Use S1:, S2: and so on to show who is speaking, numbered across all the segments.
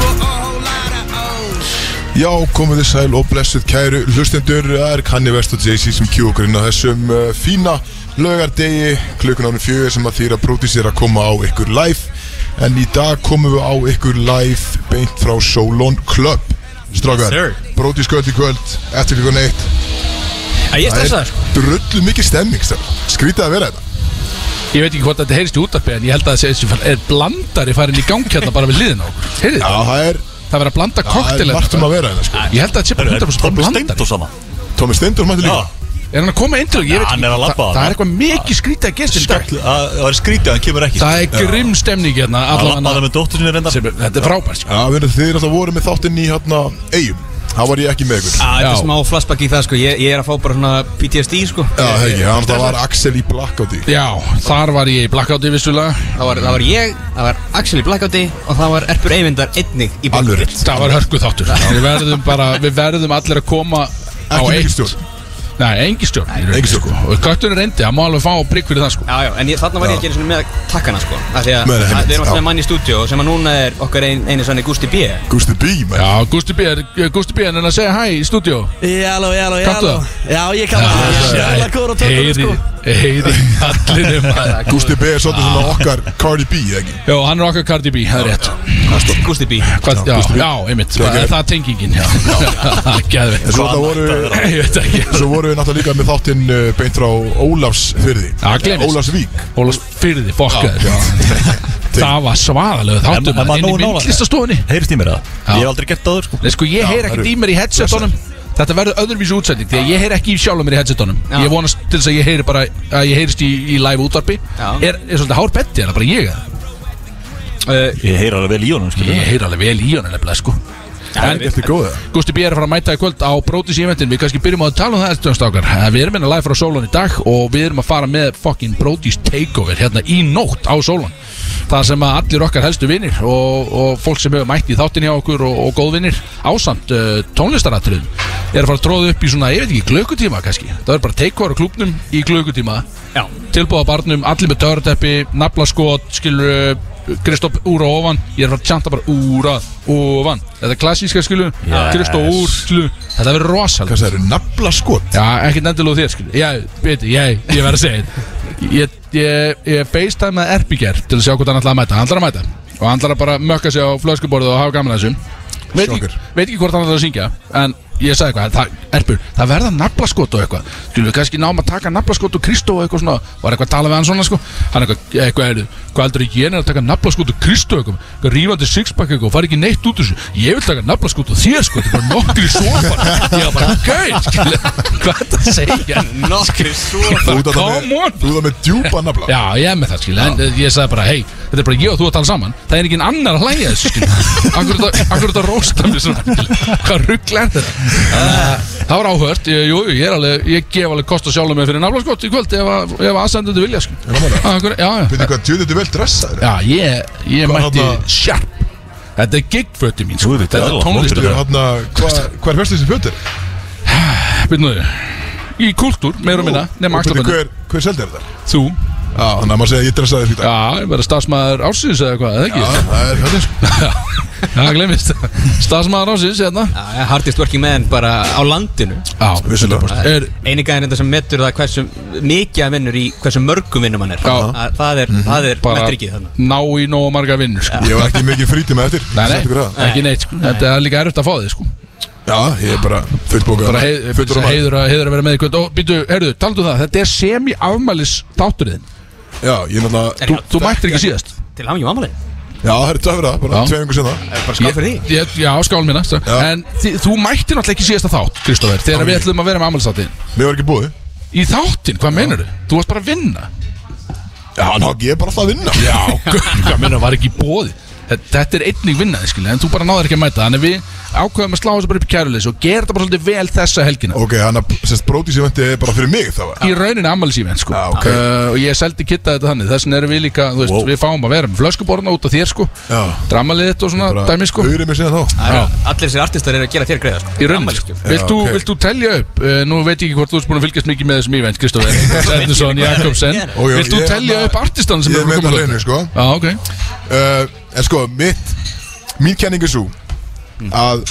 S1: oh.
S2: Já, komið þið sæl og blessuð kæru hlustendur Það er Kanni Vest og JC sem kjú okkur inn á þessum uh, fína laugardegi klukkan ánum fjögur sem að þýra pródísir að koma á ykkur live En í dag komum við á ykkur live beint frá Solon Club Strákar,
S3: Sir.
S2: pródísköld í kvöld, eftir klukkan eitt
S3: Æ, ég er stressaður sko.
S2: er drullu mikið stemning, strákar. skrítið að vera þetta
S4: Ég veit ekki hvort þetta heyrist í útarpi En ég held að það segist Er blandari farin í gang hérna bara við liðin á okkur Heyrið
S2: Já,
S4: það?
S2: það er,
S4: Það verið að blanda
S2: það er
S4: koktel
S2: margt um að vera þetta sko.
S4: Ég held að þetta sé bara 100% blandari
S5: Steindórs hana
S2: Tómi Steindur mætti líka
S4: Er hann að koma inn til okkur? Ég veit
S5: hann er að
S4: ekki
S5: labba
S4: Þa-
S5: þarna.
S4: Það er eitthvað mikið skrítið að gesta í dag
S5: Skall- að- Það var skrítið, hann kemur ekki
S4: Það er grimm stemning hérna
S5: Alla
S4: Allavega
S5: hana með dóttur sinni reyndar
S4: sem er- Þetta er frábært sko.
S2: Já, við erum þeir alltaf voru með þáttinn í hérna, eigum Það var ég ekki með ykkur
S3: Æ, Þetta er
S4: Já.
S3: smá flashback í það sko Ég, ég er að fá bara svona PTSD sko
S2: Já, það ekki, þannig að það var Axel í blackouti
S4: Já, þar var ég í blackouti vissulega
S3: Það var, það var ég, það var Axel í Blackouti og það var Erpur Eyvindar einnig í
S2: Alveg
S3: Blackouti
S2: rétt
S4: Það var hörku þáttur Við verðum bara Við verðum allir að koma á
S2: Ekki mikið
S4: eitt
S2: stjórn
S4: Nei, engi stjórn
S2: engin stjórn.
S4: Og köttunum reyndi Hann má alveg fá prigg fyrir það sko
S3: Já, já, en ég, þarna var ég ekki einu sinni með að taka hana sko Af því að
S2: Nei, nei,
S3: að
S2: einmitt,
S3: við
S2: já.
S3: erum alltaf með mann í stúdíu sem að núna er okkar ein, einu sannig Gusti B
S2: Gusti B, menn
S4: Já, Gusti B er, Gusti B er enn að segja hæ í stúdíu
S6: Jáló, jáló,
S4: Kanntu
S6: jáló
S4: það?
S6: Já, ég kann það Ég er Sjála góður á tökum, sko
S4: Heyri allir um að
S2: Gusti B er svolítið svona okkar Cardi B, eða ekki?
S4: Jó, hann er okkar Cardi B, það er rétt
S3: Gusti B
S4: Hvað, já,
S2: Gusti B.
S4: já, einmitt, það er það tengingin Já,
S2: En
S4: geðveikt
S2: svo það voru
S4: Ég veit ekki
S2: Svo voru við náttúrulega líka með þáttinn uh, beint frá Ólafs fyrði
S4: Já, gleymist.
S2: Ólafsvík
S4: Ólas fyrði, fokkaður Það var svaðalegu
S5: En- en
S4: þáttum
S5: maður
S4: Inn í
S5: nógu nálægt.
S4: myndlistastofunni
S5: Heyrist í mér það?
S4: Já.
S5: Ég hef aldrei gert það áður sko
S4: Nei, sko, ég heyr ekkert
S2: herru.
S4: í mér í headsetunum Þetta verður öðruvísu útsending Því að ég heyr ekki í sjálfum mér í headsetunum
S3: Já.
S4: Ég vonast til þess að ég heyri bara Að ég heyrist í, í live útvarpi
S3: Já.
S4: er, er svolítið hár betti, er það bara ég eða?
S3: uh,
S5: Ég heyr alveg vel í honum skilur
S4: Ég heyr alveg vel í hann nefnilega, sko En
S2: Þetta er góða
S4: Gusti B er að fara að mæta í kvöld á Brótis eventin Við kannski byrjum á að tala um það stöðumstakar Við erum hérna live frá Solon í dag Og við erum að fara með fucking Brótis takeover Hérna í nótt á Solon Það sem að allir okkar helstu vinnir og, og fólk sem hefur mætt í þáttin hjá okkur Og, og góðvinnir ásamt uh, tónlistaratriðum Er að fara að tróða upp í svona, ég veit ekki, glöggutíma kannski Það er bara takeover á klubnum í glöggutíma
S3: Já.
S4: Tilbúða barnum, allir með töruteppi Naflaskot, skilur Kristoff úr og ofan, ég er að fara að tjanta bara úr að ofan, þetta er klassíska skilur yes. Kristoff úr, skilur þetta verður rosalega,
S2: Hvað það eru? Nafla skot?
S4: já, ekki nefndilega þér skilur, já, beti, ég, ég verð að segja þetta. ég, ég, ég facetime með Erpiger til að sjá hvort hann ætlar að mæta hann ætlar að mæta, og hann ætlar að bara mökka sig á flöskuborðu og hafa gaman að þessum veit ekki,
S2: Sjokker.
S4: veit ekki hvort hann ætlar að syngja en ég sagði eitthvað, það, Erpur, það verða naflaskot og eitthvað, þú við kannski náum að taka naflaskot og Kristó og eitthvað svona, var eitthvað að tala við hann svona sko, hann eitthvað, eitthvað er hvað heldur ég er að taka naflaskot og Kristó eitthvað eitthvað rífandi sixpack eitthvað og fari ekki neitt út úr þessu ég vil taka naflaskot og þér sko, þetta er bara nokkri sopar, ég var bara, gauð hvað er þetta að segja
S3: Nokkri svo
S2: Þú ert þarna
S4: Come
S2: með-
S4: on.
S2: Þú ert það með djúpa nafla
S4: Já, ég er með það, skil, en eh, ég sagði bara, hei, þetta er bara ég og þú að tala saman Það er engin annar að hlæja þessu, skil Akkur er þetta- akkur er þetta að rósta mér svona, skil Hvað ruggla er þetta? Uh, það var áhört, ég, jú, jú, ég er alveg, ég gef alveg kost að sjálfa mig fyrir nafla skott í kvöld Ef, að- ef aðsendur vilja, skil Akkur, já,
S2: Veit
S4: já,
S2: þið hvað djúðið þetta vel dressaður?
S4: já, ég, ég
S2: Hvað
S4: mætti
S2: þarna-
S4: sharp Þetta er gigföti mín,
S5: Jú,
S4: sko,
S5: þetta er
S4: þetta er
S5: alveg
S4: tónlist
S5: flottur.
S2: Ég er hérna Hvað er fyrst þessi fötur?
S4: Byrnuðu, í kultúr, meira og minna, nema
S2: Og byrju,
S4: axlaböndu
S2: Hver, hver seldi þetta?
S4: Þú,
S2: Já, þannig að maður segja að ég dressaði því dag
S4: já, ég verða starfsmæður ársins eða hvað, eða ekki?
S2: Já, það er hvernig sko
S4: Já, glemist Stafsmaður ásins hérna
S3: Hardest working man bara á landinu
S4: Já,
S2: Vissulega.
S4: er,
S3: Einigaðin þetta sem metur það hversu mikið hann vinnur í hversu mörgum vinnum hann er
S4: Já. Mhm.
S3: Að- Það er, það er,
S4: bara
S3: metri ekki þannig
S4: ná í nógu marga vinnur sko.
S2: Ég var ekki mikið frítíma eftir
S4: Nei, nei,
S2: Sagt ykkur það.
S4: ekki neitt sko. Þetta er líka erfitt að fá þig sko.
S2: Já, ég er bara fullbókað
S4: Bara heið,
S2: Fullur á maður
S4: heiður, að, heiður að vera með í kvöld Og býtu, heyrðu, taldu það Þetta er semi-afmælis þátturðin
S2: Já, ég er náttúrulega
S4: Þú, þú mættir ekki síðast
S3: Til hann jú amalinn
S2: Já, það er töfra, bara
S4: Já.
S2: tvei yngur sinna
S3: Bara skáð fyrir því
S4: ég, Já, skál minna já.
S2: Já.
S4: En þi, þú mættir náttúrulega ekki síðasta þátt, Kristófer Þegar við ætlum að vera með afmælis þáttin
S2: Mér var ekki búið
S4: Í þáttin, hvað meinar þú? Þú varst bara að vinna
S2: Já, ná, ég er bara alltaf að vinna
S4: Já, hvað meina, var ekki bóði Þetta er einnig vinnaði, skilja, en þú bara náður ekki að mæta Þannig að við ákveðum að slá þessu bara upp í kæruleysi og gera þetta bara svolítið vel þessa helgina
S2: Ok, hann að, sérst, brótis ég er bara fyrir mig það var
S4: Í rauninni ammælisíven, sko
S2: Já, ok.
S4: uh, Og ég seldi kitta þetta þannig, þess vegna erum við líka þú veist,
S5: Wow.
S4: Við fáum að vera með flöskuborna út af þér, sko
S2: Já.
S4: Dramalið þetta og svona dæmi, sko
S2: Hauðrið mér síðan þá
S3: Það eru- Allir þessir artistar eru að gera þér greiða sko.
S4: Í rauninni, vilt þú,
S2: ok.
S4: vilt þú telja upp uh, Nú veit ég ekki hvort þú ert búin að fylgjast mikið með þessum ívent Kristoffer Ednason, Jakobsen
S2: Ó, já,
S4: Vilt
S2: ég-
S4: þú
S2: hérna-
S4: telja upp artistan sem
S2: Ég er
S4: eru að
S2: með
S4: koma
S2: það
S4: þarna?
S2: reynu, sko Eh,
S4: Já, ok
S2: uh, En sko, mitt Mín kenning er svo Að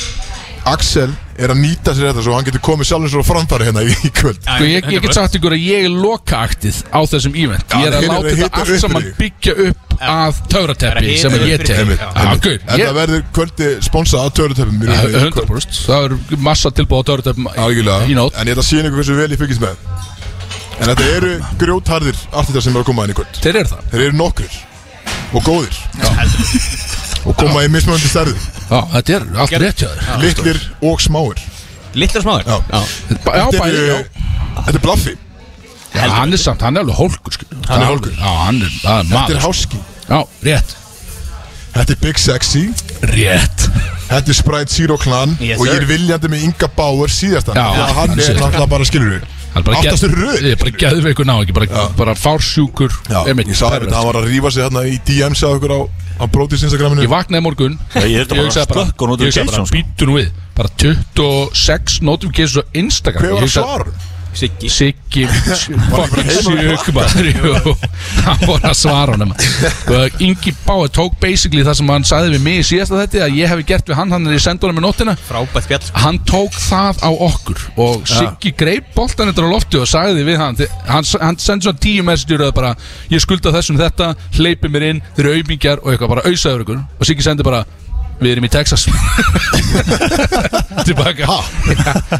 S2: Axel er að nýta sér þetta svo hann getur komið sjálfum sér á framfæri hérna í, í kvöld
S4: Sko, ég, ég get sagt ykkur að ég er lokaaktið á þessum ívent Ég er að
S2: þeir eru
S4: láta
S2: að
S4: þetta
S2: hita
S4: allt
S2: upp
S4: saman
S2: fyrir þig.
S4: byggja upp að
S3: Það er
S4: töfrateppi
S3: að hita
S4: sem að
S3: upp
S4: ég
S3: fyrir
S4: tek
S3: þig.
S4: Já, gaur,
S2: Þetta
S4: ég-
S2: verður kvöldi sponsað af törutöpum í rauninni í kvöld.
S4: 100% Það eru massa tilbúið á töfrateppi
S2: Algjörlega,
S4: Í nót
S2: en ég ætla að sína ykkur hversu vel ég fylgist með En þetta eru grjótharðir allt þetta sem er að koma inn í kvöld
S4: Þeir eru það
S2: Þeir eru nokkrir og góðir Og koma í mismunandi stærðum
S4: Já, þetta er allt rétt hjá þér
S2: Litlir og smáir
S3: Littlar smáður
S2: Já.
S4: sko. Ba- Já,
S2: Þetta
S4: bæði,
S2: eru,
S4: já
S2: þetta er blaffi
S4: Já, Hann er samt, hann er alveg hólkur skil.
S2: Hann er hólkur.
S4: Já, hann er, það er
S2: Þetta er
S4: maður
S2: háski
S4: Já, rétt
S2: Þetta er Big Sexy
S4: Rétt
S2: Þetta er Sprite Zero Clan
S3: Yes,
S2: Og ég er
S3: sir.
S2: viljandi með Inga Bauer síðastan
S4: Já,
S2: Þannig að
S4: hann
S2: hann
S4: sé
S2: er
S4: það.
S2: náttúrulega bara skilur við
S4: Hann er bara geð-
S2: Aftastur röð
S4: Ég er bara geðveikur ná ekki Bara, bara fársjúkur
S2: Já,
S4: einmitt,
S2: ég sá þetta,
S4: pervert.
S2: hann var að rífa sig hérna í DMs að okkur á, á Brotis Instagraminu
S4: Ég vaknaði í morgun
S5: Já, ég þurfti bara að
S4: hugsaði
S5: slökka á
S4: Ég hugsaði
S5: notifications,
S4: bara,
S5: sko.
S4: býtu nú við Bara 26 notifications á Instagram
S2: Hver
S4: Ég
S2: var að
S4: hugsaði-
S2: svara?
S3: Siggi
S4: Siggi Fucking sjökubar Hann voru að svara honum Og Ingi Báði tók basically það sem hann sagði við mig í síðasta þetta að ég hefði gert við hann hann er í sendunum með nóttina
S3: Frábært fjall
S4: hann tók það á okkur og Siggi greip boltan þetta á lofti og sagði við hann þi- hann, s- hann sendi svona tíu messageir og bara ég skulda þessum þetta, hleypi mér inn þeir eru auðmingjar og eitthvað bara auðsaður ykkur og Siggi sendi bara við erum í Texas tilbaka ja,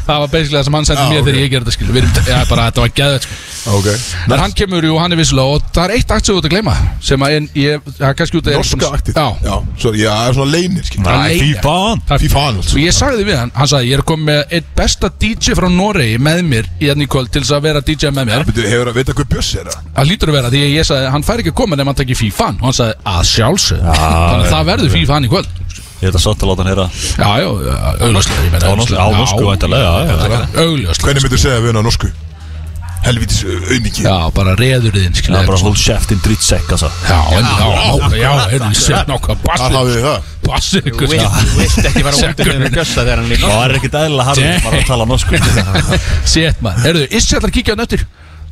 S4: það var basically það sem hann sendi
S2: Já,
S4: mér
S2: ok.
S4: þegar ég gerði þetta skil við erum, ja, bara þetta var geðvægt sko
S2: Ok
S4: en hann kemur jú, hann er vissulega og það er eitt akt sem þú ert að gleyma sem að en, ég, það er kannski út að ég er búinn
S2: Norska
S4: að-
S2: aktið
S4: já,
S2: Já, svo, já, það er svona leynir skilur
S4: Nei.
S5: Fífan
S4: Takk.
S2: Fí fan
S4: Svo ég sagði við hann, hann sagði ég er komið með eitt besta DJ frá Noregi með mér í enn í kvöld til þess að vera DJ með mér
S2: Þú hefur að vita hvað bjössi er það
S4: Það lítur að vera því að ég sagði hann fær ekki að koma nema hann tekir FIFA-n og hann sagði að sjálfsög þannig að það verður FIFA-n í kvöld
S5: Ég ætla satt að láta hann heyra
S4: Já, já, augljóslega ég meina,
S5: Á norsku- á
S4: augljóslega.
S5: norsku,
S4: Já,
S5: væntanlega, já, já,
S4: augljóslega.
S2: Hvernig
S4: Augljóslega
S2: myndir segja við hann á norsku? Helvítis auðmingi
S4: Já, bara reðurðin
S5: Það er bara hold shaftin dritt sekk að það
S4: Já, en- já, já, já, hérna, sett
S2: Það
S4: nokkað
S2: hafið þið það
S4: Bassið
S3: Þú
S4: ykkur
S3: vilt
S4: skil.
S3: vilt ekki fara út
S4: Sekkurinn.
S3: með Bjössa þegar hann er í
S5: Það
S3: Noregi.
S5: er ekkert eðlilega harfið Það er að tala norsku
S4: Sett maður, herruðu, Issi ætlar að kíkja á nöttir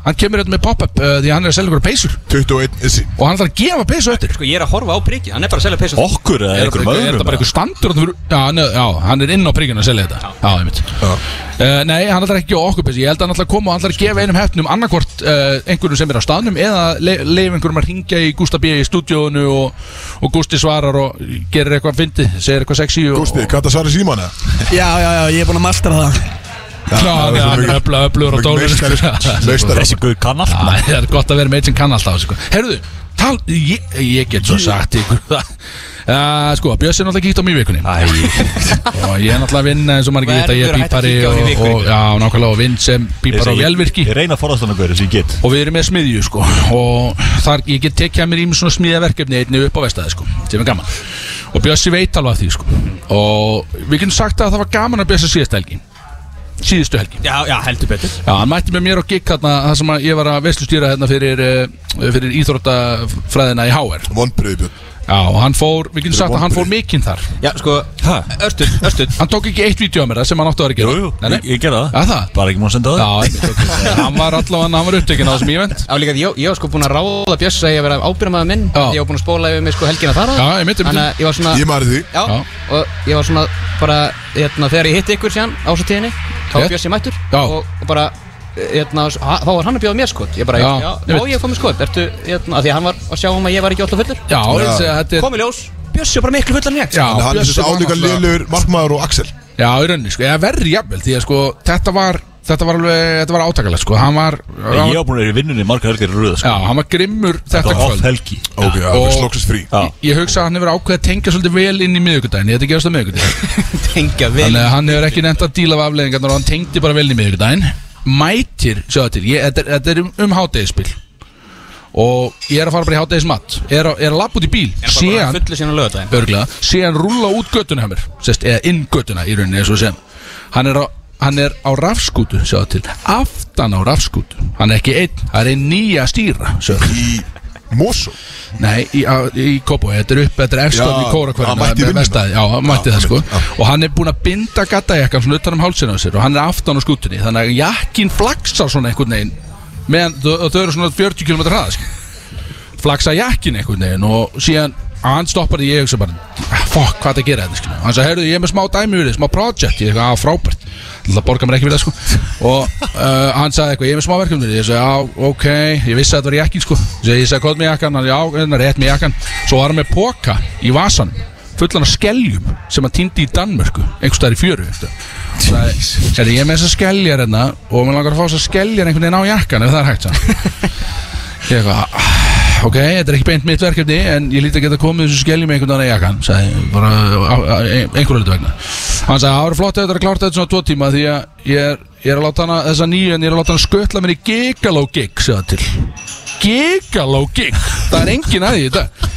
S4: Hann kemur hérna með pop-up uh, því að hann er að selja ykkur peysur
S2: 21 issi
S4: og hann ætlar að gefa peysu öttir
S3: Sko ég er að horfa á priki Hann er bara að selja peysa
S5: Okkur eða
S4: Er
S5: einhverjum
S4: þetta- er
S5: öðrum
S4: þetta bara eitthvað standur þarna fyrir- já, hann er- já, hann er inn á príkinu að selja þetta Já, ég mitt Nei, hann ætlar ekki á okkur peysu Ég held að hann ætlar að koma og hann ætlar að gefa einum hefnum annarkvort uh, einhverjum sem er á staðnum eða le leif einhverjum að ringja í Gústa B. í stúdíónu og, og Gústi svarar og gerir eitthvað fyndi, segir eitthvað sexy og,
S2: Gústi,
S4: og,
S2: hvað það svarir síman eða?
S6: Já, já, já, ég er búin að mastera það
S4: Já,
S2: það er svo
S4: hann er
S2: mikið-
S4: öfla öflugur á
S2: mikið
S4: dólunum
S2: meistari, sko. Meistari.
S5: Þessi guð kann allt
S4: Já, Það er gott að vera með einn sem kann alltaf á þessu, sko. Herruðu, tal, ég, ég get svo sagt ykkur það Uh, sko, Bjössi er náttúrulega kíkt á mig í vikunni Og ég er náttúrulega að vinna eins og margir vita Ég er
S3: Verður að hætta að
S4: pípari
S3: kíkja á
S4: og,
S3: hann í vikunni.
S4: og já, nákvæmlega og vinn sem
S5: Ég
S4: pípar á
S5: segi-
S4: velvirki
S5: Ég reyna að forðast hann að guður sem ég get
S4: Og við erum með smiðju, sko Og þar, ég get tekið að mér ímur svona smíðaverkefni einni upp á vestæði, sko Sem er gaman Og Bjössi veit alveg að því, sko Og við getum sagt að það var gaman að Bjössi síðast helgi Síðustu helgi
S3: Já, já, heldur betur
S4: Já, hann mætti með mér á gig þarna það sem að ég var að veslustýra hérna fyrir, eh, fyrir íþróttafræðina í HR
S2: Vonbreiði Björn
S4: Já, og hann fór, við getum sagt að hann fór mikinn þar
S3: Já, sko Örstuð, örstuð
S4: Hann tók ekki eitt vídeo af mér það sem hann átti að vera að
S5: Jú,
S4: gera
S5: jú,
S4: nei, nei.
S5: ég- ég gera
S4: Já,
S5: það
S4: það
S5: Bara ekki múin að senda
S4: Já,
S5: það
S4: einmitt, ok, ok. hann var allavega, hann var upptekinn á þessum ívent
S3: Já, líka, því ég, ég var sko búinn að ráða Bjössa að ég að vera ábyrgamaður minn
S4: Já.
S3: Ég var búinn að spóla yfir mig sko helgina þar áður.
S4: Já, ég mitt, ég mitt.
S3: Þannig að ég var svona
S2: Ég maður því
S3: Ah. Já,
S4: Já.
S3: og ég var svona bara, hérna, þegar ég hitti ykkur síðan ásatíðinni Þá
S4: Rétt.
S3: var Bjössi mættur
S4: Já.
S3: og, og bara, hérna, s- ha- þá var hann að bjóða mér skot Ég bara,
S4: Já,
S3: já, já,
S4: ég veit.
S3: ég kom með skot Ertu, hérna, að því að hann var að sjá um að ég var ekki alltaf fullur
S4: Já, ég segi að þetta er
S3: Kom í ljós, Bjössi var bara miklu fullar en ég
S4: Já,
S2: En hann er
S4: Bjössi
S2: þessi
S4: var
S2: álíka
S4: náttúrulega-
S2: liðlegur Markmaður og Axel
S4: Já, í rauninni, sko, eða verri jafnvel Því að sko, þetta var, þetta var alveg, þetta var átakalegt, sko Hann var,
S5: Ég
S4: já,
S5: var búin að vera í vinnunni margar helgir í röð sko.
S4: hann var grimmur
S5: Það
S4: þetta
S5: var off
S4: kvöld
S5: helgi
S2: Ok, það
S4: Og-
S2: er slóksist frí
S5: Já.
S4: Ég, ég hugsa að hann hefur ákveðið að tengja svolítið vel inn í miðvikudaginn Þetta gerast á miðvikudaginn
S3: Tengja vel
S4: Þannig að hann hefur ekki nefnt að díla af afleðingarnar og hann tengdi bara vel í miðvikudaginn Mætir, sjáðu til, ég, þetta, er- þetta er um, um hádegispil Og ég er að fara bara í hádegismat Er, að- er að lappa út í bíl Sé hann,
S3: Fullu síðan að löða það
S4: örglega, sé hann rúlla út göttuna hjá mér Sest, eða inn göttuna í rauninni eins og sem Hann er á, hann er á rafskútu, sjáðu til Aftan á rafskútu Hann er ekki einn, það er einn nýja stýra sjáðu til.
S2: Í Mosó
S4: Nei, í, á- í Kópói, þetta er upp, þetta er
S2: Já,
S4: efstöðn í
S2: hann
S4: Kórakvarina
S2: mætti í vinnuna.
S4: Já, hann mætti
S2: Já,
S4: það sko
S2: einmitt, já.
S4: Og hann er búinn að binda gattajakkan svona utan um hálsina á sér Og hann er aftan á skútunni Þannig að jakkin flaksar svona einhvern veginn Meðan þau, þau eru svona 40 km hraða sko. Flaksa jakkin einhvern veginn Og síðan, að hann stoppar því ég hugsa bara "Ah, fuck, hvað það gera þetta skilur hann sagði, heyrðu, ég er með smá dæmi við þig, smá project ég eitthvað, að frábært, það borga mér ekki fyrir það sko og uh, hann sagði eitthvað, ég er með smá verkefni við þig." ég sagði, já, ok, ég vissi að þetta var jakkin sko ég sagði, ég sagði, hvað með jakkan, hann, já, hérna, rétt með jakkan svo var hann með póka í vasan fullan af skeljum sem hann týndi í Danmörku einhvers staðar í fjöru eftir. sagði, "Heyrðu, ég er með þessar skeljar hérna og mér langar að fá þessar skeljar einhvern veginn á jakkan ef það er hægt sagði hann. Ég eitthvað, "Ah, ok, þetta er ekki beint mitt verkefni en ég líti að geta komið þessu skelli með einhvern veginn að jakkan sagði, bara e, einhverju hlutu vegna hann sagði, það var flott ef þetta er að klára þetta svona tvo tíma því að ég er, ég er að láta hana þessa nýju en ég er að láta hana skötla mér í gigaló gig segða til gigaló gig, það er engin að því þetta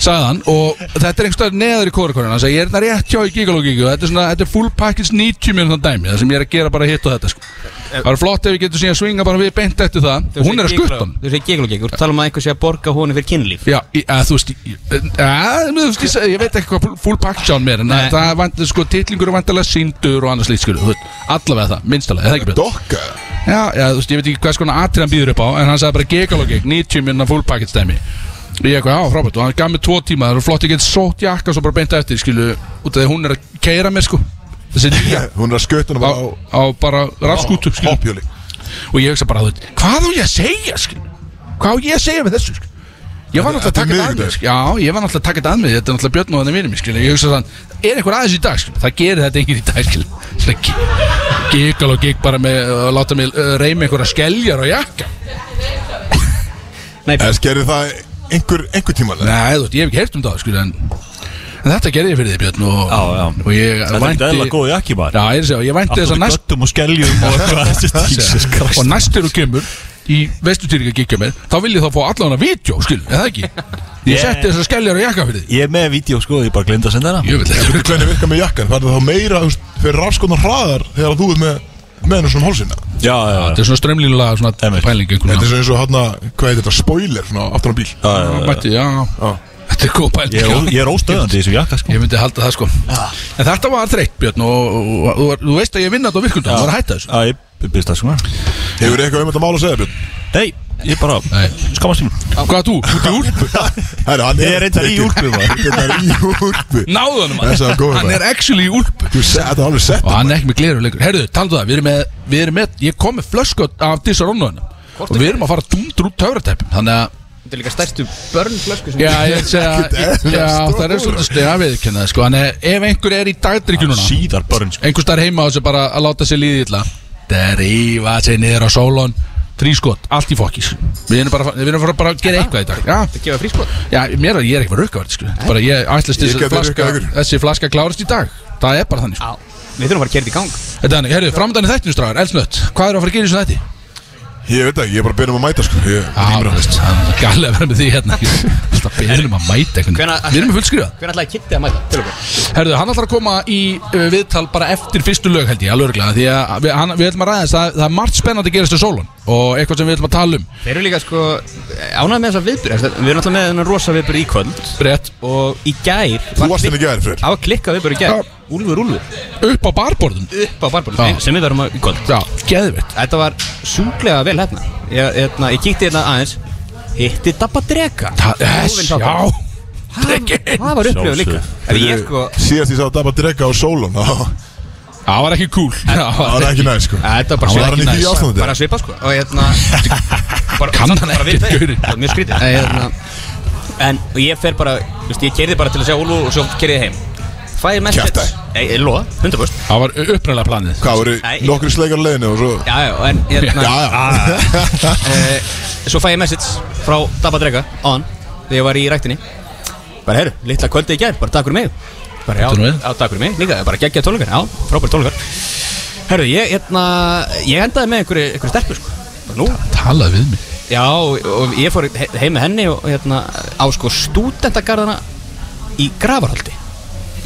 S4: sagði hann og þetta er einhverstað neðar í kórakorinu, hann sagði ég er þetta rétt hjá í gigaló gig og þetta er, svona, þetta er full package 90 minútan dæmi það sem ég er að gera bara hitt og þetta sko. það var flott ef við getum síðan að svinga bara við beint eftir það og hún er að skutta hann
S3: Þú segir gíglugík, þú tala um að einhver sé að borga honum fyrir kynlíf
S4: Já, í- að þú veist, í- e- að, þú veist, ég segi- ég veit ekki hvað full package án mér, en
S3: Nei.
S4: að það vant, sko, titlingur er vantilega síndur og annars slíkt, skilur, þú veist, allavega það, minnstalega, eða ekki betur.
S2: Dokka
S4: Já, já, þú veist, ég veit ekki hvað skona atrið hann býður upp á, en hann sagði bara gegalogik, 90 minna full package dæmi. Ég eitthvað, já, frábært, og hann gaf mér tvo tíma, það er flott, ég get sótt jakka svo bara beint eftir, skilur, út af því að hún er að keira mér, sko, þessi nýja,
S2: Hún er að skauta hana bara á
S4: á, á bara rafskútu, skilur
S2: hoppjóli
S4: og ég hugsa bara, þú veit, hvað á ég að segja skil? hvað á ég að segja við
S3: sko.
S4: þessu skil? ég var náttúrulega að
S2: Þetta er
S4: taka þetta að mig
S2: miðvikudagur.
S4: skil. já, ég var náttúrulega að taka þetta að mig þetta er náttúrulega björn og þannig vinur mér skil. ég hugsa þann, er einhver aðeins í dag skil? það gerir þetta enginn í dag skil. gíkal og gík bara með að láta mig uh, reyma einhverja skeljar og jakka
S3: Nei,
S2: En skerði það einhver, einhver tíma Nei,
S4: nei, þú veist, ég hef ekki heyrt um það skil, en, en þetta gerði ég fyrir þig björn og,
S5: Já, já.
S4: og ég
S5: Þetta er ekki eðla góð jakki bara
S4: já, ég er að segja, ég vænti
S5: Alltaf
S4: þess að næst
S5: göttum og skeljum og eitthvað Þetta er Jesus
S4: og
S5: Christ.
S4: næst þegar þú kemur í vestutýringa gíkja mér þá vil ég þá fá allan að vídeo, skil, eða ekki ég
S5: Yeah.
S4: setti þessar skeljar á jakka fyrir þig
S5: Ég er með vídeo sko, ég bara glinda að senda hana
S4: ég vil
S2: Þú
S4: ekki
S2: veit hvernig virkar með jakkan Það er þá meira, þú veist, fyrir rafskonar hraðar Þegar þú ert með, með hennar svona um hálsina
S5: Já, já,
S4: þetta er svona strömlínulega svona
S5: Einmitt.
S4: pæling
S2: Þetta er
S4: einhvern
S2: svona eins og hann hvað heitir þetta, spoiler Svona aftan á bíl
S5: já, já, já.
S4: veginn já,
S2: Já.
S4: þetta er góð pæling
S5: Ég er ó- Ég er óstöðandi í þessu jakka sko
S4: Ég myndi halda það sko En þetta var þreytt Björn og, og, og, og þú veist að ég vinna þetta á virkundum Það var að hætta þessu
S5: Já, ég byrst það sko
S2: Hefur eitthvað um þetta mál að segja, Björn?
S5: Nei, ég bara
S4: Nei.
S5: Skammast tíma
S4: Hvað þú? Þú ert í úlpu?
S2: Herra, hann
S5: Ég er reyndar í úlpu, maður.
S2: Þetta er í úlpu
S4: Náðu hann
S2: Þessi var góður,
S4: Hann
S2: maður.
S4: er actually í úlpu
S2: Þú sé- Þetta er alveg sett
S4: og hann er ekki með gleru lengur Herðu, talaðu það, við erum með, við erum með Ég kom með flösku af disaronnuðinu Og við erum að fara dundur út töfratæpum Þannig að
S3: þetta er líka stærstu börnflösku sem
S4: Já, ég segja Já, það er svolítið stega viðkennað sko. En ef einhver er í dagdrykjununa
S5: Síðar börn sko
S4: Einhver starf heima á þessu bara að láta sér líði illa Það er ífa sér niður á sólón Þrý skot, allt í fokkis Við erum bara, við erum bara, bara að gera eitthvað í dag Já,
S3: Þetta gefa frískot
S4: já mér er, ég er ekki bara rukkavært sko. Bara ég ætlast
S2: Ég
S4: þessi
S2: gæti
S4: flaska,
S2: rukkað ykkur.
S4: þessi flaska klárist í dag Það er bara þannig sko.
S3: Já Við þurfum að fara að kerði í gang
S4: Þetta er þannig, herru, framdæni þættinu stráður, elsnött Hvað er að fara að gera í þessu þætti?
S2: Ég veit ekki, ég er bara að byrja um að mæta sko Ég
S4: Já,
S2: rýmur á
S4: veist, það er gæli að vera með því hérna ekki? Alltaf beðum að mæta einhvern
S3: Hvenær-
S4: Við erum með fullskrifað
S3: Hvernig ætlaði Kitty að mæta til okkur?
S4: Herðu, hann ætlar að koma í uh, viðtal bara eftir fyrstu lög held ég, alveg örglega Því að við, hann, við ætlum að ræða þess að það er margt spennandi að gerast í sólun Og eitthvað sem við ætlum að tala um
S3: Þeir eru líka sko ánægð með þessa viðbyrð Við erum náttúrulega með þennan rosa viðbyrð í kvöld
S4: Brett
S3: Og í gær
S2: Þú varst henni gæri, Freyr
S3: Það var klikkað viðbyrð í
S4: Já.
S3: gær Úlfur, úlfur
S4: upp á barborðun
S3: Upp á
S4: Já.
S3: barbúlum Sem við verum að í kvöld
S4: Já, geðvitt
S3: Þetta var sjúklega vel hérna Ég, hérna, ég kíkti hérna aðeins Hitti Dabba Drega
S4: Þess,
S3: Óvinn Dabba.
S4: já Drekinn.
S3: Það var upplifað líka
S5: Sjálfsögðu.
S3: Ef ég sko
S2: Síðast ég sá Dabba Drega á Solon þá-
S4: Það var ekki cool Það
S2: Það var ekki næst sko
S3: Þetta var
S2: Hann
S3: bara
S2: var hann í því
S4: næs.
S2: ástandi
S3: bara svipa sko og hérna bara,
S4: Kann hann
S3: bara
S4: ekki,
S3: við þeir.
S4: gaurinn.
S3: Það var mjög skrítið Nei, hérna, en og ég fer bara þú veist, ég kerði bara til að sjá Úlu og svo kerði ég heim fæði mest
S2: Kjaftaði.
S3: Nei, ég loða 100%
S4: Það var uppræðlega planið
S2: Hvað voru
S3: Nei.
S2: nokkri sleikar á leiðinu og svo
S3: já já en hérna
S2: Já, já.
S3: eh, svo fæði ég message frá Dabba Drega on þegar ég var í ræktinni bara heyru litla kvöldi í gær bara takk fyrir mig bara já
S4: Takk fyrir mig.
S3: já takk fyrir mig líka bara geggja tónleikar já frábæri tónleikar herru ég hérna ég endaði með einhverju einhverju stelpu sko bara nú
S4: Talaði við mig
S3: Já, og og ég fór he- heim með henni og hérna á sko stúdentagarðana í Grafarholti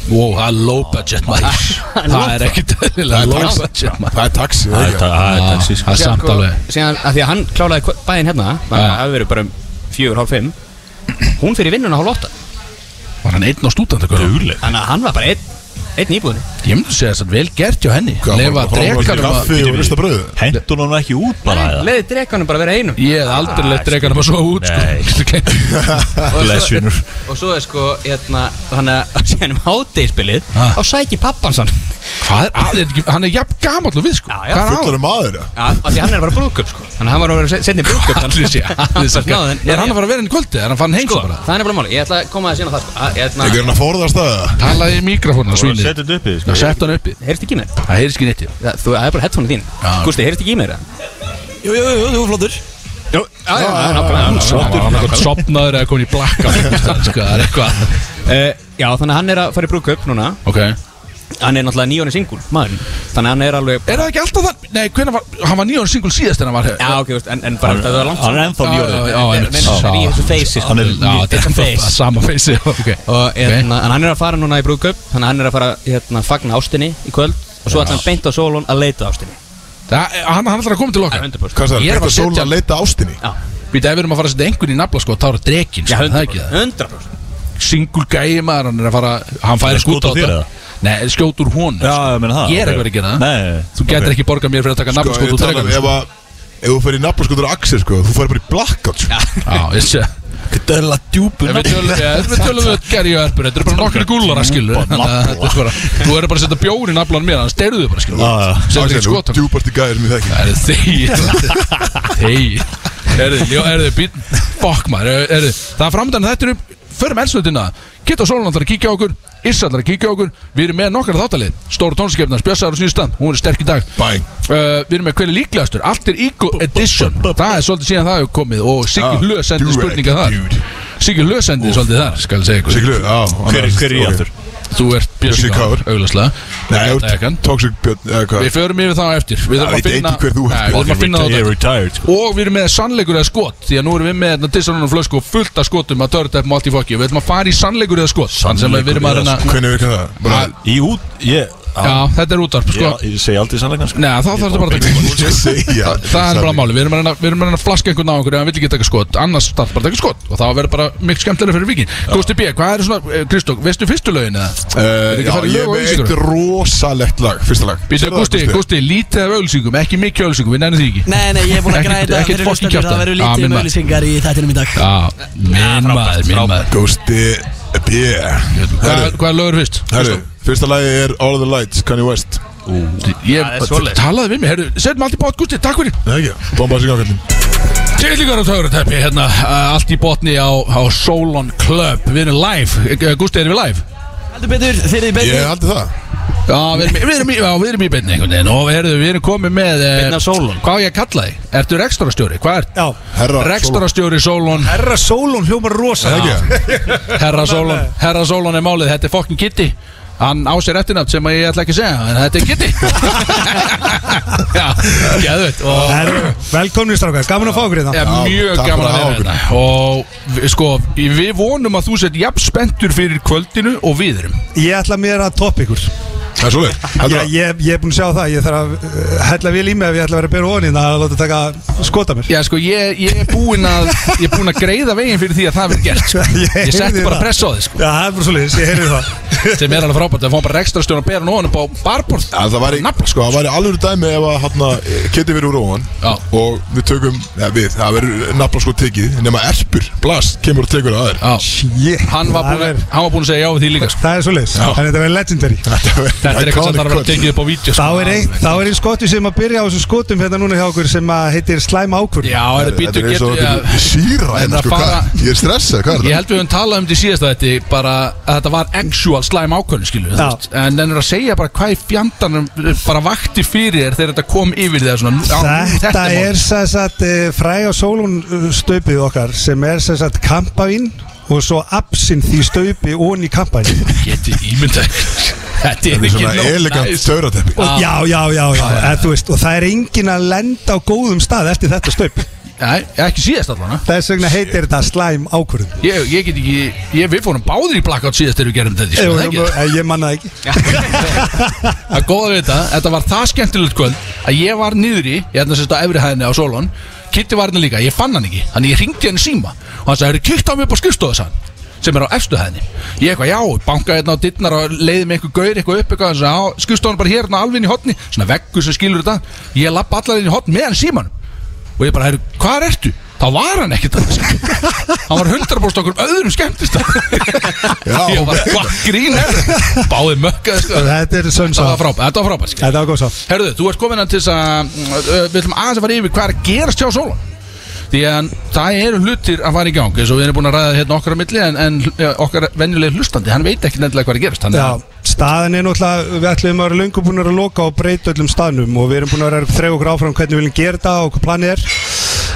S4: Wow, það er low budget maður Það er ekki dælilega
S2: Það er
S4: low
S2: taxi.
S4: budget maður
S2: Það er taxi það
S5: Það
S2: er
S5: er
S2: ekki?
S5: það er taxi
S4: Það
S5: sko
S4: er samt alveg
S3: Síðan, að því að hann klálaði kvö- bæinn hérna, þannig að
S4: Já.
S3: það hefði verið bara um fjögur, hálf fimm Hún fyrir vinnuna hálf ótta
S4: Var hann einn á stúdendakörðu?
S5: Dugleg
S3: Þannig að hann var bara einn Einn íbúðinni
S4: Ég myndi segja þess að vel gert hjá henni
S2: Hvað,
S4: Lefa
S2: bara- bara- bara-
S4: drekanum að
S2: Kaffi og rista bröðu
S5: Hendur hún ekki út bara eða?
S3: Leðið drekanum bara að vera einum
S4: Ég hef aldrei leitt drekanum að svo út
S5: Nei.
S4: sko.
S3: Og svo-
S5: Blessunur.
S3: Og svo er sko, hérna, þannig að síðan um hátegispilið
S4: Ah.
S3: Þá sækir pappan sann
S4: Hvað er að, er ekki- hann er jafn gamall og við sko
S3: Já, já,
S4: Hvað er
S2: Fullar
S4: að?
S2: um aður eða?
S3: Já, af því hann er að fara brúðköp sko Þannig að hann var að vera setni brúðköp
S4: Allir sé, allir sé Er hann að fara að vera henni í kvöldi? Er hann fann heim
S3: Sko,
S4: svo bara?
S3: það er bara máli, ég ætla að koma að sína það sko Að, Hérna,
S2: Ekki er hann að forðast það eða?
S4: Talaði í mikrofónu,
S5: Svo
S4: svínið
S5: setja þetta uppi
S4: Já,
S5: sko.
S4: sett hann uppi
S3: heyrst ekki í mér?
S4: Það heyrðis ekki neitt í þér.
S3: Það, þú, það er bara headphone þín
S4: Já.
S3: Gústi, heyrst ekki í mér? eða?
S6: Jú, jú, jú, þú er flottur
S3: Já, já, já, já, nákvæmlega,
S4: Hann var
S3: nákvæmlega.
S4: annarkvæmt sopnaður eða komin í blakka Sko, það er eitthvað
S3: Eh, Já, þannig að hann er að fara í brúðköp núna
S4: Ok
S3: Hann er náttúrulega nýjónu singul, maður Þannig að hann er alveg
S4: Er það ekki alltaf þann? Nei, hvernig var, hann var nýjón singul síðast en hann var
S3: Já, ok, veist, en, en bara þetta var langt
S5: Hann er ennþá
S4: Já, já, já,
S5: nýjóður
S4: já,
S3: En
S4: einmitt.
S3: hann er í þessu feysi sko.
S5: Hann er-
S4: Já, þetta er bara sama feysi Ok
S3: Og hérna, en hann er að fara núna í brúðköp Þannig að hann er að fara hérna, fagna ástinni í kvöld Og svo ætla hann beint á sólun að leita að ástinni
S4: Það- Hann hann ætlar að koma til okkar
S3: 100%
S2: Hvað sagði,
S4: Ég er
S2: þetta er
S4: bara að
S2: sól
S4: setja-
S2: að leita ástinni
S3: Já,
S4: Býta, ef við erum að fara að setja einhvern í nafla sko, þá er það drekinn,
S3: já
S4: sko, það er ekki
S3: 100%,
S4: það
S3: 100%.
S4: Singul gæi maður, hann er að fara Hann
S5: Er
S4: færi skút
S5: skot á
S4: á
S5: þér
S4: þetta
S5: eða?
S4: Nei, skjót úr hún
S5: Já, ég meina það
S4: Ég er
S5: ok.
S4: ekki verið að gera það
S5: Nei,
S4: Þú getur ekki borgað mér fyrir að taka nafla
S2: Sko,
S4: skót
S2: ég
S4: úr
S2: tala um
S4: drekanum
S2: ef að Ef þú fyrir nafla sko, þú er axir sko Þú fyrir bara í blackout sko.
S4: Já, ég sé
S6: Þetta er alveg djúpur
S4: En Við tölum- ja, við tölum við Gary og Erpur Þetta eru bara nokkri gúllara skilur Þannig að þetta er bara- Þú eru bara að setja bjór í naflan mér Þannig steyruðu bara skilur
S5: Já, já.
S2: Axel,
S4: Setja ekki
S2: þú
S4: skot á
S2: er djúpasti gæðir sem ég þekki
S4: Það eru þeir Þeir Erðu, ljó, erðu, být Fuck maður, erðu Það er framdann þetta eru Förum elslutina Kitta Sólun ætlar að kíkja á okkur Issa ætlar að kíkja á okkur Við erum með nokkar þáttalið Stóru tónskefnar, Bjössaður og Snýstan Hún er sterk í dag
S2: Bang.
S4: Uh, Við erum með hverju líklegastur Allt er Eagle Edition Það er svolítið síðan það hefur komið Og Siggi
S2: Ah,
S4: Hlö sendi
S2: direct,
S4: spurninga þar
S2: dude.
S4: Siggi Hlö sendi svolítið þar Skal ég segja ykkur
S2: Siglu, já hann
S5: Hver er- hver er ég
S2: ok.
S5: aftur?
S4: Þú ert
S2: Bjössi
S4: Bjössi
S2: Kár.
S4: Kár, augljóslega
S2: Nei,
S4: Þetta er
S2: þú
S4: ekkan.
S2: ert Toxic Björn eða hvað?
S4: Við förum yfir það á eftir Við
S2: Já,
S4: þurfum
S2: veit
S4: að finna
S2: ekki hver þú ert,
S4: Nei, Við þurfum að finna
S5: Ég er
S4: þetta
S5: retired sko.
S4: Og við erum með sannleikur eða skot Því að nú erum við með þetta dissanunum flösku og fullt af skotum að törta upp mátt í fokki Við ætlum að fara í sannleikur eða skot Þannig sem að við erum að
S5: Sannleikur
S4: reyna
S5: eða
S2: Hvernig virkar það? Bara,
S4: Að-
S5: Í út Ég
S4: Já, þetta er útarp sko
S5: Ég ég segi aldrei sannleikann sko.
S4: Nei, þá þarf þetta bara að taka skot
S2: ég segja
S4: Það er bara máli, við erum að reyna, við erum að, reyna að flaska einhvern á einhverju ef hann vil ekki taka skot, annars þarf bara að taka skot og þá verður bara mikið skemmtilega fyrir vikið Kosti B, hvað er svona, Kristók, veistu fyrstu lögin eða?
S2: Uh,
S4: ekki
S2: já,
S4: farið
S2: ég
S4: lög á
S2: er með eitt
S4: Instagram?
S2: rosalegt lag, fyrsta lag
S4: Býtu,
S2: Sérðu það,
S4: Kosti, Kosti, lítið af auðlýsingum, ekki mikið auðlýsingum, við nennum því ekki
S6: Nei, nei, ég er búin að
S4: Ekkert-
S6: græða
S4: ekkert
S6: fyrir hlustendur,
S4: fucking
S6: Það
S4: kjaftaði.
S6: verður
S4: Ah,
S6: lítið
S4: minn
S6: um
S4: maður.
S6: auðlýsingar í þættinum í dag
S4: Já, minn maður, minn maður
S2: Kosti B
S4: Hvað
S2: Herru,
S4: hvað er lögur fyrst?
S2: herru, fyrsta lagi er All of the Lights, Kanye West
S4: Ég
S3: það er svoleiðis.
S4: talaði við mig, herru, setjum allt í bótt, Gusti, takk fyrir
S2: Nei ekki, bomba sig ákveldin
S4: Tillingar og tögurutæpi, hérna, uh, allt í botni á, á Solon Club Við erum live, Eh, Gústi, erum við live?
S6: Heldur betur, þeir eru í
S2: Ég
S6: beinni
S2: haldi það
S4: Já, við erum, í- við erum, í- já, við erum í beinni einhvern veginn Og herru, við erum komið með uh,
S3: Beinni á Solon.
S4: Hvað á ég að kalla þig? Ertu rekstórastjóri? Hvað ert?
S7: Já,
S2: Herra,
S4: Rekstórastjóri Solon,
S7: Herra Solon hljómar rosa
S2: Sólon, ekki?
S4: herra Solon Herra Solon er málið, þetta er fokkin Kitty Hann á sér eftirnátt sem ég ætla ekki að segja En þetta er Kitty Já, geðveit Og
S7: Herra, velkomni strákar, gaman að fá hérna. okkur
S4: er
S7: þetta
S4: mjög
S2: takk
S4: gaman
S2: fyrir að
S4: að vera
S2: hafa okkur.
S4: hérna og við- sko, við vonum að þú sett jafn spenntur fyrir kvöldinu og við erum
S7: Ég ætla mér að topp ykkur
S2: Það er svolítið,
S7: Já,
S2: heldur það
S7: ég, ég er búin að sjá það, ég þarf að uh, hella vel í mig ef ég ætla að vera að bera ofan í það að láta taka skota mér
S4: Já, sko, ég, ég er búinn að ég er búinn að greiða veginn fyrir því að það verður gert sko.
S7: Ég
S4: ég setti
S7: heyrði
S4: bara
S7: það.
S4: pressa á þig, sko
S7: Já, það er bara svo ég heyrði það
S4: sem er alveg frábært, það fóðum bara ekstra stjórn að bera nóðan upp á barborð
S2: En það væri,
S4: Nafla,
S2: sko, það væri alveg dæmi ef að hann geti verið úr ofan
S4: Já.
S2: og við tökum, ja, við, það verður nafla sko tekið nema erpur, blast, kemur og tekur að þér
S4: Já,
S7: Shit,
S4: hann var búinn að, hann var búinn að segja já við því líka sko.
S7: Það er svo leiðis, þannig að þetta verður legendary
S4: þetta er eitthvað sem þarf að vera tekið upp á vídeo sko.
S7: Þá er einn, þá er einn skoti sem að byrja á þessum skotum hérna núna hjá okkur sem að heitir slæm ákvörð
S4: já, er það
S2: Þetta
S4: býtu
S2: er eins og
S4: getur
S2: þetta er
S4: já,
S2: síra
S4: Þetta
S2: hérna,
S4: er
S2: sko,
S4: að fara-
S2: hvað- Ég er stressað, hvað er
S4: Ég
S2: það?
S4: held við höfum talað um þetta í síðasta þetta bara að þetta var actual slæm ákvörðin skilur við, þú
S7: Já.
S4: veist. en en er að segja bara hvað í fjandarnum bara vakti fyrir þér þegar þetta kom yfir þér svona, á, nú,
S7: Þetta
S4: mál.
S7: er sem sagt eh, fræga sólun eh, staupið okkar sem er sem sagt kampavín og svo absinth í staupi onni í kampavín
S4: geti ímynda Þetta er
S2: Þetta er
S4: ekki
S2: svona
S4: nóg
S2: elegant
S4: næs. Ah.
S2: störateppi
S7: og, Já, já, já, já, en þú veist og það er engin að lenda á góðum stað eftir þetta staup
S4: Nei, ekki síðast allan ha?
S7: Þess vegna heitir þetta slæm ákvörðum
S4: ég, ég get ekki, ég, við fórum báðir í blackout síðast þegar við gerum þetta
S7: Jú,
S4: sko, það
S7: jú,
S4: ekki.
S7: eh, Ég manna það ekki
S4: Það er góð að vita, þetta var það skemmtilegt kvöld að ég var niður í, ég ætla að sérst á efri hæðinni á Solon Kitty var hérna líka, ég fann hann ekki þannig ég ringdi hann í síma og hann sagði, "Heyrðu, kíktu á mig upp á skrifstofu sagði hann. sem er á efstuhæðinni ég eitthvað já, banka hérna á dittnar og leiði mig einhver gaur eitthvað upp eitthvað og skust honum bara hérna alveg inn í hotni svona veggur sem skilur þetta ég lapp allar inn í hotni meðan símanum og ég bara, "Heyrðu, hvar ertu? þá var hann ekkert að hann var 100% okkur öðrum skemmtist
S2: Já.
S4: ég var hvað grín er þetta?" báði mökkaði sko.
S7: Þetta er
S4: þetta var
S7: sönnsá
S4: frábært þetta var frábært
S7: Þetta var góð sá
S4: Herðu, þú ert komin að til þess að uh, Við ætlum aðeins að fara yfir hvað er að gerast hjá Sólan Því að það eru hlutir að fara í gang eins og við erum búin að ræða hérna okkar að milli En, en ja, okkar venjuleg hlustandi, hann veit ekki nefnilega hvað er að gerast Þannig
S7: Já,
S4: að
S7: staðin er náttúrulega, við ætlum að vera löngu búin að loka og breyta öllum staðnum og við erum búin að vera að þreyja okkur áfram hvernig við viljum gera þetta og hvað planið er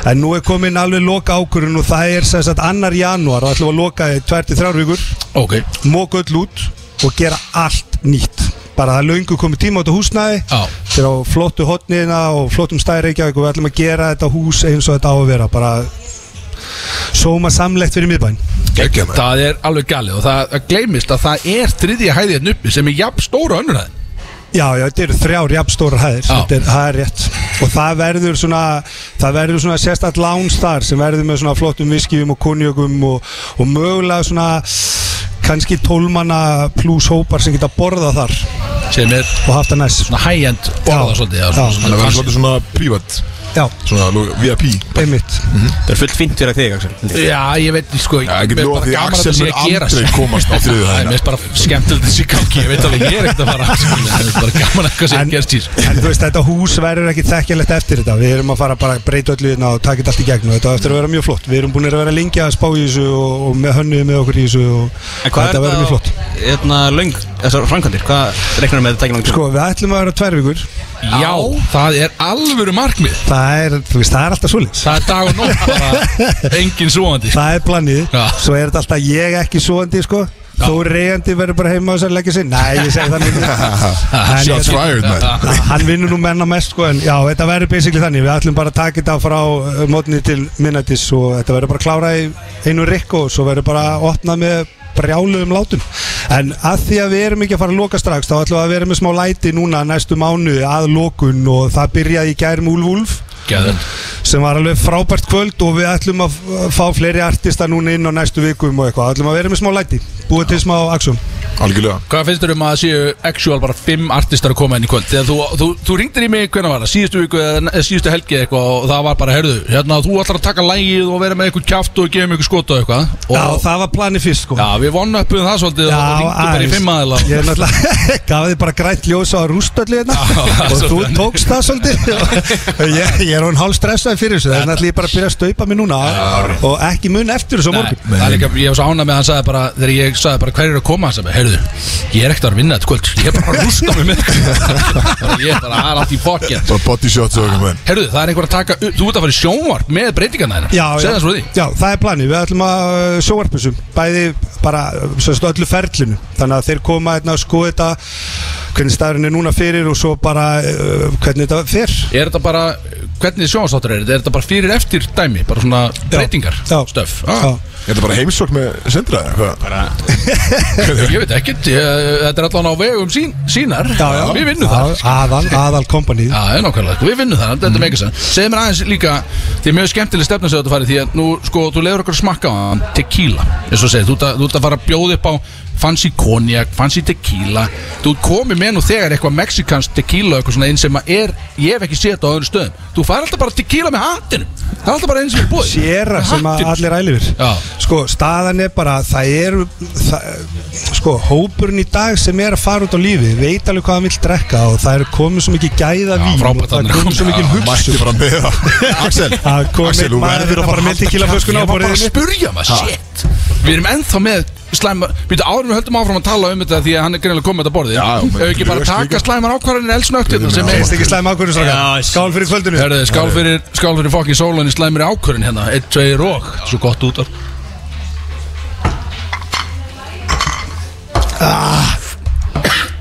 S7: en nú er komin alveg loka ákurinn og það er sem sagt annar janúar og ætlum við að loka í 23 vikur,
S4: Ok,
S7: móka öll út og gera allt nýtt bara það er löngu komið tíma á þetta húsnæði
S4: Já.
S7: þetta er á flottu hotnina og flottum stæri ekki og við ætlum að gera þetta hús eins og þetta á að vera bara sóma samlegt fyrir miðbæn
S2: Gekkja maður
S4: það er alveg galið Og það það gleymist að það er þriðja hæði hérna uppi Sem er jafn stóra önnurhæðin
S7: Já, já, þetta eru þrjár jafnstórar hæðir,
S4: Já.
S7: þetta er, það er rétt og það verður svona, það verður svona sérstætt lounge þar sem verður með svona flottum viskjum og konjögum og, og mögulega svona kannski tólmanna pluss hópar sem geta borða þar
S4: Sem er
S7: og haft það næs
S4: svona high-end
S7: Já.
S4: orða svolítið já,
S7: Já.
S2: Þannig að
S4: svona,
S2: það
S4: svona,
S2: verður
S4: fancy.
S2: svolítið svona prívat
S7: Já,
S2: Svona lo- VIP
S7: einmitt
S2: Mhm.
S3: Það er fullt fint fyrir þig, Axel
S4: Já, ég veit, sko
S2: Já, ég get
S4: mér er
S2: lofað
S4: bara
S2: því að
S4: gaman
S2: Axel
S4: þetta sé
S2: mun
S4: að gerast.
S2: aldrei komast á þriðju
S4: Það er
S2: hæðina.
S4: mér bara skemmtilegt þessi gangi Ég veit alveg, ég er ekkert að fara Axel, en Það er bara gaman að hvað sé
S7: En-
S4: að gerast í þessu.
S7: En þú veist, þetta hús verður ekki þekkjalegt eftir þetta Við erum að fara bara að breyta öllu hérna og taka þetta allt í gegn og þetta á eftir að vera mjög flott Við erum búin að vera lengi að spá í þessu og, og með hönnuði með okkur í þessu og
S3: En hvað
S7: þetta
S3: er
S7: verður mjög flott
S3: það, hérna, löng, þessar framkvæmdir, hvað reiknar með þetta tækir langt?
S7: Sko, við ætlum að vera tvær vikur
S4: Já, það er alvöru markmið
S7: Það er, þú veist, það er alltaf svolítið
S4: Það er dag og nótt bara engin svoandi
S7: Það er planið,
S4: Já.
S7: svo er þetta alltaf ég ekki svoandi sko Þó reyandi verður bara heima og sér leggja sig Nei, ég segi þannig En
S2: Shots
S7: þetta-
S2: fired maður
S7: Hann vinnur nú menna mest sko En já, þetta verður basically þannig Við ætlum bara að taka þetta frá uh, mótni til minnatis Og þetta verður bara að klára í einu rikku Og svo verður bara að opna með brjáluðum látum En að því að við erum ekki að fara að loka strax Þá ætlum við að vera með smá læti núna næstu mánuði Að lokun og það byrjaði í gærum Úlfúlf
S4: Gæður
S7: sem var alveg frábært kvöld og við ætlum að f- fá fleiri artista núna inn á næstu vikum og eitthvað, ætlum að vera með smá læti búið til smá axum
S2: Algjörlega
S4: Hvað finnst þér um að það séu actual bara fimm artistar að koma inn í kvöld Þegar þú, þú, þú ringdir í mig, hvernig var það, síðustu viku eða eða síðustu helgi eða eitthvað og það var bara, heyrðu, hérna þú ætlar að taka lægið og vera með eitthvað kjáft og gefa mig eitthvað skot og eitthvað og,
S7: Já, það var planið fyrst sko
S4: Já, við vonu uppum það svolítið og þú ringdi bara í fimm aðila
S7: Ég er náttúrulega, gaf þið bara grænt ljós á rústöllu hérna
S4: Já,
S7: og þú
S4: svolítið.
S7: tókst það svolítið og ég, ég er hún hálf stressaði fyrir þessu það er náttúrulega ég bara að byrja að staupa mig núna og ekki mun eftir þessu á
S4: Nei,
S7: morgun
S4: það er líka, ég var svo ánað með að hann sagði bara þegar ég sagði bara hverju er að koma hann sagði, heyrðu, ég er ekkert að vera að vinna þetta kvöld ég er bara að rústa mig með ég er bara, það er allt í fokkin
S2: Bara body shots og eitthvað menn
S4: Herru, það er einhver að taka Þú ert að fara í sjónvarp með breytingarna þeirna
S7: Já, já,
S4: Segð það svo því
S7: já, það er planið, við ætlum að sjóarpusum, bæði bara sérst, öllu ferlinu, þannig að þeir koma hérna að skoða þetta, hvernig staðurinn er núna fyrir og svo bara uh, hvernig þetta fer.
S4: Er þetta bara, hvernig sjónvarpstáttur er þetta? Er þetta bara fyrir eftir dæmi? Bara svona breytingar
S7: Já.
S4: Stöf
S7: Já.
S4: ah.
S2: Er þetta bara heimsókn með Sindra eða hvað?
S4: Ég veit ekkert, ég, þetta er allan á vegum sín, sínar
S7: Já, já.
S4: Við vinnum
S7: Já,
S4: það
S7: Aðal, aðal kompanið.
S4: Já, já, nákvæmlega, sko, við vinnum það, þetta er mega sann Segð mér aðeins líka, því er mjög skemmtileg stefna sem þetta farið Því að nú, sko, þú leiður okkur að smakka á hann Tequila, eins og segir, þú ert að- þú ert að fara að bjóða upp á Fancy cognac, fancy tequila Þú ert komið með nú þegar eitthvað Mexikans tequila og Eitthvað svona einn sem að er, ég hef ekki séð þetta á öðrum stöðum Þú fær alltaf bara tequila með hattinum Það er alltaf bara einn sem er búið
S7: Sérra sem að allir ælifir
S4: Já.
S7: Sko, staðan er bara Það er það, Sko, hópurinn í dag sem er að fara út á lífi Veit alveg hvað hann vill drekka Og það er komið svo mikið gæða
S4: Já,
S7: vín og
S4: frábært að hann
S7: Það
S4: er
S7: er komið svo mikið hugsun Það kom einn
S2: Mætti bara með það Axel Axel, þú
S4: kominn. Já,
S7: maður
S2: verður
S7: hérna
S2: að
S7: bara
S2: fara
S7: með tequila-flöskuna á
S4: Ég var bara að
S7: borðinu.
S4: spurja maður, shit Við erum ennþá með slæma Býtu árum við höldum áfram að tala um þetta Því að hann er greinilega komið þetta borðið
S2: Já, já,
S4: Ef
S2: menn,
S4: ekki bara
S2: löst
S4: taka
S2: líka.
S4: slæmar ákvarðanir elsnögt hérna sem
S7: Finnst
S4: er
S7: ekki slæm ákvörðun strákar Skál fyrir kvöldinu
S4: Herðu, skál fyrir, skál fyrir fokkin sólunni slæmir ákvörðin hérna 1, 2, rók, svo gott út af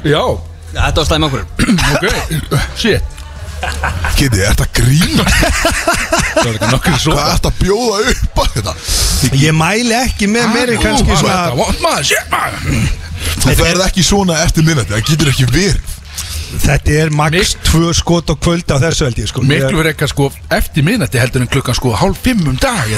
S4: Já, ok,
S3: Þetta var slæm ákvörður
S4: shit
S2: Kitty, er þetta grínast?
S4: Það var líka nokkur svo
S2: Hvað er þetta að bjóða upp á þetta?
S7: Ég mæli ekki með meiri kannski
S4: Ah, Þetta
S7: svona
S4: vant maður, shit maður
S2: Þú ferð ekki svona eftir minnati Það getur ekki verið
S7: Þetta er max
S4: Mik-
S7: tvö skot á kvöldi á þessu held ég sko
S4: Miklu
S7: Ég-
S4: verið eitthvað sko eftir miðnætti heldur en klukkan sko hálf fimm um dag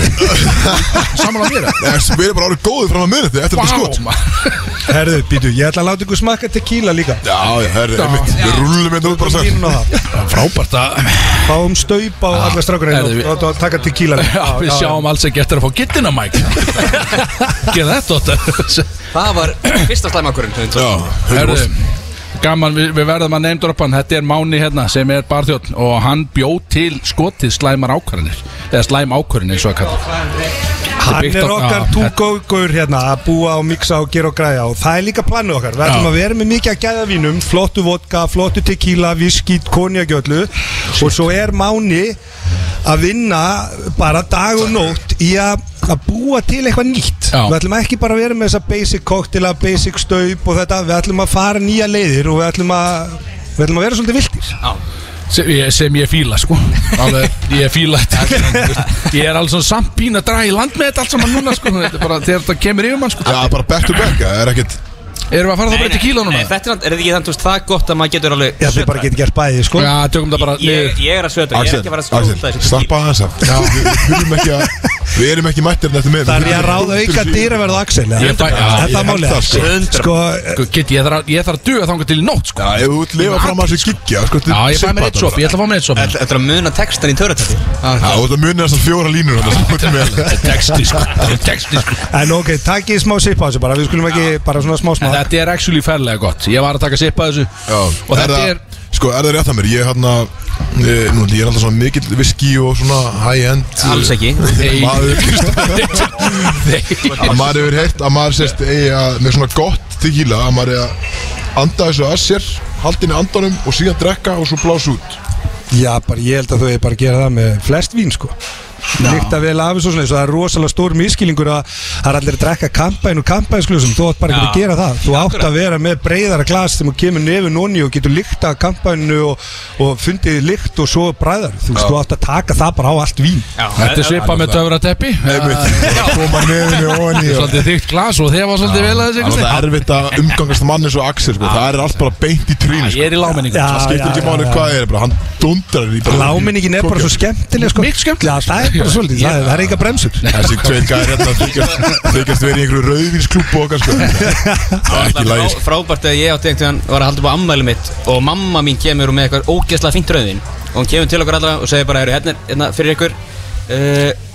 S4: Samanlega mér
S2: Já, Við erum bara árið góðið fram að minniti eftir þetta skot
S4: maður.
S7: Herðu, býtu, ég ætla að láta ykkur smakka tequila líka
S2: Já, já, herri, einmitt, við rullum hérna út bara sagt
S7: Línun á það
S4: Frábært að
S7: Fáum staupa á alla strákur
S4: herðu, við-
S7: einu og taka tequila líka
S4: Já, Við sjáum alls ekki eftir að fá gittina Mike Gerða þetta Otta.
S3: Það var fyrsta slæmakurinn
S2: Já,
S4: Herðu,
S2: herri,
S4: Gaman, við, við verðum að neymdroppan Þetta er Máni hérna sem er barþjótt Og hann bjó til skotið slæmar ákvarðanir Eða slæm ákvarðanir eins og að kalla
S7: Hann
S4: byggt
S7: er
S4: á-
S7: okkar
S4: já,
S7: túgógur hérna að búa og mixa og gera og græja og það er líka planið okkar Við ætlum
S4: Já.
S7: að vera með mikið að gæða vínum, flottu vodka, flottu tequila, whisky, konjakjöllu og svo er Máni að vinna bara dag og nótt í að að búa til eitthvað nýtt
S4: Já.
S7: Við ætlum ekki bara að vera með þessa basic cocktaila, basic staup og þetta Við ætlum að fara nýja leiðir og við ætlum að, við ætlum að vera svolítið viltir
S4: sem, ég- sem ég fíla sko Alveg, Ég fíla þetta Ég er alveg svona samt pín að draga í land með þetta Allt saman núna sko Þetta er bara þegar þetta kemur yfir mann sko
S2: já, bara back to back, það er ekkert
S4: Erum við að fara það bara til kíla núna?
S3: Nei, þetta er, er þetta ekki þannig, þú veist, það gott að maður getur alveg
S7: Já, þið bara getur gert bæðið, sko
S4: Já, tökum það bara
S3: ég,
S4: niður
S3: ég er að sötra, ég er
S2: Axel,
S3: ekki að vera að skjóta
S2: Axel, slappa aðeins af Við við þurfum ekki að, við erum ekki mættir þetta með
S7: Þannig að ráða auka dýraverð á Axel eða?
S4: Ég fæ- já,
S7: Er það
S4: ég
S2: held
S7: málið?
S2: það, sko.
S7: Sko,
S4: Sko, Kitti, ég þarf að- ég þarf að duga þangar til í nótt sko
S2: Já, ef þú vilt lifa fram að þessu giggja sko,
S4: Já, ég fæ mér eitt sopi, ég ætla að fá mér eitt sopi
S3: Þetta er að muna textan í törutætti
S2: Já, þú ert að muni þessar fjóra línur hérna. þarna sem þú ert með.
S4: Texti sko, texti sko
S7: en ok, takk ég smá sip á þessu bara Við skulum ekki bara svona smá smá
S4: En þetta er actually ferlega gott Ég var að taka sipa þessu
S2: Já,
S4: Og þetta
S2: það-
S4: er
S2: Sko, er það rétt að mér? Ég er hérna eh, Nú, ég er alltaf svona mikill viski og svona high-end eh,
S3: Alls ekki
S4: Nei.
S2: Maður,
S4: Nei.
S2: að maður hefur heyrt að maður sérst eigi að með svona gott tequila að maður eigi að anda þessu að sér haldinni andanum og síðan drekka og svo blása út
S7: Já, bara ég held að þú hefur bara að gera það með flest vín, sko Líkta vel af þessu og svona, svo það er rosalega stór miskilingur að það er allir að drekka kampæn og kampænsklúsum, þú átt bara ekki að gera það þú átt að vera með breyðara glas þegar þú kemur nefn onni og getur líkta kampænu og, og fundið líkt og svo bræðar, þú, veist, þú átt að taka það bara á allt vín
S4: Þetta er svipa með döfra teppi
S2: koma nefnir og onni og
S4: Svolítið þygt glas og þeir var svolítið vel að þessu
S2: Það
S4: einhvers
S2: er
S4: veginn.
S2: erfitt að umgangast mann eins og Axel sko. Það er allt bara beint í trínu
S4: Ég
S2: sko.
S4: er í láminningu
S7: Já.
S2: Skiptir ekki máli hvað er bara Hann dundrar í bara
S7: Láminningin er bara svo skemmtileg, sko
S4: Mikið skemmtileg.
S7: Já, það er bara svolítið, það er, það er eitthvað bremsur
S2: Þessi tveir gæðir hérna þykjast- Þykjast verið í einhverju rauðvínsklúb og okkar sko. Það er ekki sko. lægis
S3: Frá- Frábært að ég átti einhvern veginn var að halda upp á ammæli mitt og mamma mín kemur með eitthvað ógeðslega fínt rauðin og hún kemur til okkur allra og segir bara "Heyrðu, hérna, er- hérna fyrir ykkur uh,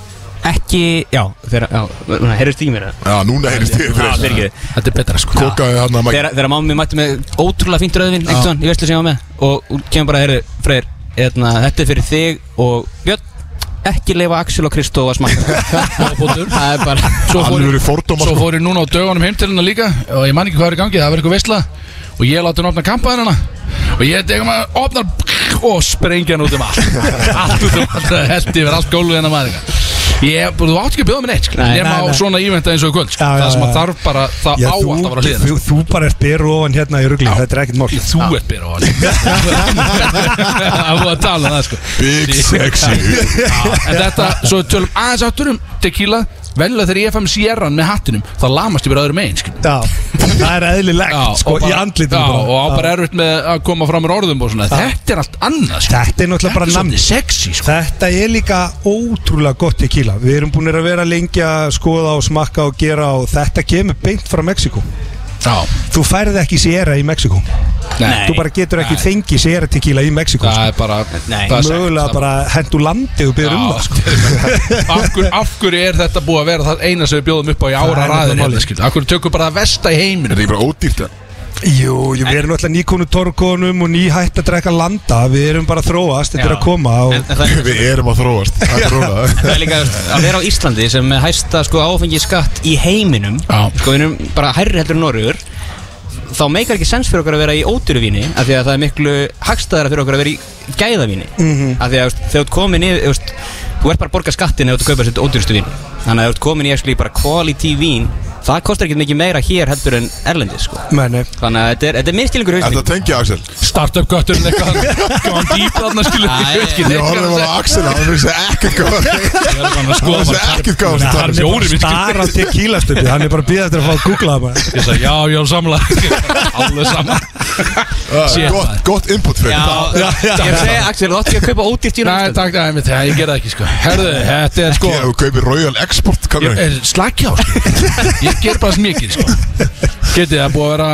S3: ekki, já, þegar, já, herrist í mér eða?
S2: Já, núna heyrist ég
S3: Já,
S2: fyrir
S3: fyrirgeðu.
S4: Þetta er betra sko
S2: Kokaði hann að
S3: þegar, þegar mamma mín mætti með ótrúlega fínt rauðin einhvern veginn, ég veist sem ég var með og hún kemur bara, herri, freyr, hérna, þetta er fyrir þig og Björn ekki leifa Axel og Kristó að smakka
S4: Bóttur.
S3: það er bara
S4: Svo fór
S2: Alvöru
S4: ég-
S2: fordómar,
S4: Svo
S2: sko.
S4: fór ég núna á dögunum heim til hennar líka Og ég man ekki hvað er í gangi, það var eitthvað veistla Og ég láti hann opna kampaðin hennar Og ég tegum að opna hann Og sprengja hann út um allt Allt út um allt, það held yfir allt gólfið hennar maður eitthvað. Ég, þú átt ekki að bjóða mér neitt sko.
S3: Nei,
S4: Nema á
S7: nei, nei.
S4: svona íventa eins og í kvöld sko.
S7: Já, já,
S4: Það sem að
S7: já.
S4: þarf bara, það
S7: Já,
S4: á
S7: þú,
S4: alltaf að vera hliðin sko.
S7: þú, þú bara ert beru ofan hérna í ruggli, þetta er ekkert mál
S4: Þú ert byrja á hann Það var að tala um það sko
S2: Big sexy
S4: En þetta, svo við tölum aðeins áttur um tequila Venlega þegar ég fæm sérran með hattinum Þá lamast ég bara öðrum einn skil
S7: Já, það er eðlilegt, sko, í andlitinu
S4: Já, og á
S7: Já.
S4: bara erfitt með að koma fram úr orðum og svona Þetta er allt annað sko
S7: Þetta er náttúrulega bara namn
S4: svolítið sexy sko
S7: Þetta er líka ótrúlega gott tequila Við erum búin að vera lengi að skoða og smakka og gera og þetta kemur beint frá Mexiko
S4: Já,
S7: Þú færið ekki sérra í Mexiko
S4: nei,
S7: Þú bara getur ekki fengið sérra tequila í Mexiko
S4: Það er bara
S3: Nei.
S4: það er sagt,
S7: Mögulega
S4: það-
S7: bara hendur landið og byrður um það sko.
S4: Já, af, hverju, af hverju er þetta búið að vera það eina sem við bjóðum upp á í ára
S7: er
S4: ræðin
S7: nefnilega málið.
S4: Af hverju tökum bara það vesta í
S2: Er
S4: heiminu
S2: ekki bara ódýrt eða?
S7: Jú, jú, við erum náttúrulega nýkonu torkonum og nýhætt að drekka landa Við erum bara að þróast, þetta er
S3: Já.
S7: að koma
S3: en,
S7: og...
S3: en það er
S2: Við erum að þróast Það er
S3: Það
S2: rólega.
S3: er líka að vera á Íslandi sem er hæsta sko, áfengi skatt í heiminum
S4: Já.
S3: sko við erum bara hærri heldur en Norður þá meikar ekki sens fyrir okkur að vera í ódýru víni af því að það er miklu hagstæðara fyrir okkur að vera í gæðavíni
S7: Mhm.
S3: af því að þú veist, þegar þú ert komin í þú veist, þú ert bara að borga skattin ef þú ert að kaupa sér ódýrustu vín þannig að ef þú ert komin í actually bara quality vín það kostar ekki mikið meira hér heldur en Erlendis sko.
S7: Nei, nei
S3: þannig að þetta er, þetta er miskilingur
S2: Er
S3: hausning
S2: það tengja Axel?
S4: Startup götturinn eitthvað Gáðan dýpa þarna skilur
S3: Æ,
S4: Ég veit ekki
S2: Ég
S4: neitt hvað
S2: horfði
S4: hann
S2: bara á Axel, hann finnst það ekkert góð
S4: segir. Ég er bara að
S2: Hann
S4: skoða
S2: finnst
S4: bara-
S2: það ekkert góð
S7: Nei, hann er bara
S4: Fjórir,
S7: að
S4: við
S7: stara á tequila stupið Hann er bara að býða eftir að fá að googla það bara
S4: Ég sagði, já, já, samla Alveg sama Shit,
S2: Gott, gott input fyrir
S3: Já, ég segi Axel, þú átti að kaupa ódýrt í
S4: Nei,
S3: rúmstund
S4: takk, nei, mitt, ég gerði það ekki, sko Herðu, þetta er sko
S2: Ég hef kaupið Royal Export
S4: Ég
S2: kannur
S4: er slakja á, sko Ég ger bara smikið, sko Getið það búið að vera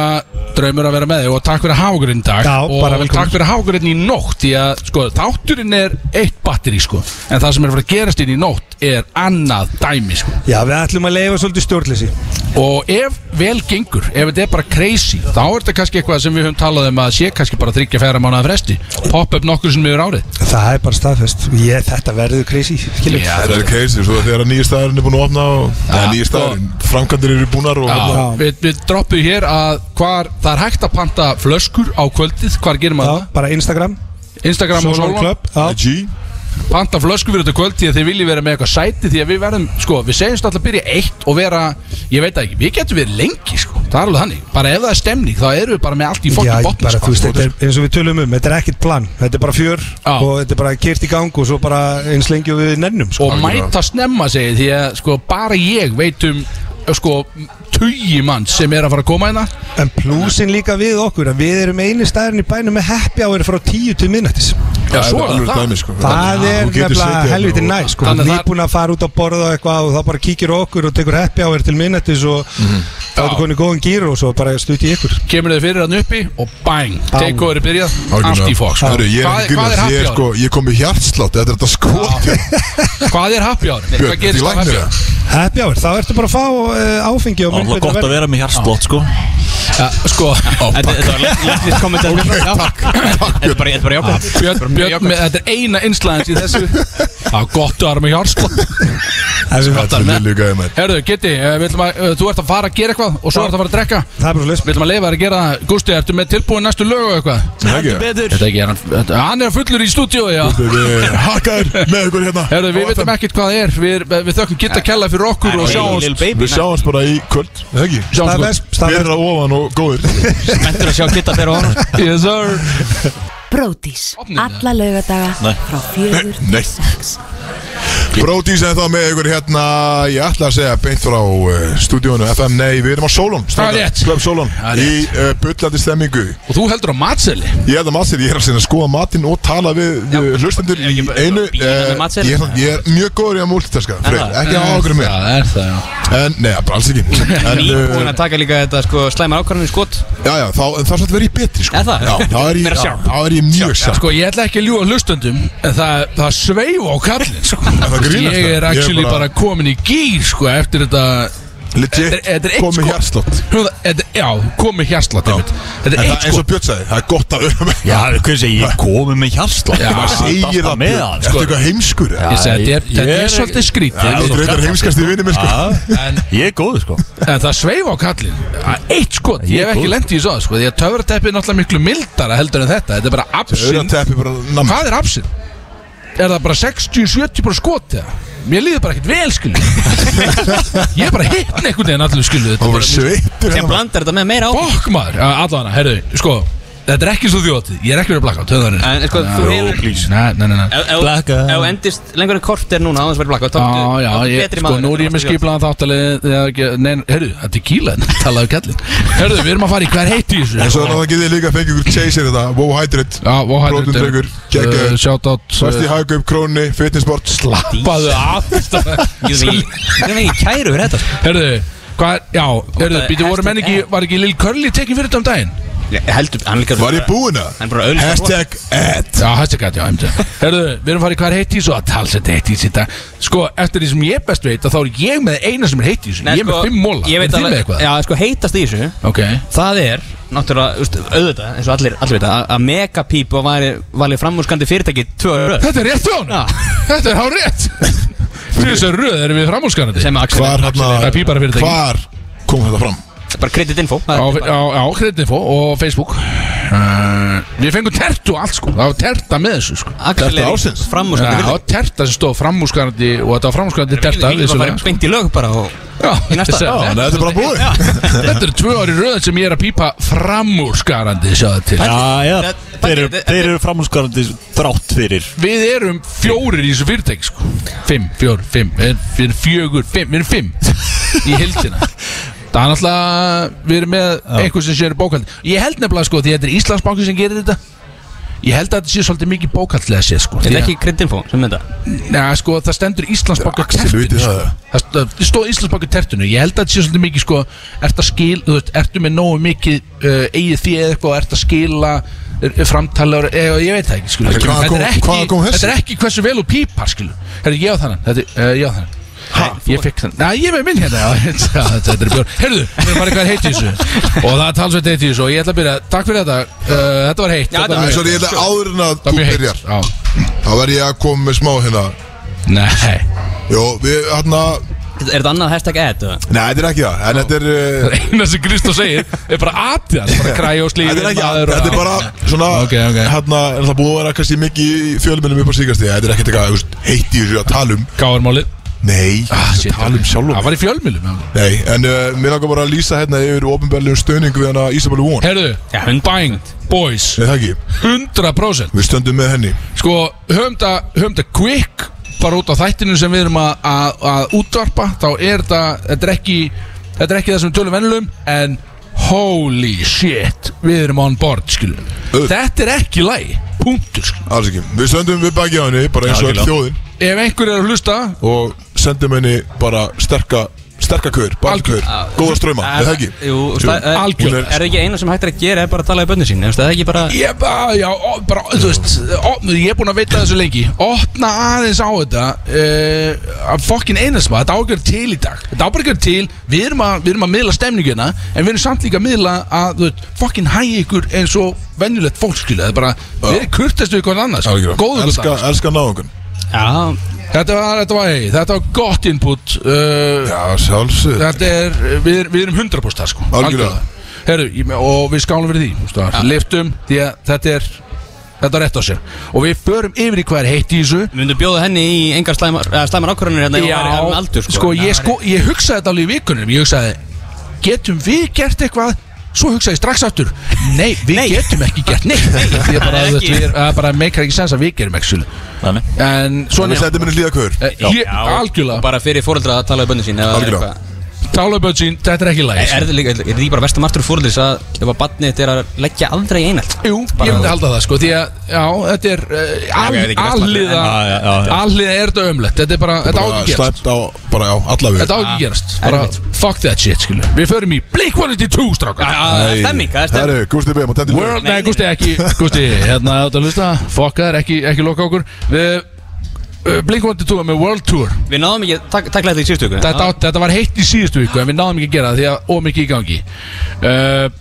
S4: draumur að vera með þig Og takk fyrir að hafa okkur inn í dag
S7: Já,
S4: Og
S7: bara velkomin.
S4: takk fyrir að hafa okkur inn í nótt Því að, sko, þátturinn er eitt batteri, sko En það sem er að fara að gerast inn í nótt Er annað dæmi, sko
S7: Já, við ætlum að leifa svolítið stjórnleysi
S4: Og ef vel gengur, ef þetta er bara crazy Þá er þetta kannski eitthvað sem við höfum talað um Að sé kannski bara þryggja færa mánuða fresti Popp upp nokkur sem yfir árið
S7: Það er bara staðfest Ég, þetta verður crazy skilur.
S4: Já,
S2: Það er crazy, svo þegar nýja staðurinn er búin að opna og ja, nýja
S4: sko-
S2: staðurinn, framkantir eru búnar og
S4: Já,
S2: hérna,
S4: við, við droppum hér að hvar, það er hægt að panta flöskur á kvöldið, hvar gerir
S7: Já,
S4: maður
S7: bara Instagram
S4: það? Instagram og
S7: Solon
S4: Solon,
S7: Club Já,
S2: G
S4: panta flöskur fyrir þetta kvöld því að þið viljið vera með eitthvað sæti því að við verðum, sko, við segjumst alltaf að byrja eitt og vera, ég veit það ekki, við getum verið lengi, sko, það er alveg þannig, bara ef það er stemning, þá erum við bara með allt
S7: Já,
S4: í fokkin botn,
S7: bara, þú
S4: sko.
S7: veist, þetta er eins og við tölum um, þetta er ekkert plan Þetta er bara fjör
S4: Já.
S7: og þetta er bara kyrt í gang og svo bara eins lengi og við nennum sko.
S4: og mæta snemma segi því að, sko, bara ég veit um, sko, tugi mann sem er að fara að koma hérna
S7: En plúsin líka við okkur að við erum eini staðurinn í bænum með happy hour frá 10 til minnættis
S4: Já, svo er
S2: alveg
S4: það.
S2: dæmi sko
S7: Það
S2: Þannig að
S7: er
S2: þú
S7: nefnilega
S2: getur setið
S4: hérna
S2: þarna
S7: helviti
S2: og-
S7: næ sko,
S4: Þannig að það-
S7: nýbúin að fara út að borða og eitthvað og þá bara kíkir á okkur og tekur happy hour til minnættis og þá er konið góðan gýr og svo bara stutt í ykkur
S4: kemur þau fyrir hann uppi og bang,
S7: Bang.
S4: take over er byrjað, allt í
S2: Algjörlega.
S4: fokk
S2: Hörru, ég er
S4: Hvað-
S2: ekki
S4: hvað er
S2: grínast,
S4: happy
S2: ég er
S4: hour?
S2: sko, ég kom í hjartslátt Þetta sko- er þetta skoti
S4: Hvað er happy hour? Hvað
S2: Björn, því
S4: gerist á happy
S2: læknir
S4: hour?
S2: það
S7: Happy hour, þá ertu bara að fá uh, áfengi og
S5: Það var gott að vera með hjartslott sko
S4: Ja, sko,
S3: Þetta þetta var læknist kommentar Þetta er bara- þetta er bara jákvæmt
S4: Björn, Björn, með, þetta er eina einslæðins í þessu Það er gott að vera með hjárslott
S2: Þetta er lillu gæði mér
S4: Herðu, Gitti, eh, við ætlum að, eh, þú ert að fara að gera eitthvað og svo ert að fara að drekka
S7: Það er bara svo leys
S4: Við ætlum að leifa þér að gera það Gústi, ertu með tilbúin næstu lög og eitthvað?
S2: Heldur
S6: betur
S4: Þetta er ekki, er hann, þetta- hann er fullur í stúdíu, já
S2: Hakkaður með ykkur hérna
S4: Herðu, við veitum ekkert hvað það er Við, við þökkum Gitta Kella fyrir okkur og sjáum
S3: Lil Baby
S2: Við sjáumst bara í kvöld Það ekki
S4: Sjáumst bara.
S7: Staðfest,
S2: Við
S7: staðfest
S2: erum að ofan og góðir
S3: Mentur að sjá kitta fyrir honum
S4: Yes, sir
S8: Brótis,
S4: Ofninn, eða?
S8: alla laugadaga frá fjögur
S2: Nei.
S8: til sex
S2: Brótís er þá með ykkur hérna Ég ætla að segja beint frá uh, stúdíónu FM Nei, við erum á Solon
S4: Það er rétt.
S2: Klöf Solon
S4: Það er
S2: Í uh, bullandi stemmingu
S4: Og þú heldur á matseli
S2: Ég held að matseli, ég er að sinna að skoða matinn og tala við, við hlustendur í
S3: ekki bara-
S2: einu
S3: bíða með
S2: eh,
S3: matseðil?
S2: ég, er svona- ég er mjög góður í að múltitaska Freyr, ekki á okkur með
S4: Það er það, já
S2: En, nei, bara alls ekki En,
S3: Nýbúin
S2: uh,
S3: að taka líka þetta sko slæmar ákvarðinu skot
S2: já, já, þá, en það er svolítið verið betri, sko
S3: Er það?
S2: Já, þá er ég,
S3: Meira
S2: já,
S3: sharp.
S2: þá er ég mjög
S4: Já,
S2: sjátt
S4: Sko ég ætla ekki að ljúa hlustendum En það, það sveifa á kallin sko.
S2: það
S4: Þú veist,
S2: grínast,
S4: Ég er
S2: það. Ég er
S4: actually
S2: bara-
S4: bara komin í gýr sko, Eftir þetta Þetta er- þetta er
S2: Legit,
S4: eitt,
S2: komið
S4: sko.
S2: hjarslott
S4: Nú, það- þetta- Já, komi hjarsla
S2: Já.
S4: Þetta er
S2: En
S4: eitt
S2: það, eins
S4: sko
S2: og Björn sagði, það er gott að öra með
S5: Já, hvað sé ég komið með hjarslátt
S4: Já,
S2: Maður segir það,
S5: með
S2: Björn,
S5: hann
S2: þetta
S5: sko.
S2: er eitthvað heimskur eða?
S4: Ég segi, Þetta er,
S5: Ég- ég
S4: þetta er
S5: er-
S4: svolítið
S2: Já, Þú
S4: skrítið
S2: reyndar heimskast í vinni minn, sko
S5: Já, Ég er góð sko
S4: En það sveifa á kallin Eitt skot, ég hef ekki
S5: Góð.
S4: lendið í svo sko, Því að töfrateppi er náttúrulega miklu mildara heldur en þetta Þetta er bara
S2: Öra
S4: absinn
S2: teppi bara namn
S4: Hvað er absinn? Er það bara 60-70 bara skot eða? Mér líður bara ekkert vel skilu Ég er bara hittin einhvern veginn allir skilu
S2: Það var sveitur
S3: Sem blandar þetta með meira á
S4: Fokk maður, allavega, herðu, sko Þetta er ekki svo þjótið, ég er ekki verið að blakka á töðanir
S3: En sko þú hefur
S4: Nei, nei, nei, nei
S3: Ef ef-
S5: Blackout.
S3: ef þú endist lengur en kort er núna á þess að vera blakka
S4: Já, já, ég, sko, nú er ég með skiplaðan þáttalið Nei, herru, það er tequila Talaðu kallin Herru, við erum að fara í hver heiti í
S2: En
S4: þessu
S2: svo þannig að getið þið líka að fengja ykkur chaser þetta Wow Hydrate
S4: Já, vóhættur
S2: Prótindrykkur, geggjaður.
S4: uh, Shoutout
S2: Svesti Hagaup, Króni, Fitnessport Slapp
S4: Baðu af
S3: Ég er mikið kæru fyrir þetta sko.
S4: Herru, hvað er, já, herru,
S3: það er
S4: býtu voru menn
S3: hashtag
S4: ekki
S3: ad.
S4: Var ekki Lil Curly tekin fyrir þetta um daginn?
S3: Ég Heldur, hann líka
S2: Var ég búinn að?
S3: Hann er bara að auglýsa
S2: Hashtag ad
S4: Já, hashtag að, já, emdu Herru, við erum að fara í hver heiti í þessu Það tala þetta heiti í þetta Sko, eftir því sem ég best veit að Þá er ég með eina sem er heiti í þessu
S3: Nei,
S4: Ég er með
S3: sko,
S4: fimm móla
S3: Ég veit
S4: Er þið með
S3: alveg
S4: eitthvað?
S3: Já, sko heitast í þessu
S4: Ok
S3: Það er, náttúrulega, þú veist, auðvitað, eins og allir, allir veit að að Megapíp var valið framúrskandi fyrirtæki tvö öru
S4: Þetta er rétt hjá hann
S3: Já.
S4: Þetta er hár rétt Fyrir þessu röð erum við framhúskanandi
S3: sem Axel
S2: Hvar
S4: Það er
S2: hérna
S4: pípara fyrirtæki
S2: Hvar kom þetta fram?
S3: bara kredit info
S4: Á, á, á Creditinfo og Facebook uh, Við fengum tertu og allt sko Það var terta með þessu sko
S3: Axel
S2: Þetta
S3: er
S2: ársins?
S4: Já,
S3: framúrskarandi
S4: Það
S3: vilja
S4: var terta sem stóð framúskarandi Og þetta var framúskarandi terta
S3: Við erum bara
S4: vissulega.
S3: beint í lög bara og
S4: Já,
S3: í næsta.
S4: þessi-
S3: Já,
S2: Þannig að þetta er bara búið
S4: Þetta eru tvö ári röðin sem ég er að pípa framúrskarandi Sjáðu til
S5: Já, já, þeir eru,
S3: þetta-
S5: þeir eru framhúsgarandi þrátt fyrir
S4: Við erum fjórir í þessu fyrirtæki sko Fimm, fjór, fimm Við erum- við erum fjögur, fimm, við erum fimm Í heildina Það er náttúrulega, við erum með einhver sem sér bókald Ég held nefnilega sko, því þetta er Íslandsbanki sem gerir þetta Ég held að þetta sé svolítið mikið bókaldlega séð sko
S3: Þetta er
S4: Því að-
S3: ekki kreditinfo sem mynda
S4: Nei, sko, það stendur Íslandsbanka
S2: Axel viti
S4: tertinu
S2: það.
S4: sko. Það st- það stóð Íslandsbanka tertinu Ég held að þetta sé svolítið mikið, sko Ertu að skil, þú veist, ertu með nógu mikið uh, Egið því eða eitthvað, ertu að skila er- er Framtalar, eða ég veit það ekki, skilu
S2: Hvaðan
S4: Þetta
S2: kom-
S4: er ekki,
S2: hvaðan kom þessi?
S4: þetta er ekki hversu vel úr pípar, skilu Herri, ég á þannan, þetta er, uh, ég á þannan Ha, ég fekk þann, næ, ég er með minn hérna já, þetta þetta er bjór, heyrðu, við erum bara eitthvað heitt í þessu og það er talsveit heitt í þessu og ég ætla að byrja, takk fyrir þetta, uh, þetta var heitt
S3: Já,
S4: þetta
S3: þetta
S4: var
S2: Nei,
S4: mjög-
S2: svo ég ætla áður en að þú
S4: þetta var mjög
S2: byrjar
S4: heitt já.
S2: Þá verð ég að koma með smá hérna
S4: nei,
S2: Jó, við, hérna
S3: Er þetta annað hashtag ad? eða?
S2: Nei, þetta er ekki það En þetta er uh,
S4: eina sem Kristó segir er bara atið hann, bara kræja og slífið
S2: Þetta er ekki Þetta er bara svona
S4: Ok, ok.
S2: Hérna, en það búið að vera kannski mikið í fjölmennum upp á síkast Þetta er ekki eitthvað þú veist, heitt í þessu að tala um
S4: Gáðarmálið
S2: Nei, að tala um
S4: Það
S2: sjálfum
S4: var í fjölmjölum já.
S2: Nei, en uh, mér langar bara að lýsa hérna yfir ofinbæðilegum stöning við hana Ísabellu Von
S4: Herðu,
S3: Já, hund-
S4: bang, boys
S2: Nei, það ekki
S4: 100%
S2: Við stöndum með henni
S4: Sko, höfum það, höfum það quick bara út á þættinu sem við erum að, að, að útvarpa þá er þetta, þetta er ekki þetta er ekki það sem við tölum vennulegum en holy shit við erum on board, skilum
S2: Auð.
S4: Þetta er ekki læg, punktur, skilum
S2: Alls ekki Við stöndum við baki á henni Bara eins og
S5: Algjörlega.
S2: öll þjóðin
S4: Ef einhver er að hlusta
S2: Og sendum henni bara sterka Sterka kör Balkör Góða ströma Nei, það ekki
S3: Ah, Jú, stað- eh,
S4: Algjör.
S3: Er það ekki eina sem hægt er að gera er bara að tala í bönni sín Er það ekki bara
S4: Ég, bara, já, ó, bara, þú veist ó, Ég er búinn að veita þessu lengi Opna aðeins á þetta uh, að Fokkin einast maður, þetta ágjör til í dag Þetta ágjör ekki að vera til Við erum að, við erum að miðla stemningina En við erum samt líka að miðla að þú veist, Fokkin hægi ykkur eins og venjulegt fólk skilja Það er bara, við erum kurtestu ykkur en annars
S2: Algjörlega.
S4: Góðu ykkur
S2: Elska,
S4: dag
S2: elska náðungan
S3: Já,
S4: Þetta var, þetta var, hey, þetta var gott input uh,
S2: Já, sjálfsög
S4: Þetta er, við, erum- við erum 100% þar, sko
S2: Algjörlega.
S4: Heru, Og við skálum fyrir því þú veist það, Liftum, því að þetta er Þetta er rétt á sér Og við förum yfir í hvað er heitt í þessu
S3: myndu bjóða henni í engar slæmar, eða slæmar ákvörðunir hérna ef hún væri orðin aldur sko,
S4: sko, ég, sko, ég hugsaði þetta alveg í vikunum Ég hugsaði, getum við gert eitthvað Svo hugsaði ég strax aftur Nei, við getum ekki gert neitt Því að bara,
S3: Nei,
S4: þú veist,
S3: ekki.
S4: við- það bara meikar ekki sens að við gerum ekki svolítið.
S5: Þannig
S4: En
S2: Svona
S4: svona
S2: sendum henni hlýða kör
S4: Eh, ég- Algjörlega,
S3: Bara fyrir fóreldra að tala í bönni sín eða
S2: Algjörlega.
S3: eitthvað.
S4: tálaböð sín, þetta er ekki læg
S3: Er það líka, er því bara versta martur fóreldris að ef að badnið þetta er að leggja aldrei í einhald
S4: Jú, ég myndi halda það sko Því að, já, þetta er
S3: ok, þetta er ekki
S4: uh,
S3: allt
S4: Alliða
S5: Já, já, já, já.
S4: Alliða er þetta ömlegt Þetta er bara, þetta á
S2: Bara
S4: ekki að gerast
S2: slæmt á Bara já, alla við
S4: Þetta á ekki að gerast Bara,
S3: Ah, erfitt.
S4: fuck that shit, skilu Við förum í Blink-182, strákar
S3: Það er stemming, það er stemming
S2: Herru, Gusti B, maður tendur
S4: World, nei, Gusti, ekki Gusti, hérna, þetta hlusta Fuck það, ekki, ekki loka okkur Við uh, Blink-182 með World Tour
S3: Við náðum ekki, tak- takla þetta í síðustu viku
S4: þetta, átt, þetta var heitt í síðustu viku En við náðum ekki að gera það Því að ómikið í gangi uh,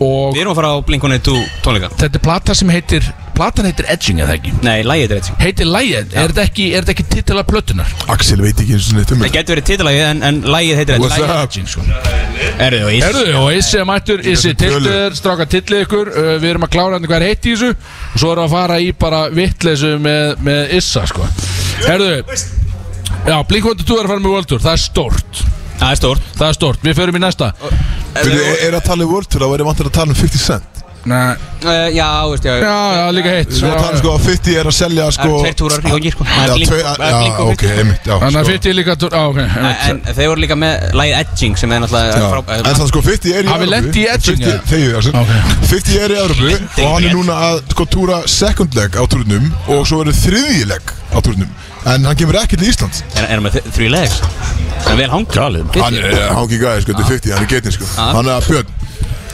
S4: Og
S3: Við erum að fara á Blink-182 tónleika
S4: þetta er plata sem heitir Platan heitir Edging, eða ekki
S3: Nei, lægið er eitt
S4: Heitir lægin, er þetta ekki, er þetta ekki titila plötunar?
S2: Axel veit ekki eins og neitt um
S3: Það
S2: þetta
S3: getur verið titlagið en, en lægið heitir
S2: What's
S3: Lagið-
S2: up?
S4: Sko.
S3: Erðu og ís
S4: Herðu, og Issi er mættur, Issi tiltur, stráka tillir ykkur uh, Við erum að klára hann hvað er heitt í þessu Og svo erum við að fara í bara vittleysu með, með Issa, sko Herðu, já, Blink-182 er að fara með World Tour, það er stórt
S3: Það er stórt
S4: Það er stórt, við förum í næsta
S2: Fyrir, er-
S3: Eh,
S2: Er að tala um World Tour, þá væri vantur að tala um 50 cent
S4: Nei.
S3: Uh, Já, veist ég
S4: Já, já, líka heitt
S2: Svo að tala um sko að 50 er að selja
S3: Það
S2: sko
S3: er tveir túrar í gangi sko Það
S2: Já,
S3: er Blink-
S2: tvei-
S3: það er Eh, Blink
S2: já,
S3: og
S2: ok, einmitt já,
S4: Þannig að
S2: sko.
S4: 50 er líka, á, ok einmitt.
S3: En þeir voru líka með lagið Edging sem er
S2: Já,
S3: náttúrulega frá-
S2: En það sko 50 er í
S4: Hafi lent í edging,
S2: 50
S4: eða?
S2: þegiðu, Axel.
S4: Ok.
S2: 50 er í Evrópu og hann er núna að sko túra second leg á túrunum og svo eru þriðji leg á túrunum en hann kemur ekki til Íslands
S3: Er hann með þrjú legs? Það er vel Ah. hangur
S5: Galið, maður.
S2: hann er hangi gæði sko, þetta er 50, hann er getin sko hann er að Björn,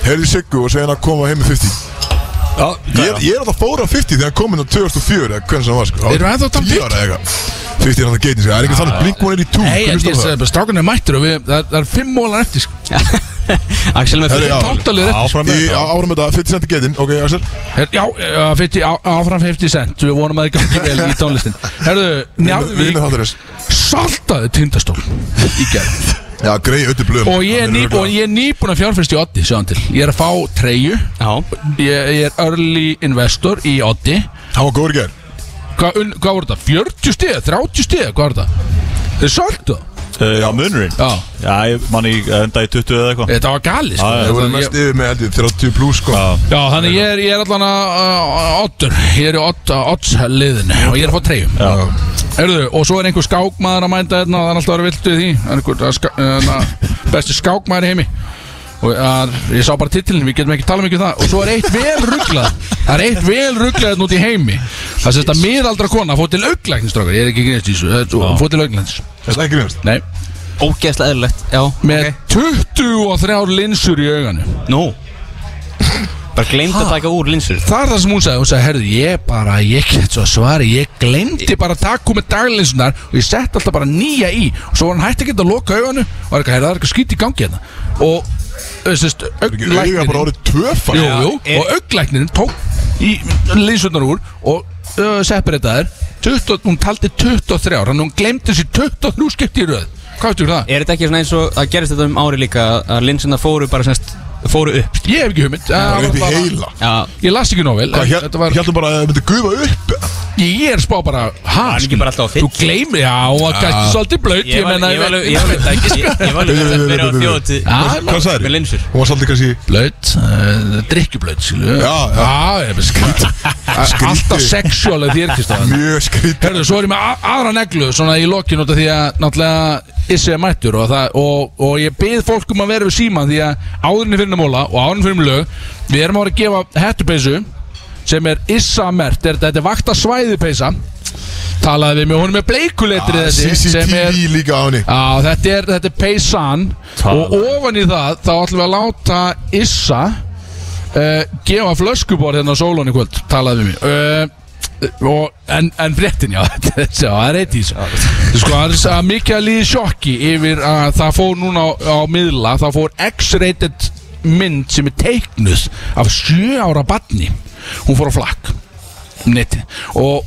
S2: heyrðu Siggu og segja hann að koma heim með 50
S5: Já,
S2: Ég, ég er alltaf fór á 50 þegar hann kom inn á 2004 eða hvernig sem hann var sko
S4: Erum við ennþá að tala um
S2: 10 ára eitthvað. 50 er hann að getin sko, það er ekki þannig blink one er í
S4: Nei, en ég
S2: tú
S4: segi bara, strákan er mættur og við, það, það er fimm mólar eftir sko.
S3: Axel með
S2: Herri,
S3: fyrir
S2: já.
S4: Tántalið eftir sko.
S5: Áfram
S2: Í
S5: með þetta
S2: árum þetta, 50 cent er getin, ok Axel
S4: Her, já, uh, 50, á, áfram 50 cent Við vonum að það gangi vel í tónlistin Herðu,
S2: Við erum
S4: Njarðvík
S2: þáttur þess Um,
S4: saltaði tindastól í gerð
S2: Já, greið öttu blöðum
S4: Og ég er ný- og ég er nýbúin að fjárfyrst í Oddi Sjáðan til, ég er að fá treyju
S3: Já,
S4: ég, ég er early investor í Oddi
S2: Hann var góður í gerð
S4: Hvað un- hvað voru þetta? 40 stiga, 30 stiga, hvað voru þetta? Þeir söldu það
S5: Eh, Já, munurinn
S4: Já.
S5: Já, ég man í enda í 20 eða eitthvað
S4: Þetta var gali sko.
S5: Já, já.
S2: Það voru
S4: Þannig
S2: mest yfir með held ég 30 plus sko
S5: Já.
S4: Já, þannig ég er, ég er allan að Oddur, ég er í Odds-liðinu Og ég er að fá treyju
S5: Já.
S4: Erðu, og svo er einhver skákmaður að mænda hérna og það er alltaf að vera viltu í því Það er einhver það er ská, hérna, besti skákmaður í heimi og að, ég sá bara titilin, við getum ekki tala mikið um það og svo er eitt vel rugglað það er eitt vel rugglað hérna út í heimi það sést að miðaldra kona fór til auglæknis strákar, ég er ekki greinist í þessu, þetta- fór til auglæknis
S2: Það er ekki minnst
S4: nei,
S3: ógeðslega eðlilegt Já,
S4: með 23 linsur í auganu
S3: Nú Bara gleymd að taka úr linsur
S4: það er það sem hún sagði, hún sagði, herðu, ég bara ég get svo að svari, ég glemdi bara að taka með daglinsunar og ég sett alltaf bara nýja í og svo var hann hætti að geta að loka auganu og var eitthvað, herðu, það er eitthvað skýt í gangi hérna og, þessist,
S2: Ekki auðvitað bara
S4: auglæknirinn
S2: orðið tvöfald
S4: jú, jú,
S3: er-
S4: og auglæknirinn tók í linsunar úr og uh, separateðar, 20, hún taldi 23 ára, hann hún glemdi sér 23 skipti í röð, hvað veitur það?
S3: Er þetta ekki svona eins og það gerist þetta um ári líka að- að linsuna fóru bara semst fóru upp
S4: Ég hef ekki hugmynd Það
S2: Það er
S4: var
S2: upp í
S4: bara-
S2: heila
S3: Já,
S4: Ég las ekki nóg vel en
S2: Hvað, hér-
S4: þetta var-
S2: héldum bara að það myndi gufa upp
S4: Ég er spá bara Hæ?
S3: er ekki bara alltaf á
S4: Þú
S3: fyllu.
S4: gleymir, já, hún var kannski svolítið blöyt Ég menna, ég sko.
S3: veit
S4: var
S3: ekki Ég var alveg að vera á þjóti
S2: Hvað sagðir?
S3: Með linsur
S2: Hún var svolítið kannski
S4: Blöyt, drikkjublöyt, skilu
S2: Já, já.
S4: eh, Já, ég veist skrítið Alltaf sexuálega þér, Kristofan
S2: mjög skrítið
S4: Herðu, svo er ég með a- aðra neglu Svona í lokin út af því að Náttúrulega Issi er mættur og, það, og, og ég bið fólk um að vera við síma Því að áðurinn fyrir um móla og áðurinn fyrir lög Við erum að vera að gefa hettupeysu Sem er Issa mert er, Þetta er vakta svæðupeysa Talaði við með honum með bleikuletri þessi sem er-
S2: CCTV líka á henni
S4: Já, þetta er, þetta er peysan og ofan í það þá ætlum við að láta Issa uh, gefa flöskuborð hérna á sólun í kvöld, talaði við mig uh, og, en, en brettin, já, þetta er- sjá, það er eitt í þessu sko, það er s- að mikið að líði sjokki yfir að það fór núna á, á miðla, það fór X-rated mynd sem er teiknuð af sjö ára badni hún fór á flakk um netið. og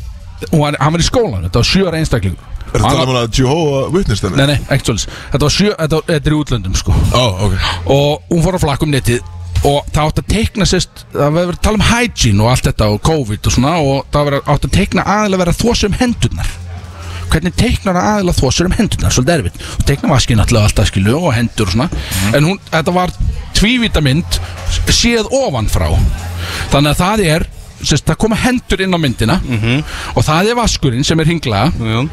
S4: hún var, hann var í skólan þetta var sjö ára einstaklingur
S2: Er það
S4: Hann var-
S2: talað um að Jehova Witness
S4: Nei,
S2: þenni?
S4: nei, ekkert svolítið Þetta var sjö, þetta, þetta er í útlöndum sko
S2: Ó, ok
S4: Og hún fór á flakk um netið Og það átti að teikna sérst Það var verið að tala um hygiene og allt þetta og COVID og svona Og það var átti að teikna aðilega að vera þvósa um hendurnar Hvernig teiknar það aðilega þvósa um hendurnar Svolítið erfitt Og teikna vaskinn alltaf alltaf skilu og hendur og svona
S3: Mhm.
S4: En hún, þetta var tvívíta mynd Séð ofanfrá Þannig að það er sérst, Það koma hendur inn á myndina
S3: Mhm.
S4: Og það er vaskurinn sem er hinglaða
S3: Jú,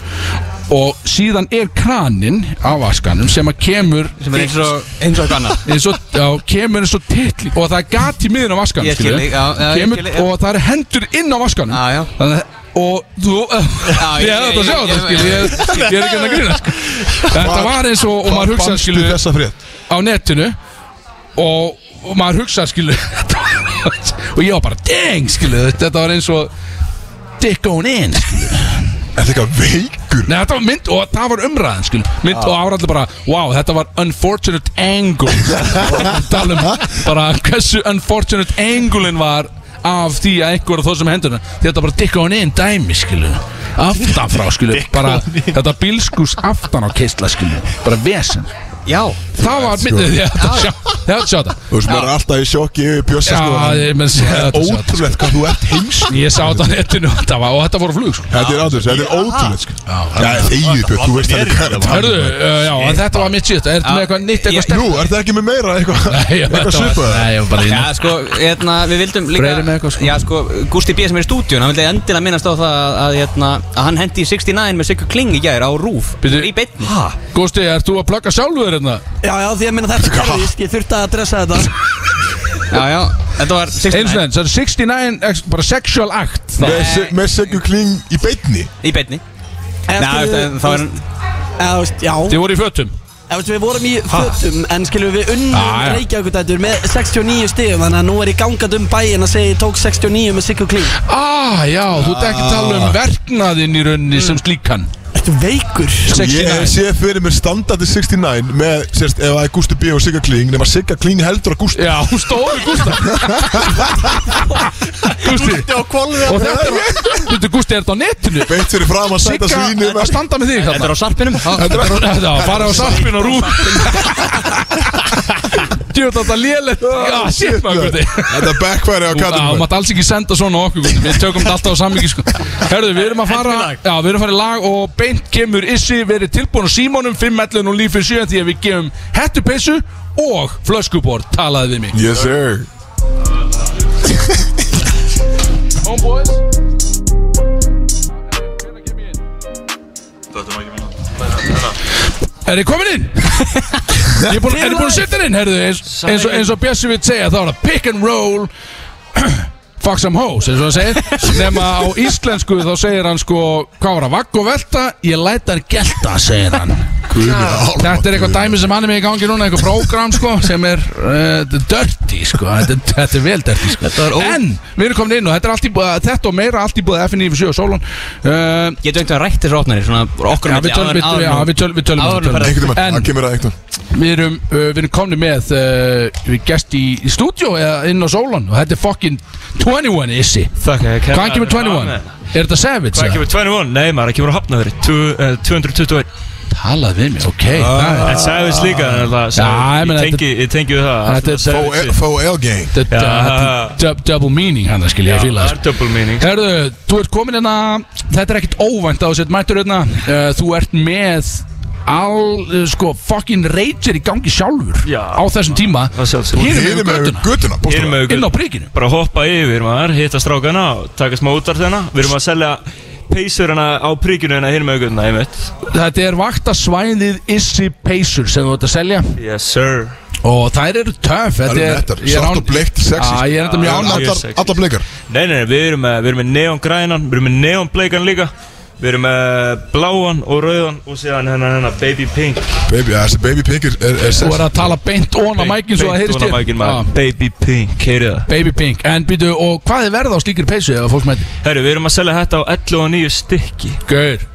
S4: og síðan er kranin á vaskanum sem að kemur
S3: sem er eins og eins og kannar
S4: eins og, já, kemur eins og titli og það er gat í miðun á vaskanum
S3: Ég skil
S4: skilurðu.
S3: þig, já, já, ég
S4: kemur,
S3: skil þig, já.
S4: og það eru hendur inn á vaskanum
S3: Já, já.
S4: Þannig, að- og þú
S3: ég-
S4: ég hef þetta
S3: ég-
S4: að sjá
S3: ég-
S4: það skil ég, ég er ekki að grýna sko. þetta var eins og, og maður hugsaði
S2: fannstu
S4: skilu
S2: þessa frétt?
S4: á netinu og, og maður hugsaði skilu og ég var bara dang skilu þetta var eins og dick going in skilu
S2: Er það eitthvað veikur?
S4: Nei, þetta var mynd og það var umræðan, skil Mynd og árallir bara, wow, þetta var unfortunate angle Talum bara hversu unfortunate anglein var af því að einhver þó sem hendur hennar. Því Þetta bara dikka hún inn dæmi, skilu Aftan frá, skilu bara, Þetta bílskús aftan á keistla, skilu Bara vesen
S3: Já,
S4: Það var myndið því að þetta sjá Þetta sjá þetta
S2: Þú veist, maður er alltaf í sjokki yfir bjössa sko
S4: Já, ég menn sé þetta sjá þetta
S2: Ótrúlegt hvað þú ert heimsk
S4: Ég sá þetta á netinu og þetta var- og þetta voru flug, sko
S2: Þetta er átrúlegt, þetta er ótrúlegt sko Já, þegið björn, þú veist það er hvað er
S4: Hörðu, uh, já, en þetta var mitt síðasta Ertu með eitthvað nýtt, eitthvað
S2: Jú, er það ekki með meira eitthvað
S4: Nei, ég-
S2: Eitthvað
S4: þetta var-
S2: svipað
S4: Nei, ég var bara í
S3: já sko, hérna, við vildum líka
S4: Breiðir með eitthvað, sko.
S3: Já sko, Gústi B. sem er í stúdíun Hann vildi endilega minnast á það að, að, hérna, að hann hendi í 69 með Sigga Kling í gær á Rúf
S4: Bíddu.
S3: Í beinni
S4: Gústi, ert þú að plugga sjálfur hérna?
S6: Já, já, því að minna þetta gerðist, ég þurfti að dressa þetta
S3: Já, já, þetta var 69
S4: Eins og enn, það er 69, ex- bara sexual act
S2: Með se- Með segju kling í beinni
S3: Í beinni Nei, þú veist, en þá er hann
S6: Já, þú veist, já,
S4: Þið voru í fötum
S6: já, veist, við vorum í fötum en skilum við unnum
S4: Já, já.
S6: Reykjavíkutættur með 69 stigum þannig að nú er ég gangað um bæin að segja ég tók 69 með Siggu Kling
S4: Ah, já, þú ert ekki að tala um verknaðinn í rauninni sem slíkan
S6: ert veikur
S2: Ég hef
S4: 69
S2: séð fyrir mér standardi 69 með, sérst, ef það er Gusti B og Sigga Kling nema Sigga Kling heldur að Gusti
S4: Já, hún stóð við Gústa Gústi
S2: Já, kvalið
S4: Og þetta er Þetta Gústi er þetta á netinu
S2: Beitt fyrir fram að sæta svínu
S4: Sigga að standa með þig
S3: Þetta er á sarpinum
S4: Þetta er þetta, fara á sarpin og rú Djóta þetta lélegt Já, shit maður Gústi
S2: Ah, Þetta er backfæri á
S4: Já,
S2: kattum
S4: maður mátt alls ekki senda svona á okkur Gústi. Við tökum þetta alltaf á sammingi sko. Herðu, við erum að fara Já, við erum að fara í lag og beint kemur Issi Verið tilbúin á Símónum, 5, 11 og lífið 7 Því að við gefum hettupeysu og flöskubor Talaði við mig
S2: Yes sir
S4: Homeboys Er þið komin inn? Ég er búin, er þið búin að setja hann inn, herðu eins, eins, og- eins og Bjössi vil segja þá er það pick and roll Fuck some hoes, eins og hann segir Nefna á íslensku þá segir hann sko Hvað var það, vagg og velta, ég læt hann gelta, segir hann Þetta er eitthvað dæmi sem hann er með í gangi núna Eitthvað prógram sko sem er uh, Dirty sko, þetta, þetta er vel dirty sko En við erum komin inn og þetta er allt í búið Þetta og meira allt í búið FNF7 og Solon uh,
S3: Getum einhvern veginn rætt þessar opnari Svona okkur
S4: Já, við tölum- við tölum- já, við tölum- við tölum-
S3: Áður en
S4: tölum.
S3: ferð-
S2: Einhvern veginn,
S4: En-
S2: það kemur að einhvern
S4: Við erum, uh, við erum komni með uh, við gest í, í stúdjó eða inn á Solon og þetta er fucking 21 issi
S9: Fuck, ég
S4: Hvaðan kemur 21? Er þetta Savage?
S9: Hvað
S4: eða?
S9: kemur 21? Nei maður, það kemur að hafna fyrir eh, 221
S4: Talað við mig, ok það er-
S9: Ah, En Savage líka þannig að það-
S4: Já, ég meina,
S9: Ég tengi, ég tengi við það
S4: Þetta er
S9: Savage
S2: Fó-
S9: við-
S2: Fó L-gang
S4: Þetta er
S9: Já.
S4: þetta er dub- double meaning hann skil ég
S9: Já,
S4: að fíla
S9: það
S4: það,
S9: er
S4: sko.
S9: double meaning
S4: Herðu, þú ert komin hérna Þetta er ekkert óvænt að þú sett mættur hérna uh, Þú ert með all, uh, sko, fucking rager í gangi sjálfur
S9: Já.
S4: á þessum tíma
S9: Það sjálfsögðu.
S4: Hinum
S2: Hýrðum
S4: yfir
S2: við
S4: göttuna
S2: göttuna
S9: Erum
S2: bókstaflega.
S9: við
S4: Hérna, Inn á prikinu
S9: bara hoppa yfir maður, hitta strákana og taka smá útart hérna Við erum að selja peysur hérna á príkinu hérna hinum augurna, einmitt
S4: Þetta er vaktasvæðið Issy Pacer sem þú ert að selja
S9: Yes sir
S4: Og þær eru töf
S2: Það eru nettar, svart og bleikt, sexy
S4: Já, ég er þetta mjög
S9: Já,
S4: ánægt
S9: ég-
S2: Allar,
S9: sexy.
S2: allar bleikar
S9: Nei, nei, nei, við erum með, við erum með neongrænan, við erum með neonbleikan líka Við erum með bláan og rauðan og síðan hérna hérna baby pink
S2: Baby, ja, þessi baby pink er, er, er
S4: Þú
S2: sex
S4: er að tala beint ón á mækinn svo það heyrist
S9: Beint ofan á mækinn, maður.
S4: Já,
S9: Baby pink, heyrið það
S4: Baby Pink En býtu, og hvað er verð á slíkir peysu ef að fólk mæti?
S9: Herru, við erum að selja þetta á 11 og 9 stykki
S4: Gaur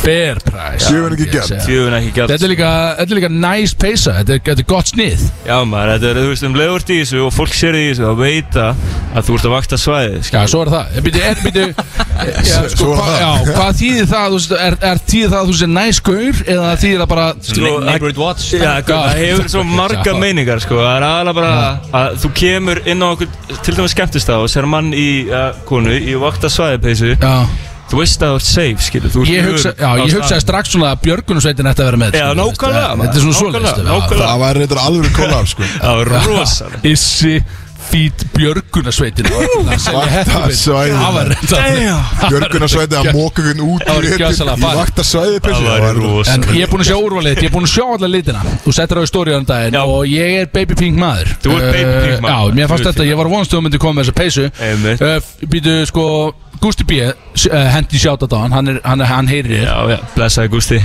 S4: Fair price
S2: Sjöfum ekki
S4: Ég
S2: gert.
S4: segi það.
S9: Tjöfun ekki gælt
S4: Þetta er líka, þetta er líka nice peysa Þetta er, þetta er gott snið
S9: Já maður, þetta er, þú veist, um leiðvort í þessu og fólk sér í þessu og veita að þú ert að vakta svæðið
S4: Já, svo er það En Býtu, er, býtu já,
S2: Svo-
S4: sko,
S2: svo er
S4: hva,
S2: það.
S4: já, Hvað þýðir það, þú veist, er, er þýðir það að þú sé nice gaur Eða þýðir það bara
S9: Sko,
S3: Neighborhood Watch
S9: Já, sko, það hefur svo marga meiningar sko. Það er aðalega bara að þú kemur inn á okkur til dæmis skemmtistað og sér mann í uh, konu í vakta svæðipeysu
S4: Já,
S9: Þú veist að þú ert safe, skilur þú ert
S4: ég, hugsa, já,
S9: örugg
S4: ég
S9: á staðnum.
S4: hugsaði strax svona að björgunarsveitin ætti að vera með
S9: Já,
S4: skilur, veist,
S9: nákvæmlega,
S4: að-
S9: maður,
S4: Þetta er svona
S9: nákvæmlega,
S4: svoleiðist
S9: nákvæmlega.
S2: Það var reyndar alvöru kollab sko
S9: Það var rosalega
S4: Issi fít björgunarsveitin
S2: Vaktasvæðið.
S4: Það var
S2: Björgunarsvæði að móka hún út
S4: Það var
S2: í-
S4: gjössalega
S2: Í
S4: farið.
S2: vakta svæði
S9: Það var rosalega
S4: En ég er búinn að sjá úrvalið, ég er búinn að sjá alla litina Þú settir á í stóriðan daginn
S9: Já.
S4: og ég er baby pink maður
S9: Þú ert baby pink
S4: Eh,
S9: maður.
S4: Já, mér fannst
S9: Þú ert
S4: þetta,
S9: fín.
S4: ég var að vonast að þú myndi koma með þessa
S9: Einmitt.
S4: peysu uh, Býtu sko, Gusti B uh, hendi sjátt á hann, hann, er- hann, er- hann heyrir þér
S9: Já, já, blessaði Gústi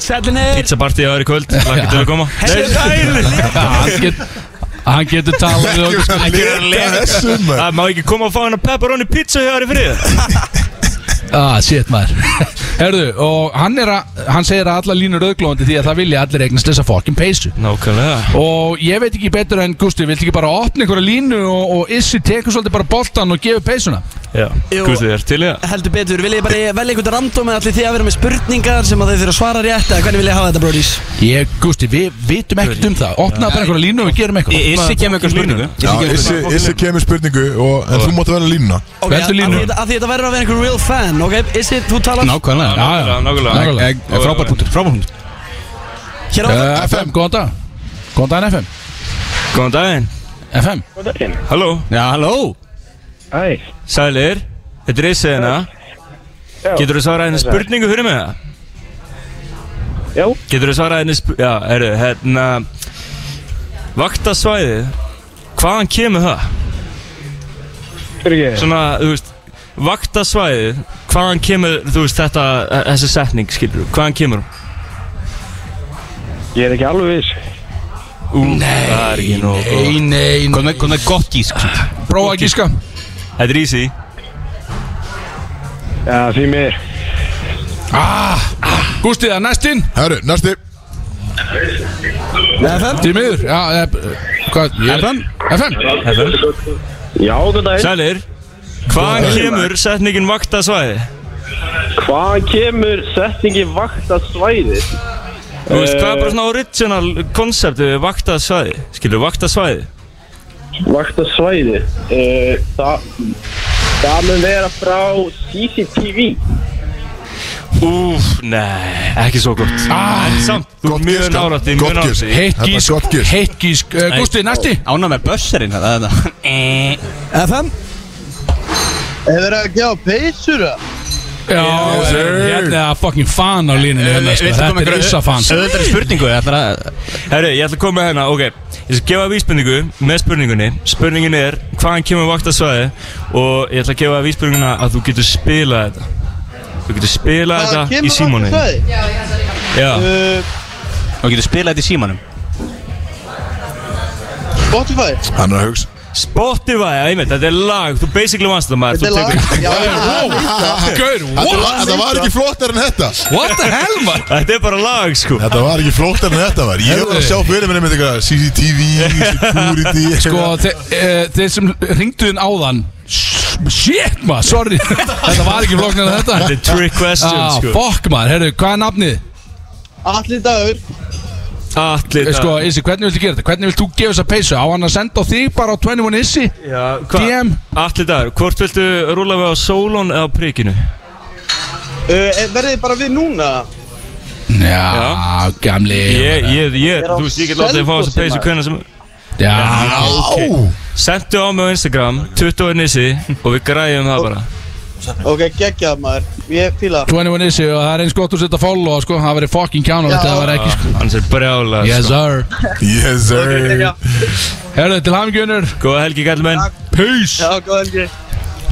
S6: Sællin er
S9: Pizza party á aðri kvöld, lakka til að koma Nei,
S4: Já, Hann get- hann getur talað við okkur, sko.
S9: ekki vera að
S2: Leta
S9: leka.
S2: þessum maður.
S9: Það má ekki koma og fá hennar pepperoni pizza hjá aðri frið
S4: Ah, shit maður Herðu, og hann er að Hann segir að alla línur auðglóðandi því að það vilja allir eignast þessa fokkin peysu
S9: Nákvæmlega
S4: Og ég veit ekki betur en Gusti, vilt ekki bara opna einhverja línu og, og Issi tekur svolítið bara boltan og gefur peysuna
S9: Já,
S6: Jú.
S9: Gústi er til í það
S6: Heldur betur, vil ég bara velja einhvern random eða allir því að vera með spurningar sem að þeir þurfa að svara rétt eða hvernig vil ég hafa þetta brodís?
S4: Ég, Gusti, við vitum ekkert um það Opna bara einhverja línu og við gerum eitthvað
S3: Issi kemur eitthvað spurningu
S2: Já, Issi, Issi kemur spurningu og, en þú mátt vera línuna
S6: Ok,
S4: Veldu línu.
S6: að því- Að því þetta verður að vera einhver real fan, ok? Issi, þú talar
S4: Nákvæmlega, já, já,
S9: nákvæmlega.
S4: nákvæmlega.
S3: Ég- ég- Frábær punktur Frábær punktur
S6: Hér á það
S4: Eh, FM, góðan dag Góðan daginn FM
S9: Góðan daginn
S4: FM,
S9: Halló
S3: Já, halló
S10: Æ,
S9: Sælir, þetta er Issi hérna Getur þú svarað henni spurningu fyrir mig það?
S10: já,
S9: Getur þú svarað henni spurningu Já, herru, hérna Vaktasvæðið Hvaðan kemur það?
S10: fyrir ekki
S9: Svona, þú veist Vaktasvæðið Hvaðan kemur, þú veist, þetta Þessi setning, skilur þú Hvaðan kemur hún?
S10: Ég er ekki alveg viss
S9: Ú, það er ekki nóg góð.
S4: Nei, nei, nei
S3: Hvað með- hvað með gott gísk
S4: Prófa að gíska
S9: Þetta er easy
S10: Já, því mér
S4: Ah, Gústi, það er næstinn
S2: Herru, næsti
S6: FM
S4: Því miður, já, eða, hvað, ég
S9: FM?
S4: FM
S10: Já, góðan daginn.
S9: Sælir Hvaðan kemur setningin vakta svæði?
S10: Hvaðan kemur setningi vakta svæði?
S9: Þú veist, hvað er bara svona original koncept við vakta svæði? Skilur, vakta svæði?
S10: Vakta svæði? Uh, það, það mun vera frá CCTV.
S9: Úf, nei, ekki svo gott ah, En samt, þú
S2: gott
S9: er mjög
S2: gisk,
S9: nálætti,
S2: gott
S9: mjög
S2: gisk.
S9: nálætti
S4: Heitt
S2: Þetta er
S4: gísk,
S2: gott gísk.
S4: heitt gísk uh, Gústi, næsti
S3: Ána með bösserinn Eh. þetta
S6: FM
S11: Hefur það ekki á peysur það?
S4: Já, hérna er fucking fan á línunni hérna, sko. Þetta er issa fan
S3: Öðvöldari spurningu ætlar að-
S9: Herru, ég ætla að koma með hérna, ok Ég skal gefa vísbendingu með spurningunni Spurningin er, hvaðan kemur vakta svæði? Og ég ætla að gefa vísbendinguna að þú getur spilað þetta Þú getur spilað þetta í símónin
S11: svæði?
S9: Já,
S11: Uh,
S3: Þú getur spilað þetta í símanum
S11: Spotify?
S2: Hann er að hugsa
S9: Spotify, einmitt, þetta er lag Þú basically vannst það maður,
S11: Þetta
S9: þú
S11: er lag.
S9: tekur
S11: Já, já, já.
S4: Gaur,
S2: Þetta
S4: what?
S2: var- þetta var ekki flottar en þetta
S4: What the hell, man?
S9: Þetta er bara lag, sko
S2: Þetta var ekki flottar en þetta var Ég var að sjá fyrir minni með eitthvað CCTV, security
S4: Sko,
S2: eitthvað.
S4: þe uh, þeir sem ringduðin áðan Shit, maður, sorry Þetta var ekki floknir en
S9: Þetta
S4: þetta
S9: er trick question,
S4: Ah,
S9: sko
S4: fuck maður, herru, hvað er nafnið?
S11: Allir dagur.
S9: Allir
S4: Eh, Sko, Issi, hvernig viltu gera þetta? Hvernig vilt þú gefa þessa peysu? Á hann að senda á þig bara á 21 Issi?
S9: Já,
S4: DM.
S9: Allir dagur, hvort viltu rúla við á sólón eða á prikinu?
S11: Uh, eh, verðið þið bara við núna?
S4: Já, gamli
S9: Ég, ég, ég,
S11: er á
S9: þú veist, ég get látið að fá þess að
S11: Selfossi,
S9: peysu
S11: maður.
S9: hvernig sem
S4: Já,
S2: Á,
S9: Sendu á mig á Instagram, 20 nissi og við græjum það bara
S11: Ok, geggjað maður. Ég fíla.
S4: 21 Issi og það er eins gott að setja follow sko, það verið fucking kjánulegt
S11: Já.
S4: það var ekki sko
S9: Annars er sko. brjála,
S4: Yes sir
S2: yes sir
S4: Herðu, til hamingjönnur
S9: Góða helgi, gælumenn
S4: Peace
S11: Já, góð helgi.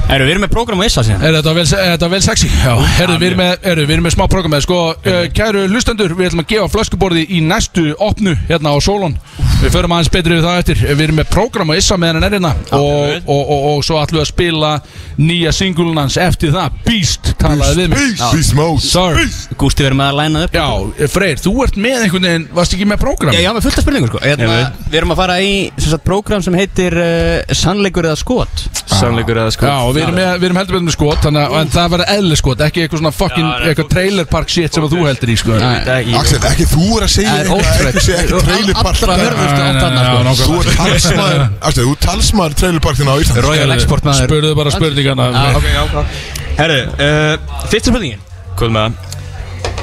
S3: Erum við erum með prógram á Issa síðan
S4: Herðu, þetta var vel, eh, þetta var vel sexy Já, herðu, við erum með, herðu, við erum með smá programmið Sko, uh, kæru hlustendur, við ætlum að gefa flöskuborði í næstu opnu hérna á Solon Við förum aðeins betri við það eftir Við erum með program á Issa með hennar erina hérna. og, og, og, og svo ætlum við að spila nýja singulun hans eftir það Beast, talaði við mig
S2: Peace, peace mode
S4: Sir
S3: Gústi verður með að læna upp
S4: Já, Freyr, þú ert með einhvern veginn, varst ekki með program?
S3: Já, já, með fullta spurningur sko hérna, Við erum að fara í sem sagt, prógram sem heitir uh, Sannleikur eða skot
S9: Sannleikur eða sko
S4: Já, og við erum, með, við erum heldur betur með skot þannig, að en það verður eðli skot, ekki eitthvað svona fucking eitthvað trailer park shit sem að þú heldur í sko
S3: Nei.
S2: Axel, ekki þú er að segja
S4: Það er
S2: eitthvað
S4: ótrúlegt.
S2: Ekki segja ekki trailerpark
S3: Allra hörðustu átt þarna
S4: Já,
S3: sko
S2: Þú er
S4: nákvæmlega.
S2: talsmaður Axel, þú er talsmaður trailerparkina á Íslandi
S3: Royal Export maður
S4: Spurðu bara spurningana
S3: ah, okay, já, Herru, uh, fyrsta spurningin
S9: Hvað með það?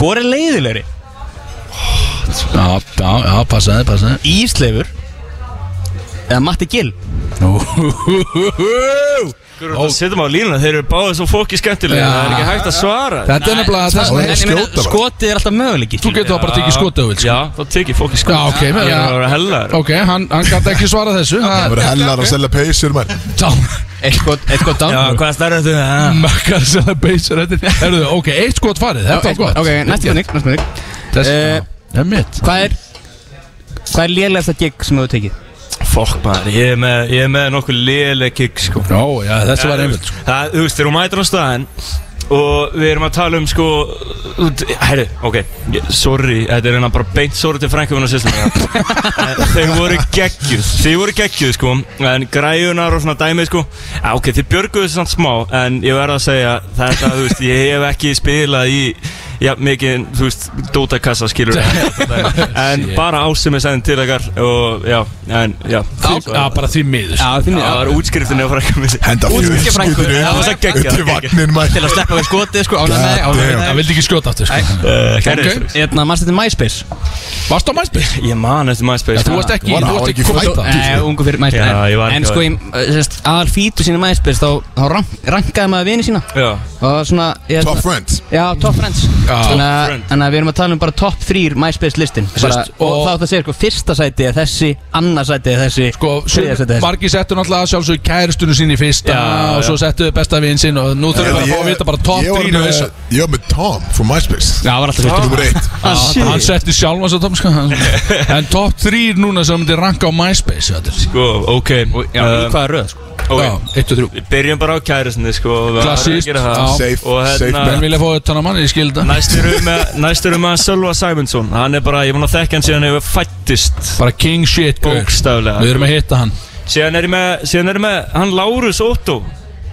S3: Hvor er leiðilegri?
S2: sko.
S4: Já, já, já, passaði, passaði
S3: Ísleifur eða Matti Gill
S9: Það setjum á línuna, þeir eru báðið svo fóki skemmtilega
S4: Já.
S9: Það er ekki hægt að svara
S4: Þetta er nefnilega þess
S2: það
S4: að
S2: er-
S3: En ég meina,
S2: skjóta bara.
S3: skotið er alltaf möguleiki
S4: þú getur það bara tekið skot ef þú vilt
S9: Já,
S4: sko
S9: þá tekið fóki sko
S4: Já, ok, með
S9: Ég er að
S4: það
S9: vera hellar
S4: Ok, hann, hann gæti ekki svara þessu
S2: Það
S4: Það
S2: verður hellar að selja peysur mann
S3: Eitt skot, eitt skot down
S9: Já, hvað stærður þú?
S4: Makkar sem það beysir eftir Herðu, ok, eitt skot farið,
S3: Já,
S4: þetta
S3: eitt
S4: var gott
S3: skot. Ok, næst spurning, næst spurning
S4: Þessi,
S3: Eh,
S4: já, það er mitt
S3: Hvað er Hvað er lélegasta gig sem þú hefur tekið?
S9: Fokk maður, ég er með, ég er með nokkuð léleg gig sko
S4: Já, já, þessi var
S9: Já,
S4: einmitt sko.
S9: Það, þú veist, þegar hún mætir á staðinn Og við erum að tala um sko Herru, ok, ég- sorry Þetta er hérna bara beint sorry til frænkjöfuna sýstum Þeir Eh, voru geggjuð Þeir voru geggjuð sko En græjunar og svona dæmið sko ja, Ok, þið björguðu þessu samt smá En ég verð að segja þetta, þú veist Ég hef ekki spilað í Já, mikið, þú veist, dótakassa skilur En bara ásumið sæðin til ykkar Og já, en já
S4: Já, bara því miður
S3: þínu
S9: Það var útskriftinni á frænkjöfuna
S2: Henda
S3: frænku.
S2: fjölskyldur
S3: Já,
S9: það var geggjað,
S2: Upp til
S9: geggjað.
S2: vagnin mann
S3: Til að sleppa við skotið sko Ánæg
S2: God
S3: með ánægð
S2: damn.
S4: Það
S3: með-
S4: vildi ekki skjóta aftur sko
S9: Herru,
S3: Hérna, mannst þetta MySpace?
S4: Varst á mæspil?
S9: Ég man eftir MySpace
S4: Þú varst ekki,
S2: Var
S4: þú
S2: hann
S4: varst
S2: ekki
S4: ekki komið
S2: fæddur?
S4: það
S3: Nei, ungu fyrir MySpace
S9: Já,
S3: en-
S9: ég var
S3: En
S9: ekki
S3: sko,
S9: á-
S3: í, eh, sérst, aðal fítu sína MySpace Þá, þá rank, rankaði maður vini sína
S9: Já,
S3: Og það var svona ég,
S2: Top friends
S3: Já, top friends
S4: Já.
S3: Þannig
S9: Top
S3: að-
S9: friend.
S3: þannig að við erum að tala um bara top 3 MySpace listin bara,
S4: Sérst,
S3: Og
S4: og-
S3: þá þetta segir sko, fyrsta sæti er þessi Annars sæti er þessi
S4: Sko,
S3: þriðja sæti er þessi
S4: margi settu náttúrulega sjálfsög kæristunum sín í fyrsta
S9: Já,
S4: og svo settu þau besta vinn sinn og nú þurfum við að fá
S2: Ég-
S4: að vita bara top
S2: ég var
S4: 3
S2: með-
S4: og þessu
S2: Ég var með Tom from MySpace
S3: Já, það var alltaf fyrstu
S2: Númer 1
S9: Ah,
S4: Já, Ah, Hann setti sjálf hans á top sko hann- En top 3 núna sem myndi ranka á MySpace þetta er-
S9: sko, ok
S3: Já, í
S9: um,
S3: hvaða röð sko
S9: ok.
S4: Já, 1 og 3
S9: Við byrjum bara á kæristinni, sko og við verðum að
S4: Klassískt,
S9: gera það.
S4: já.
S2: Safe,
S9: Og
S2: safe
S9: hérna
S4: Menn vilja fá þetta hann að manni, ég skil þetta
S9: Næsta Næst erum við- næst erum við með Sölva Sæmundsson Hann er bara, ég mun að þekka hann síðan hefur fættist
S4: Bara king shit
S9: gaur. Bókstaflega
S4: Við erum að hitta hann
S9: Síðan er ég með, síðan er ég með Hann Lárus Otto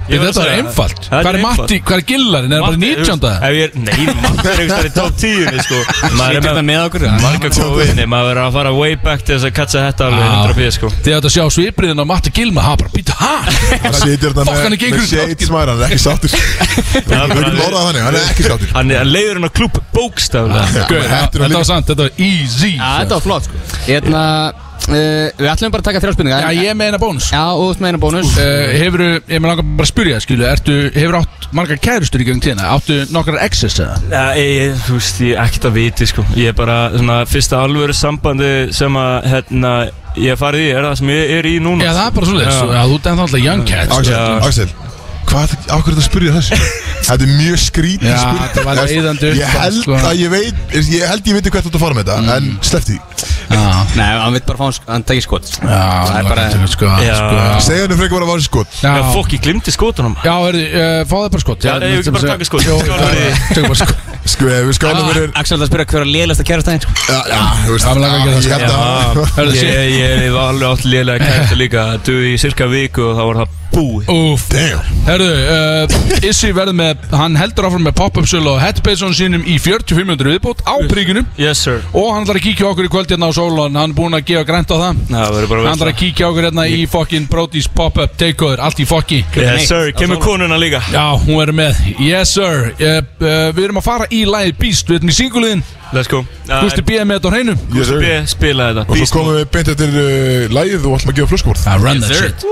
S9: Ég verð
S4: Þetta
S9: að
S4: er
S9: segja
S4: einfalt
S9: það.
S4: Hvað er
S9: einfalt.
S4: Matti, hvað er Gillarinn, er hann bara
S9: Matti,
S4: 19.
S9: þú veist, ef ég er- Nei, Matti er einhverstað í top 10 sko. Maður
S4: Situr
S9: er
S4: þetta
S9: með okkur Marga góða vinni, maður er að fara way back til þess að katsa þetta alveg 100 pí sko
S4: Þið átt að sjá svipriðin á Matti Gilma Ha, bara býta, ha?
S2: Það situr þarna
S4: Fokk,
S2: með-
S4: hann er gengur
S2: með shades maður, hann er ekki sáttur
S9: Hann
S2: Við getum orðað þannig, hann er ekki sáttur
S9: Hann er- hann leiður hann á klúb bókstaflega
S4: Gauð, Þetta var sant, þetta var easy
S3: Já, þetta var flott sko Hérna, uh, við ætlum bara að taka þrjá spurningar
S4: Já, ég meina bónus
S3: Já, og þú ert meina bónus Eh,
S4: Uh, hefur, ég með langar bara að spyrja, skilu, ertu, hefur átt margar kærustur í gegn tíðina? Áttu nokkrar exes eða?
S9: Já, ég, ég, þú veist, ég er ekkert að viti sko Ég er bara, svona, fyrsta alvöru sambandi sem að, hérna, ég hef farið í er það sem ég er í núna
S4: Já, það er bara svolítið, já, þú ert ennþá alltaf young cat sko.
S2: Axel,
S9: Já.
S2: Axel Hvað, af hverju þetta spurði þessu? Þetta er mjög skrítið
S4: Já,
S2: spurning.
S4: þetta var
S2: Þú veist,
S4: leiðandi upp,
S2: Ég held
S4: sko. Mm.
S2: að ég veit, ég held ég veit hvert þú ert að fara með þetta En sleppti
S4: Já,
S3: Nei, hann vill bara fá hann, hann tekið skot sko.
S4: já,
S3: Það er
S4: bara,
S3: bara
S4: sko,
S9: Já.
S4: sko.
S2: Segðu henni frekar bara að vara skot
S9: Já, fokk, ég glimti skotunum
S4: Já, heyrðu, uh, fá það bara skot
S9: Já, nei, ég ekki bara taka skot.
S4: Jó,
S9: Skál
S4: bara-
S9: fyrir því.
S4: Tökum bara skot
S2: Sko, ef við skálum fyrir
S3: Axel það spyrja hver er lélegasta kærastæðin sko.
S2: Já, já, þú veist
S4: Já, mig langar ekki að það
S2: ég held að-
S9: Já,
S4: Hörðu,
S9: ég,
S4: shit.
S9: ég, ég var alveg átt lélega kært líka Duði í cirka viku og þá var það búið
S4: Úf,
S2: Damn
S4: herðu, uh, Issi verður með, hann heldur áfram með pop-up sölu á headbase-on sínum í 45 minútur viðbót á príkinu
S9: Yes, sir
S4: og hann ætlar að kíkja á okkur í kvöld hérna á sólun, hann er búinn að gefa grænt á það
S9: Já, það verður bara
S4: Hann
S9: veist
S4: ætlar að kíkja á okkur hérna í fokkin Brody's pop-up takeover, allt í fokki
S9: Yes, sir, kemur konuna líka
S4: Já, hún er með, yes sir uh, uh, Við erum að fara í lagið Beast, við erum í singuliðin
S9: Let's go
S4: Gústi B. er með þetta á hreinu
S2: Yes, sir.
S9: B, E spila þetta
S2: Og svo
S9: Beast
S2: komum við beint eftir uh, lægið og ætlum að gefa flöskuborð
S4: I run that shit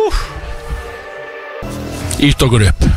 S4: Ítt okkur upp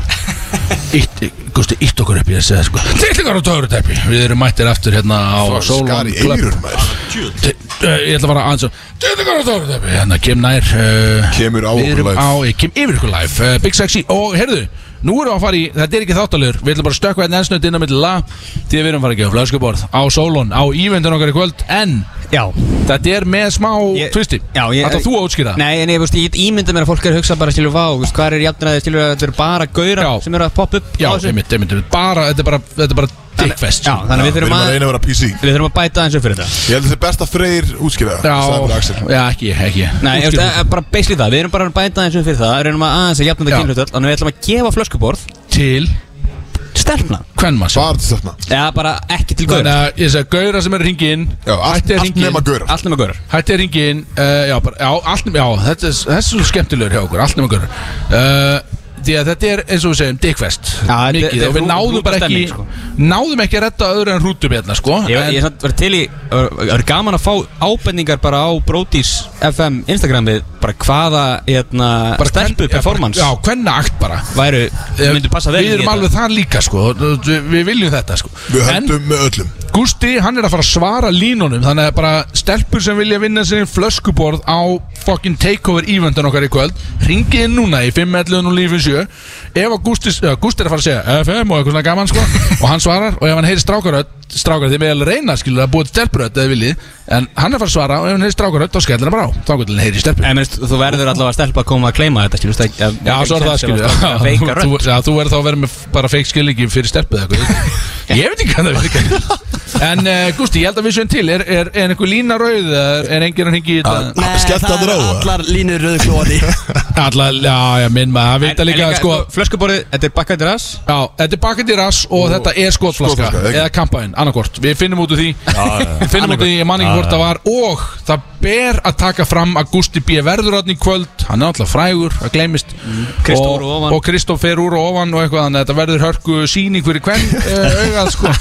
S4: Ítt, Gusti, ítt okkur upp Ég segi það sko Tillingar og tögurutæpi Við erum mættir aftur hérna á
S2: Skar
S4: Sólvan
S2: í eyrur maður
S4: eh, Ég ætla að fara aðeins og Tillingar og tögurutæpi Hérna, kem nær uh,
S2: Kemur á
S4: Við
S2: okkur
S4: erum
S2: live.
S4: á, ég kem yfir ykkur live uh, Big Sexy Og heyrðu, nú erum við að fara í Þetta er ekki þáttalegur Við ætlum bara að stökkva hérna ensnönd innan mitt la Því að við erum að fara að gefa flöskuborð Á Sólon, á ívendun okkar í kvöld En
S3: Já
S4: þetta er með smá
S3: Ég-
S4: twisti
S3: Já, ég-
S4: Ætlar þú að útskýra það?
S3: Nei, en ég, veist, ég ímynda mér að fólk er að hugsa bara skilur vá veist, Hvað er jafnræðið skilur að þetta eru bara gaurar
S4: Já.
S3: sem eru að poppa upp
S4: Já,
S3: á þessu?
S4: einmitt, einmitt, einmitt bara, þetta er bara, þetta er bara dickfest sko.
S3: Já, þannig að við
S2: Við
S3: þurfum
S2: erum að
S3: að,
S2: reyna að vera PC
S3: við þurfum að bæta aðeins upp fyrir þetta
S2: Ég held að þetta er best að freyr útskýra það Það er bara Axel
S4: já, ekki, ekki
S3: Nei, ég veist,
S4: Útskýrðu.
S3: eh, bara basically það, við erum bara að bæta aðeins upp fyrir það Reynum að aðeins að jafna
S4: Já.
S3: þetta kynhlutöld Þannig við ætlum að gefa flöskuborð
S4: Til
S3: Stelpna
S4: kvenmann sem-
S2: Bara til þarna
S3: Já, bara ekki til
S4: Þannig
S3: gaurar
S4: að ég segi gauðra sem er hringi inn
S2: Já, allt,
S4: Hætti að
S2: allt
S4: hringi
S2: nema
S4: inn
S2: gaurar
S3: Allt nema gaurar
S4: Hætti að hringi inn uh, Já, bara, já, allt nema, já, þetta er, þetta er svo skemmtilegur hjá okkur Allt nema gauðra uh, Því að þetta er, eins og við segjum, dickfest
S3: þetta- þetta
S4: Mikið,
S3: er
S4: og við
S3: hrú-
S4: náðum bara ekki
S3: hrútastemming, sko.
S4: Náðum ekki að redda öðru en hrútum hérna, sko
S3: Ég,
S4: en-
S3: ég er samt verið til í, það er gaman að fá ábendingar bara á Brodís FM Instagramið bara hvaða hérna,
S4: bara
S3: stelpu
S4: kven-
S3: performance
S4: Já, hvenna akt bara
S3: væru,
S4: Eh,
S3: myndu passa vel
S4: Við
S3: í
S4: erum
S3: þetta.
S4: alveg þar líka, sko Við við viljum þetta, sko
S2: Við
S4: En-
S2: höndum með öllum
S4: Gústi, hann er að fara að svara línunum Þannig að bara stelpur sem vilja vinna sér flöskuborð á fucking takeover eventin okkar í kvöld Ringið inn núna í 5.11.07 Ef að Gústi, uh, Gústi er að fara að segja FM og eitthvað svona gaman sko Og hann svarar og ef hann heyri strákarödd Strákarödd, þið með alveg reyna skilur að búið stelpurödd eða viljið En hann er að fara að svara og ef hann heyri strákarödd þá skellir hann bara á Þá getur hann heyri stelpur
S3: En minnst, þú verður allavega að stelpa að koma að kleima þetta, skilur það ekki?
S4: Já, svo er það skilur
S3: Veika
S4: Já,
S3: rönd.
S4: þú- já, Þú verður þá að vera með bara feik skilningi fyrir stelpuð eða eitthvað Ég veit ekki hvað það verður En uh, Gústi, ég held að við svein til Er, er, er einhver lína rauð eða er- Er enginn að hengi í
S6: Ah.
S4: þetta?
S6: Nei,
S2: Skellt
S6: það
S2: allir á
S6: er
S2: það?
S6: allar línur rauðklóði
S4: Alla, já, já, minn maður Það veit að líka, sko
S3: Flöskuborðið, þetta er bakkvæmt rass
S4: Já, þetta er bakandi rass og þetta er skotflaska
S2: skotflaska, ekki?
S4: Eða kampaðin, annarkort Við finnum út úr því Við finnum út úr því, ég man ekki hvort það var Og það ber að taka fram að Gústi B. verður hann í kvöld Hann er alltaf frægur, það gleymist
S3: Kristó
S4: Og-
S3: úr og ofan.
S4: Og Kristoff fer úr og ofan og eitthvað Þannig að þetta verður hörku síning fyrir hvern uh, augað sko uh,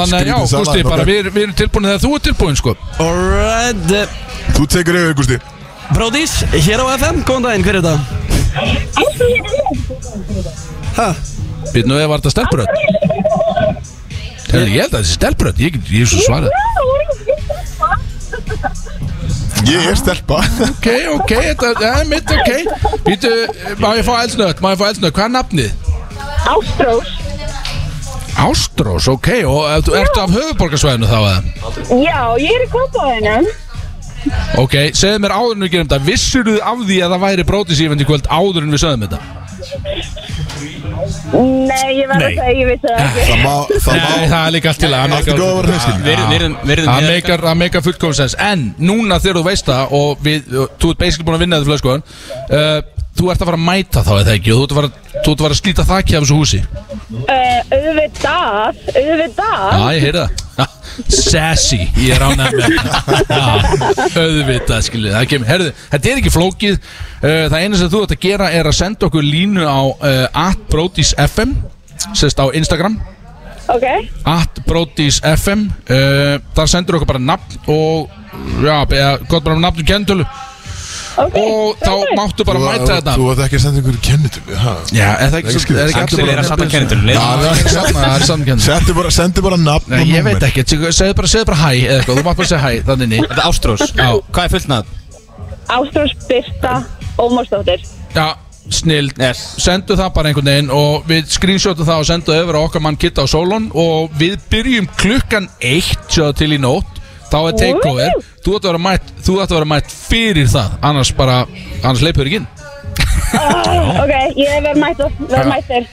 S4: Þannig að já,
S2: Skrítið saman,
S4: Gústi,
S2: þá
S4: bara
S2: bara-
S4: við, við erum tilbúin þegar þú ert tilbúin sko
S6: Alright eh,
S2: Þú tekur yfir, Gusti
S6: Bróðís, hér á FM, góðan daginn, hver er þetta? Hæ?
S4: Býttu nú eða var þetta stelpröð Ég held að þetta er stelpröð Ég ég er svo svarað
S2: Ég er stelpa
S4: Ok, ok, þetta ja, mitt ok Býtu, má ég fá eldsnött, má ég fá eldsnött Hvað er nafnið?
S12: Ástrós,
S4: Ástrós, ok, og ef þú ertu af höfuborgarsvæðinu þá eða?
S12: já, ég er í kopaðinum.
S4: Ok, segðu mér áður en við gerum þetta Vissirðu af því að það væri brótisífend í kvöld áður en við sögðum þetta?
S12: Nei, ég verður
S4: Nei.
S12: að segja, ég veit það ekki
S2: Það má,
S4: það má Nei, það er líka allt til að
S2: Allt er góð að vera hreinskilinn.
S4: Já.
S2: Virðum- virðum
S4: Það
S2: hér-
S4: meikar- það meikar fullkomsens En núna þegar þú veist það Og við, þú ert basically búin að vinna þetta flöskóðan uh, Þú ert að fara að mæta þá eða ekki Og þú ert að fara, þú ert að, fara að slíta þakki af þessu húsi
S12: uh, Auðvitað, auðvitað
S4: Já, ég heyrði það Ha, Sassy, ég er ánægð með þetta. Já, Auðvitað, skilju Það kemur, herðu, þetta er ekki flókið Uh, Það eina sem þú ert að gera er að senda okkur línu á uh, atbrotisfm Sérst á Instagram
S12: Ok,
S4: atbrotisfm uh, Þar sendur okkur bara nafn og Já, eða, gott bara nafn og kentölu
S12: okay.
S4: Og þá máttu bara mæta
S2: Þú-
S4: þetta
S2: Þú ert ekki að senda ykkur kennitölu ha?
S4: Já, er það ekki svo-
S2: skrítið?
S4: er ekki allir bara- Já, það er ekki safna- það er safna kennitölu.
S2: Sendu bara, sendu bara nafn
S4: Nei,
S2: og
S4: ég
S2: númer.
S4: veit ekki, segðu bara, segðu bara hæ eða eitthvað, þú mátt bara segja hæ, þannig ný Þetta
S3: er Ástrós, hvað er fullt nafn?
S12: Ástrós Birta Ómarsdóttir
S4: Já, snild yes. Sendu það bara einhvern veginn og við screenshotum það og sendu það yfir á okkar mann Kitta á Solon og við byrjum klukkan eitt sjáðu til í nótt þá er takeover þú ætti að vera mætt, þú ætti að vera mætt fyrir það annars bara, annars leipur ekki inn
S12: oh, Ok, ég verð mættur, verð
S4: Já.
S12: mættur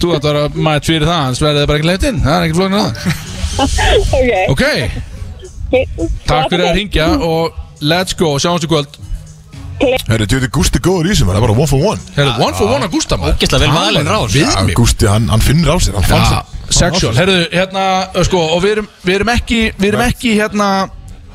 S4: þú ætti að vera mætt fyrir það annars verður það bara ekki leipt inn, það er ekki flóknir að það
S12: Ok,
S4: ok,
S12: okay.
S4: takk fyrir að ringja og let's go, sjáumst í kvöld
S2: Herru, djöðu Gústi góður í þessum, það er bara one for one
S4: Herru, one for one að Gústa maður
S2: Ógeðslega vel með alinn
S4: ráð Við mig
S2: Gústi, hann, hann finnir á sér, hann fann
S4: Já, Sexual, herruðu, hérna, ö, sko, og við erum, við erum ekki, við erum ekki, hérna,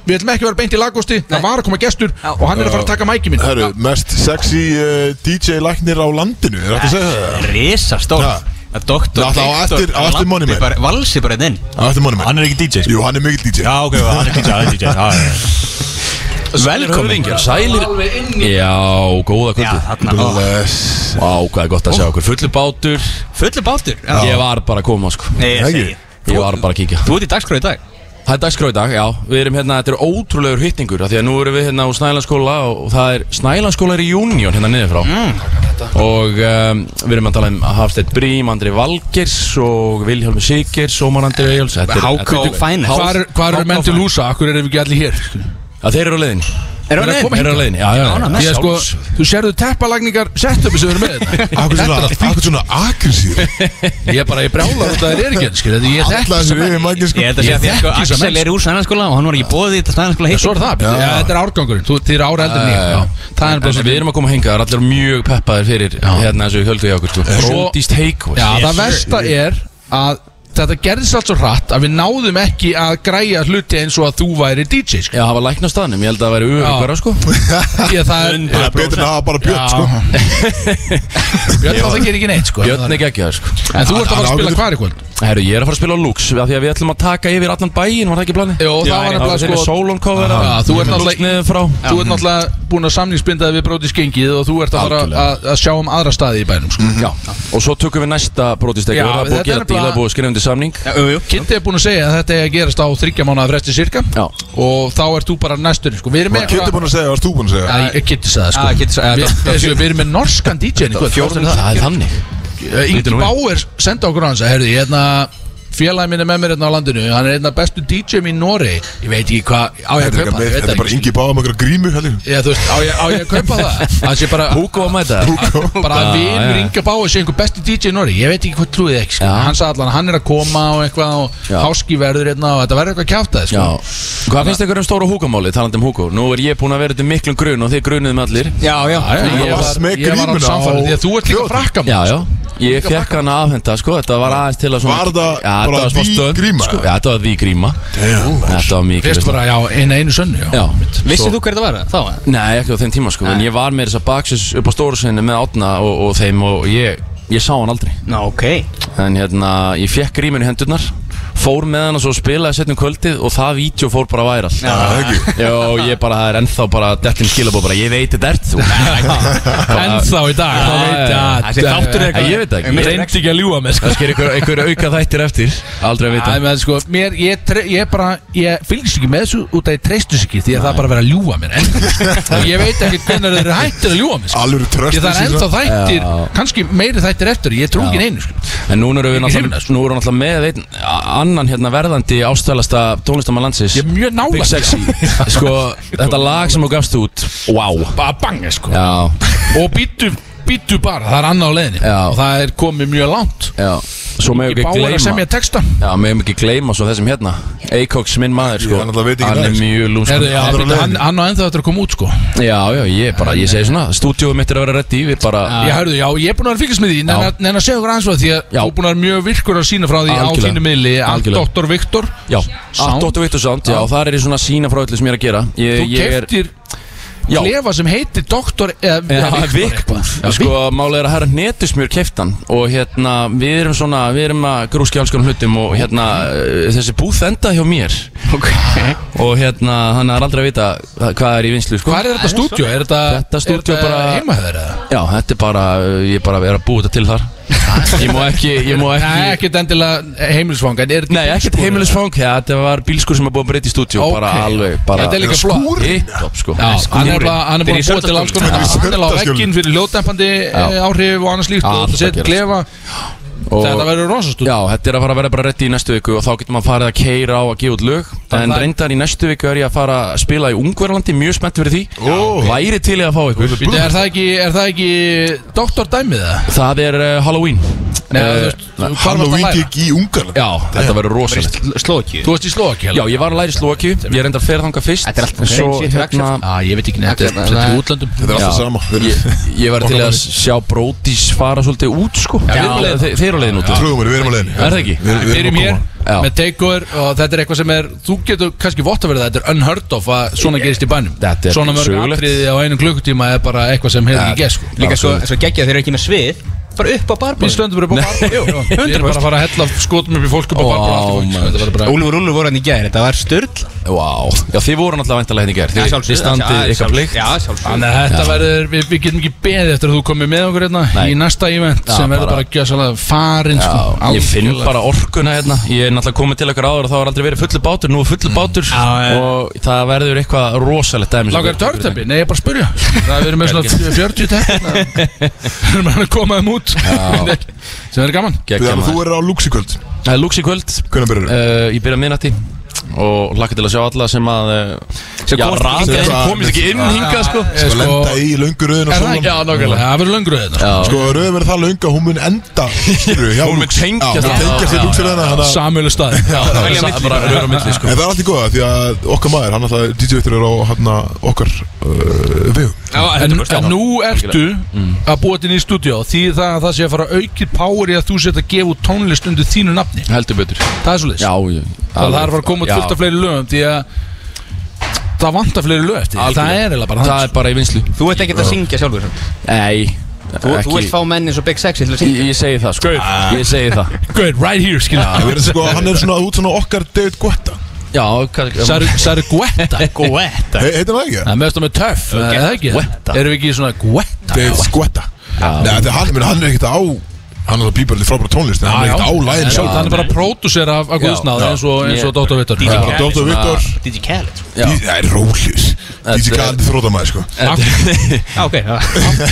S4: við ætlum ekki að vera beint í lagosti, það var að koma gestur og hann er að fara að taka mæki mín
S2: Herru, mest sexy uh, DJ læknir á landinu, er þetta að segja það?
S3: Risa
S2: Ja.
S3: stórt Að doktor
S2: Já, þá á eftir- á eftir Money Man.
S3: Valsi bara hérna inn
S2: Á eftir manni minn
S5: Hann er ekki DJ
S2: Jú, hann er mikill DJ
S5: Já, ok, hann er DJ, hann er DJ já, já, já.
S13: Velkomin, sælir Já, góða kvöldi
S2: Bless
S13: Vá, hvað er gott að sjá okkur Fullu bátur
S3: Fullu bátur
S13: Já. Ég var bara að koma sko
S3: Nei, ég segi.
S13: Ég var bara að kíkja
S3: Þú ert í dagskrá í dag
S13: Það er dagskrá í dag, já Við erum hérna, þetta er ótrúlegur hittingur af Því að nú erum við hérna á Snælandsskóla Og það er Snælandsskóla reunion hérna niður frá
S3: Mm.
S13: Og um, við erum að tala um Hafsteinn Brím, Andri Valgers Og Vilhjálmur Sigers, Ómar Andri Eyjáls
S4: Hvar er- Hvar eru menn til húsa, akkur erum við ekki allir hér sko.
S13: Já, þeir eru á leiðin
S4: Eru á leiðinni?
S13: Þeir eru á leiðin, já, já, já,
S4: Ánægð með Því að sko, þú sérðu teppalagningar setupið sem við erum með
S2: Akkur svona, akkur svona agressív
S4: Ég bara, ég brjála þetta er ekki, skil, þetta ég þekki
S2: Alla
S4: þessa
S2: þessir yfir
S4: menn.
S2: mækni sko
S3: Ég held að segja því að sko,
S4: þekki þessa
S3: Axel
S4: menn,
S3: er úr sænarskóla og hann var ekki bóðið í þetta sænarskóla
S4: Svo er það, já, þetta er árgangurinn, þú þið eru ára eldur nýja
S13: Já, já.
S4: Það er
S13: En
S4: bara svo
S13: við erum að koma hingað, það er allir mjög peppaðir fyrir hérna þessu höldu hjá okkur sko.
S4: Svo-
S13: Brótist heikvæð
S4: Já, það versta er að þetta gerðist allt svo hratt að við náðum ekki að græja hluti eins og að þú væri DJ sko.
S13: Já, það var lækna staðnum, ég held að það væri öðvökkara sko
S4: Ég, það er
S2: Það er betur en að hafa bara bjött sko
S4: Björn það gerir ekki neitt sko
S13: Björn er geggjaður sko
S4: En þú ert að fara að spila hvar í kvöld?
S13: Herru, ég er að fara að spila á Lux af Því að við ætlum að taka yfir allan bæinn, var það ekki planið?
S4: Jó, það var nefnilega sko
S13: Solon cover
S4: Já,
S13: af-
S4: Þú ert
S13: Lux niður frá
S4: náttúrulega Þú ert náttúrulega búin að samlingsbinda við bróti skengið og þú ert að fara
S13: Algjörlega.
S4: að- að sjá um aðra staði í bænum sko
S13: Já, og svo tökum við næsta brótistegi
S4: Já,
S13: Það er búið
S4: þetta er
S13: að gera
S4: nefnilega-
S13: díla, búið að skrifa undir samning
S4: Kitti er búin að segja að þetta er að gerast á þryggja mánuða fresti cirka
S13: Já.
S4: og þá ert þú bara næstur sko. Við erum með
S2: Kittu búin að segja, varst þú búin að segja?
S4: Ég kitti sagði
S3: Já, Ah, Kiddi sagði-
S4: það
S3: þetta-
S4: sko Við- Við erum með norskan DJ-n í kvöld
S13: Fjórðum
S4: veistu það?
S13: það er þannig
S4: Ingi Bauer senda okkur hans að herði, ég hérna félagi minn er með mér hérna á landinu hann er einna bestu DJ minn í Nóri ég veit ekki hvað á ég að
S2: Þetta er
S4: kaupa
S2: bara-
S4: ég veit
S2: þetta er
S4: það
S2: bara
S4: ekki.
S2: yngi báða með okkur grímu heldur
S4: Já, þú veist, á ég, á ég að kaupa það það sé bara
S13: Hugo að mæta
S2: Hugo.
S4: bara að
S13: Já,
S4: vinur
S13: já.
S4: Ingi Bauer sé einhver besti DJ í Nóri ég veit ekki hvað trúið ekki sko.
S13: Já.
S4: hann sagði allan að hann er að koma og eitthvað og
S13: Já.
S4: háski verður hérna og þetta verður eitthvað kjátt að
S13: Já,
S4: sko.
S13: hvað finnst ykkur um stóra húkamáli, talandi um húkó? Nú er ég búinn að vera þetta miklum grun og þið grunuðum allir
S3: Já, já
S4: Já, já,
S2: Þú
S4: ég
S2: varst
S4: var,
S2: með
S4: ég var á
S2: grímuna á
S4: samfæri því að þú ert líka
S2: hljóðum.
S4: frakka sko.
S13: Já, já Ég fekk hana afhenda, sko, þetta var aðeins til að svona
S2: Var það
S13: Já, þetta
S2: bara
S13: var smá
S2: því
S13: stönd,
S2: gríma?
S13: Sko, já, þetta var því gríma Þetta var mikið
S4: fyrst bara, já, eina einu sönnu já.
S13: Já,
S3: Vissið þú hver þetta var það? Þá?
S13: Nei, ekki á þeim tíma, sko En ég var með þess að baksis upp á stóru sinni með átna og, og þeim og ég, ég sá hann aldrei
S3: Ná, ok
S13: En hérna, ég fekk gríminu í hendurnar Fór með hann og svo spilaði setnum kvöldið og það vídeo fór bara væral
S2: Það ekki
S13: Jó, ég bara, það er ennþá bara dettin skilabó bara, ég veit þetta ert þú
S4: ennþá í dag þá veit ég að-
S3: Þessi þáttur er
S13: Ég veit það ekki.
S4: Ég reyndi ekki að ljúa mig sko.
S13: Það sker einhver, einhver auka þættir eftir Aldrei að vita
S4: Æ, með, sko, mér, ég, tre, ég bara, ég fylgist ekki með þessu út að ég treystu þessu ekki því að það er bara að vera að ljúa mér en ég veit ekki hvernig þeir eru hættir að ljúa mér sko.
S2: Alvöru tröst
S4: því það er
S2: í þessu.
S4: ennþá þættir,
S13: Já.
S4: kannski meiri þættir eftir ég trú ekki neinu sko.
S13: En núna erum við
S4: Ekki
S13: náttúrulega, nú erum við náttúrulega með einn annan hérna verðandi ástælasta tónlistamann landsins
S4: ég er mjög
S13: Big
S4: nála
S13: Sexy Sko, þetta lag sem þú gafst út Wow
S4: bara banga sko.
S13: Já
S4: og býttu býttu bara, það er annað á leiðinni Já. og það er komið mjög langt
S13: Já, svo meðum
S4: Ingi
S13: ekki
S4: Bauer
S13: gleyma
S4: að semja texta.
S13: Já, meðum ekki gleyma svo þessum hérna Eikoks, minn maður, sko
S4: hann náttúrulega veit ekki
S13: Hann er
S4: neitt, sko.
S13: mjög lúmskur
S4: Herðu, já, býttu, hann, hann á ennþá eftir að koma út sko
S13: Já, já, ég bara, ég segi svona Stúdíóið mitt er að vera reddi, við bara
S4: Já, hörðu, já, ég er búin að vera að fylgjast með því
S13: Já.
S4: Neina að segja okkur aðeins frá því að þú er búin að vera mjög virkur að sína frá því á
S13: Algjörlega.
S4: þínu miðli Allt
S13: Algjörlega.
S4: Dr. Viktor
S13: Já, allt Dr. Victor Sound, já, þar er ég svona sína frá öllu sem ég er að gera ég,
S4: Þú
S13: ég er-
S4: keftir
S13: Já.
S4: klefa sem heitir Dr.
S13: Já,
S4: Viktor
S13: Vikbús Sko, málega er að herra hnetusmjör keftan Og hérna, við erum svona, við erum að grúski alls konum hlutum Og hérna, eh, þessi búð enda hjá mér Ok Og hérna, hann er aldrei að vita hva- hvað er í vinslu, sko
S4: Hvað er þetta stúdíó? Er þetta,
S13: Þetta stúdíó
S4: er þetta
S13: bara
S4: heima hjá þér eða?
S13: Já, þetta er bara, eh, ég bara er að búa þetta til þar Ég má ekki, ég má ekki
S4: Nei, ekkert endilega heimilisfang en er þetta
S13: Nei, ekkert
S4: bílskúr,
S13: heimilisfang, ja, þetta var bílskur sem er búið að breyta í stúdíu
S4: Ok.
S13: Bara alveg, bara
S4: Þetta er líka flott.
S13: Hitt upp, sko
S4: Já, hann er bara, hann er bara búið til alls konar Hann er á vegginn fyrir ljóðdæmpandi
S13: Já.
S4: áhrif og annars líkt
S13: Já,
S4: og
S13: allt að
S4: sett
S13: gerast.
S4: klefa Þetta verður rosastúd
S13: Já, þetta er að fara að vera bara reddi í næstu viku og þá getur maður farið að keira á að gefa út lög En
S4: það-
S13: reyndar í næstu viku er ég að fara að spila í Ungverlandi, mjög spennt fyrir því oh. Væri til ég að fá ykkur
S4: Býtu, er það ekki, er það ekki Doktor dæmið það?
S13: Það er uh, Halloween
S4: Nei,
S13: Eh,
S4: þú veist, hvar varstu að Halloween læra? gig
S2: í Ungarland
S13: Já, þetta verður rosalegt
S3: Slóki
S4: Þú varst í Slóki
S13: Já, ég var að læra í Slóki Ég reyndar að ferð þanga fyrst Þetta er alltaf
S4: hérna, Já,
S13: sko.
S4: Ah, ég veit ekki neitt, þetta er í útlöndum
S13: Já, Ég, ég var til að sjá Brótis fara svolítið út sko
S4: Já, við erum á leiðinni.
S13: þe- þeir eru leiðin út
S2: Trúðum við, við erum á leiðinni.
S13: Er það ekki?
S2: Við- við
S4: Við erum hér
S13: Já.
S4: með takeover og þetta er eitthvað sem er þú getur kannski vott að vera það, þetta er unheard of að svona gerist í bænum
S13: Þetta er
S4: Svona mörg
S13: sögulegt.
S4: atriði á einum klukkutíma er bara eitthvað sem hefur ekki gert sko
S3: Líka svo, svo geggja þeir eru ekki með svið Bara upp á barbarinn
S4: Við stöndum bara upp á barbarinn. Jú, jú, við erum bara að fara að hella skotum upp í fólk upp á barbarinn og allt í fólk, sko. Þetta verður bara-
S3: Úlfur Úlfur voru hann í gær, þetta var styrl
S13: Vá, já þið voru náttúrulega væntalega hérna í gerð Þið, þið standið ykkar plikt
S3: Já, sjálfsög
S4: Þannig að þetta verður, við, við getum ekki beðið eftir að þú komið með okkur hérna
S13: Nei.
S4: í næsta event
S13: Já,
S4: sem verður
S13: bara-
S4: bara að gjösa alveg farin sko,
S13: Já, ég finn
S4: algjörlega.
S13: bara orkuna hérna Ég er náttúrulega komið til okkar áður og það var aldrei verið fullur bátur Nú er
S4: Mm.
S13: fullur bátur og það verður eitthvað rosalegt dæmi sem
S4: Langar
S13: verður-
S4: törtöpi? Nei, ég er bara að spurja Það verður með svona 40 teppin Við erum að koma þeim út sem verður gaman
S13: Geggjað,
S2: Þú
S13: maður.
S2: er á Lux í kvöld
S13: Það er lúks í kvöld
S2: Hvernig byrjar
S13: uh, Ég byrja minnati og hlakka til að sjá alla sem að uh, Já,
S2: komast ekki
S13: rata
S2: inn.
S13: sem komist ekki inn
S2: Já,
S13: hingað sko
S2: Sko lenda í löngu röðin og
S13: Er það ekki? Já, nákvæmlega.
S4: Það verður löngu röðin
S13: Já.
S2: Sko röðin verður það löngu að hún mun enda skilurðu, hjá
S13: Hún mun
S2: Lux.
S13: tengjast
S2: Já, hún
S13: þarna.
S2: tengjast
S13: Já,
S2: í Lux
S13: já,
S2: röðina
S13: já.
S2: hérna, þannig að-
S4: Samölu staði
S13: velja milli. Bara rör á milli, sko.
S2: En það er allt í góða því að okkar maður, hann alltaf DJ Victor er á hann okkar uh, vegum
S4: En, en nú ertu
S2: Mm.
S13: Mm.
S4: að búa þetta inn í stúdíó því það að það sé að fara aukið power í að þú set að gefa út tónlist undir þínu nafni
S13: Heldur betur
S4: Það er svolítið
S13: Já, já
S4: Það þarf að fara að koma út fullt af fleiri lögum því að það vantar fleiri lög eftir Það er eiginlega bara
S13: Það er bara í vinslu
S3: Þú ert ekkert að syngja sjálfur samt.
S13: Nei
S3: Þú, þú vilt fá menni eins og Big Sexy til að syngja
S13: Ég segi það sko Ég segi það
S4: Good, right Ah. here, skilja
S2: Já, við erum sko, hann er svona út svona okkar David Guetta
S13: Já,
S4: Sari Guetta
S13: Guetta
S2: He- heitir hann ekki?
S4: Það meðast það með töff,
S2: Ok.
S4: okay. eða ekki?
S2: Guetta.
S4: Erum við ekki í svona Guetta?
S2: David Guetta Nei, þetta er hann, ég meina, hann er ekkert á Hann er alveg bíbarlið frábæra tónlist En hann er ekkert á læðin sjálf
S4: Hann er bara pródúser af, af guðsnáði eins og, eins og Dóttar Vittur
S2: Já, Dr. Viktor
S3: DJ Khaled
S2: Það er rólið DJ Khaled þrótamæði sko
S3: Já, ok já.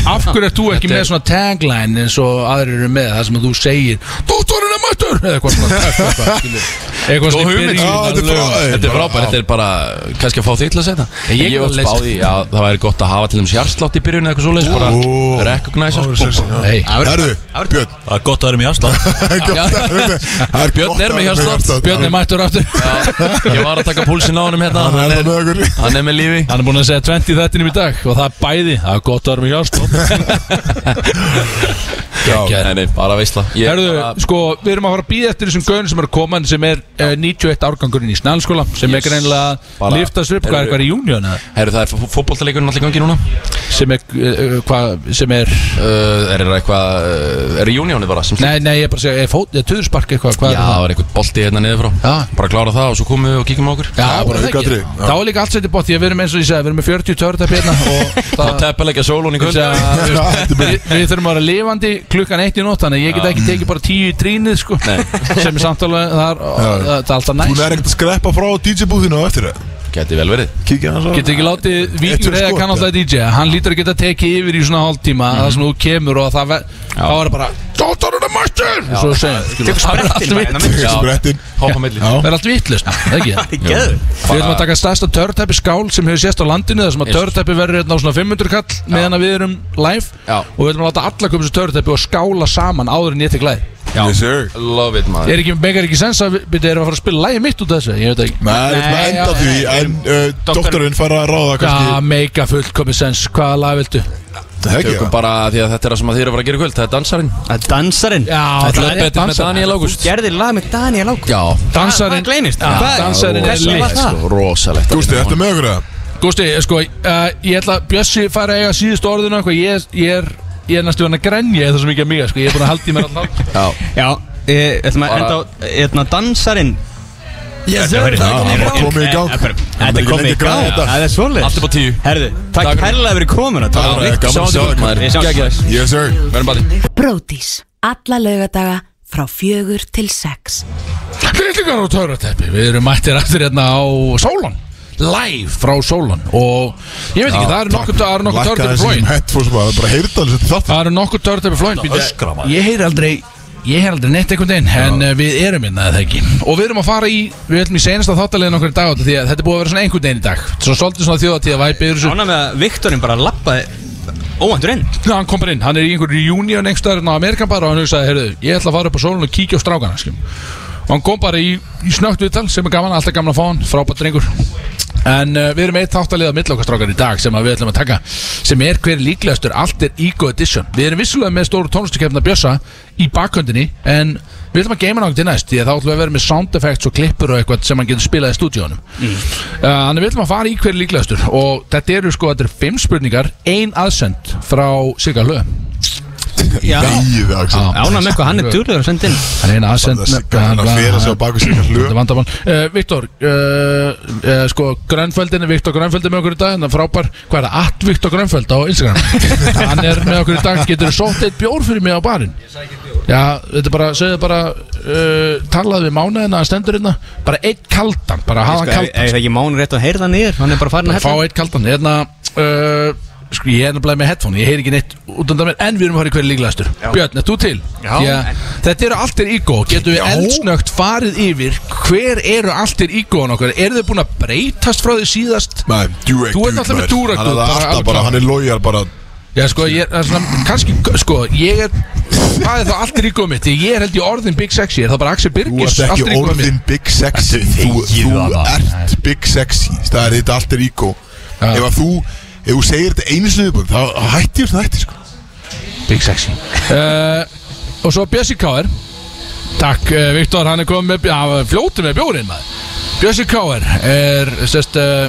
S4: Af hverju ert þú ekki með svona tagline eins og aðrir eru með það sem þú segir Dóttarinn er mættur eða eitthvað svona töff, eitthvað, skilur. Eitthvað
S13: Góð
S4: svona í
S13: hugmynd.
S4: byrjun
S13: Já,
S4: af
S13: þetta er
S4: lögum.
S13: frábært. Þetta er frábært, þetta er bara kannski að fá þig til að segja það
S4: Ég
S13: Ég
S4: get
S13: hef
S4: alveg leyst
S13: spáði að það væri gott að hafa til þeim hjarslátt í byrjun eða eitthvað svoleiðis bara recognize
S4: Hey.
S2: Herðu, Björn
S5: Það er gott að vera með hjárslátt
S13: Björn er með hjarslátt
S4: Björn er mættur aftur
S13: Ég var að taka púlsinn á honum hérna
S2: Hann er
S13: Hann
S2: með okkur
S13: er- hann er með lífi
S4: Hann er búinn að segja 20 þettinum í dag og það er bæði, það er gott að vera með hjálp
S13: Já, nei, nei, bara veistla Ég-
S4: Herðu,
S13: bara-
S4: sko, við erum að fara að býða eftir þessum gauðin sem eru að koma en sem er uh, 91 árgangurinn í snælskóla sem er greinlega
S13: Bara-
S4: liftast upp, hvað er
S13: Heyrðu-
S4: eitthvað í júniun eða?
S13: Herru, það er fótboltaleikurinn allir gangi núna
S4: sem er, uh, hvað, sem er
S13: uh, Er það eitthvað, uh, er reunionið bara sem
S4: nei, nei, ég er bara að segja, er fót, er töðurspark eitthvað, hvað
S13: Já,
S4: er
S13: það
S4: það?
S13: var eitthvað bolti hérna niður frá
S4: Já.
S13: Bara klára það og svo komum við og kíkjum á okkur
S4: Já, það
S2: bara
S4: er það
S2: aukaatriði,
S4: ekki.
S2: já.
S4: Þá er líka allt sett í bótt, því að við erum eins og ég segja, við erum með 40 törtap hérna og
S13: Þá teppal ekki að sólun í kvöld
S4: Þess að, þú veist, við, við þurfum að vera lifandi klukkan eitt í nótt þannig að ég get ekki tekið bara tíu í trínið sko, sem er samtálega það er, það er alltaf sko.
S2: Þú
S4: næst
S2: er ekkert að skrepa frá DJ búðinu á eftir það
S13: Gæti vel verið
S2: Kíkja hans á sko-
S4: Getur ekki látið Víkur eða kannallega DJ Hann lítur að geta tekið yfir í svona hálftíma
S13: Mhm.
S4: Það sem þú kemur og það ver- Þá er það bara Dóttarinn er mættur Og svo segja
S13: Tekur sprettinn bara hérna milli. Já.
S2: Sprettinn.
S13: Hoppa milli.
S4: Það er allt vittlust Ekki
S13: Jú.
S4: Við ætlum að taka stærsta törrtæpi skál sem hefur sést á landinu Það sem að törrtæpi verður hérna á svona 500 kall Meðan að við erum live
S13: Já.
S4: Og við ætlum að láta alla koma þessu törrtæpi og skála saman áður en ég tek lagi
S2: Yes sir
S13: Love it maður
S4: Er ekki, megar ekki sens að við erum að fara að spila lægi mitt út af þessu? Ég veit ekki
S2: Nei, við ætlum að enda því En uh, doktorinn fara að ráða kannski
S4: Já, meika fullkomi sens, hvaða lag viltu?
S2: Það ekki,
S13: Tökum
S2: já.
S13: bara því að þetta er það sem að þið eru að fara að gera í kvöld Það er dansarinn
S3: Það er dansarinn
S4: Já,
S13: Þetta
S4: það
S13: er
S4: er
S13: betur með
S4: dansarinn.
S13: Daniel Ágúst
S3: Gerðir lag með Daniel Ágúst
S13: Já
S4: Dansarinn
S3: Það gleynist
S4: Já, dansarinn er
S3: Hversu var
S4: lit.
S3: það?
S13: Rosalegt
S2: Gústi, ertu með okkur það?
S4: Gústi, sko, uh, ég ætla að Bjössi fara að eiga síðustu orðinu eitthvað Ég, ég er, ég er næstu hann að grenja Það er svo mikið að mig, sko, ég er búin að halda í mér alltaf
S13: Já
S3: Já, ég ætlum að enda á hérna, dansarinn
S6: Yes,
S3: Þetta
S6: sir,
S3: verður-
S6: það er komið í
S3: Já,
S6: gang.
S2: Komið í gang.
S3: Þetta er-
S2: Það er
S3: Þetta
S2: ekki
S3: komið í
S2: lengi
S3: gang
S2: græða þetta.
S3: Það er svolítið
S13: Allt upp á tíu
S3: Herðu, takk
S13: Takk.
S3: kærlega fyrir komin
S2: Það var eh, gaman að sjá þig, maður.
S3: Við sjáumst.
S13: Gægjæs
S2: Yes sir
S13: Verðum bara
S8: Brótis. Alla laugadaga frá fjögur til sex.
S4: Grillingar og törrateppi, við erum mættir aftur hérna á Sólon Live frá Sólon Og ég veit ekki, það eru nokkur, það eru nokkur
S2: Lækka
S4: törrateppi
S2: þessi
S4: flóin
S2: headphones bara, bara heyrðu alveg þetta þátt
S4: Það eru nokkur törrateppi flóin
S5: Það öskra, maður.
S4: Ég heyri aldrei Ég heyr aldrei neitt einhvern veginn, en uh, við erum hérna eða ekki Og við erum að fara í, við ætlum í senasta þáttalegin okkur í dag út af Því að þetta er búið að vera svona einhvern veginn í dag Svo svolítið svona þjóðatíða væpið yfir þessu
S3: Ána með að Viktorinn bara lappaði óæntur inn
S4: Já, hann kom bara inn, hann er í einhverju reunion einhverstaðar á Amerikan bara og hann hugsaði, heyrðu, ég ætla að fara upp á sólun og kíkja á strákana, skjum. Og hann kom bara í, í snögt viðtal sem er gaman, alltaf gaman að fá hann, frábært drengur. En uh, við erum eitt þáttaliða millokkastrákar í dag sem að við ætlum að taka, sem er hver er líklegastur, allt er ego edition. Við erum vissulega með stóru tónlistakefna Bjössa í bakhöndinni, en við ætlum að geima náttúrulega til næst, því að þá ætlum við að vera með sound effects og klippur og eitthvað sem hann getur spilað í stúdíónum.
S3: Mm.
S4: Uh, Þannig við ætlum að fara í hver er líklegastur og þetta eru sko, þetta eru fimm spurningar, ein aðsend frá Sigga Hlöð.
S3: Já.
S2: Þegið það, Axel
S3: Ána með hvað hann er duglegur að senda inn
S4: Það er eina aðsend.
S2: Það er sigga hann að fyrir sig á baku sig
S4: Þetta er vandamál uh, Viktor, uh, uh, sko Grönföldin er Viktor Grönföld er með okkur í dag Þannig frábær, hvað er það? At Viktor Grönföld á Instagram Hann er með okkur í dag Getur þú sótt eitt bjór fyrir mig á barinn? Já, þetta er bara, segðu bara uh, Talaðu við mánuðina að stendur hérna Bara eitt kaldan, bara hafa
S3: Sko,
S4: hann
S3: ef-
S4: kaldan
S3: ef það ekki mánu rétt að heyrða hann niður Hann er bara farin að
S4: Bara fá
S3: hella
S4: eitt kaldan Hérna, uh, sko ég er nefnilega með headphone Ég heyri ekki neitt út undan mér En við erum að fara í hverju líklegastur Björn, er þú til? Já Þetta eru alltir ígó Getum við eldsnögt farið yfir Hver eru alltir ígóan okkar? Eru þau búin að breytast frá því síðast?
S2: Nei, Durek
S4: Þú ert alltaf með Durek
S2: Hann er
S4: Dude,
S2: það
S4: bara
S2: alltaf
S4: alveg
S2: bara,
S4: klart.
S2: hann er lójar bara
S4: Já, sko, ég er það er svona Kanski, sko, ég er Það er þá alltir ígóa mitt Því Ég er held í orðin Big Sexy Er það bara Axel
S2: Þú
S4: Birgis
S2: ert
S4: alter
S2: ekki
S4: ego mitt?
S2: orðin Big Sexy Þú,
S5: þegið
S2: þú
S5: það.
S2: ert Big Sexy Það er þetta allt er ígó
S4: Já.
S2: Ef að þú, ef þú segir þetta einu sinni viðbúin Þá hætti þér þetta sko
S4: Big Sexy uh, Og svo Bjössi Káir Takk, uh, Viktor, hann er komið með Hann var fljótur með bjórinn maður Bjössi Káir er sest, uh,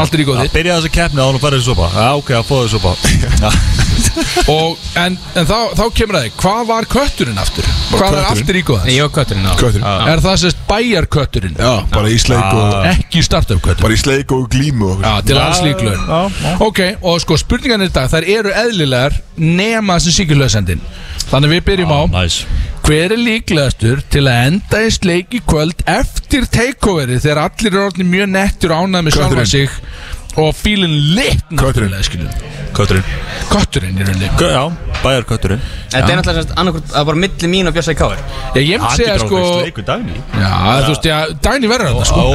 S4: Aldrei í góði
S5: Það byrjaði þessa keppni án og færði þessu sopa Já, ok, það fóði þessu sopa
S4: og, En, en þá, þá kemur það Hvað var kötturinn aftur? Hvað var
S2: kötturinn?
S4: aftur í góða?
S3: Ég og kötturinn á
S2: Kötturinn.
S4: Er það sérst bæjarkötturinn? Ah.
S2: Já, bara í sleik og
S4: Ekki startup kötturinn
S2: Bara í sleik og glímu og
S4: Já, til alls líklegur Ok, og sko spurningan er í dag Þær eru eðlilegar nema þessi síkilöðsendin Þannig við byrjum á
S5: Næs
S4: Hver er líklegastur til að enda í sleik í kvöld eftir takeoveri þegar allir eru orðin mjög nettur og ánæð með sjálfa
S2: Kötturinn.
S4: sig og fílinn lit
S2: Kötturinn.
S5: Kötturinn
S4: Kötturinn í rauninni
S5: Kö, Já, bæjar kötturinn
S3: Þetta er náttúrulega semst annarkvort Það er bara milli mín og Björnsæk Káir
S4: Já, ég myndi segja sko
S5: Leikur dagni
S4: Já, þú veist, já, Dæni verður hann sko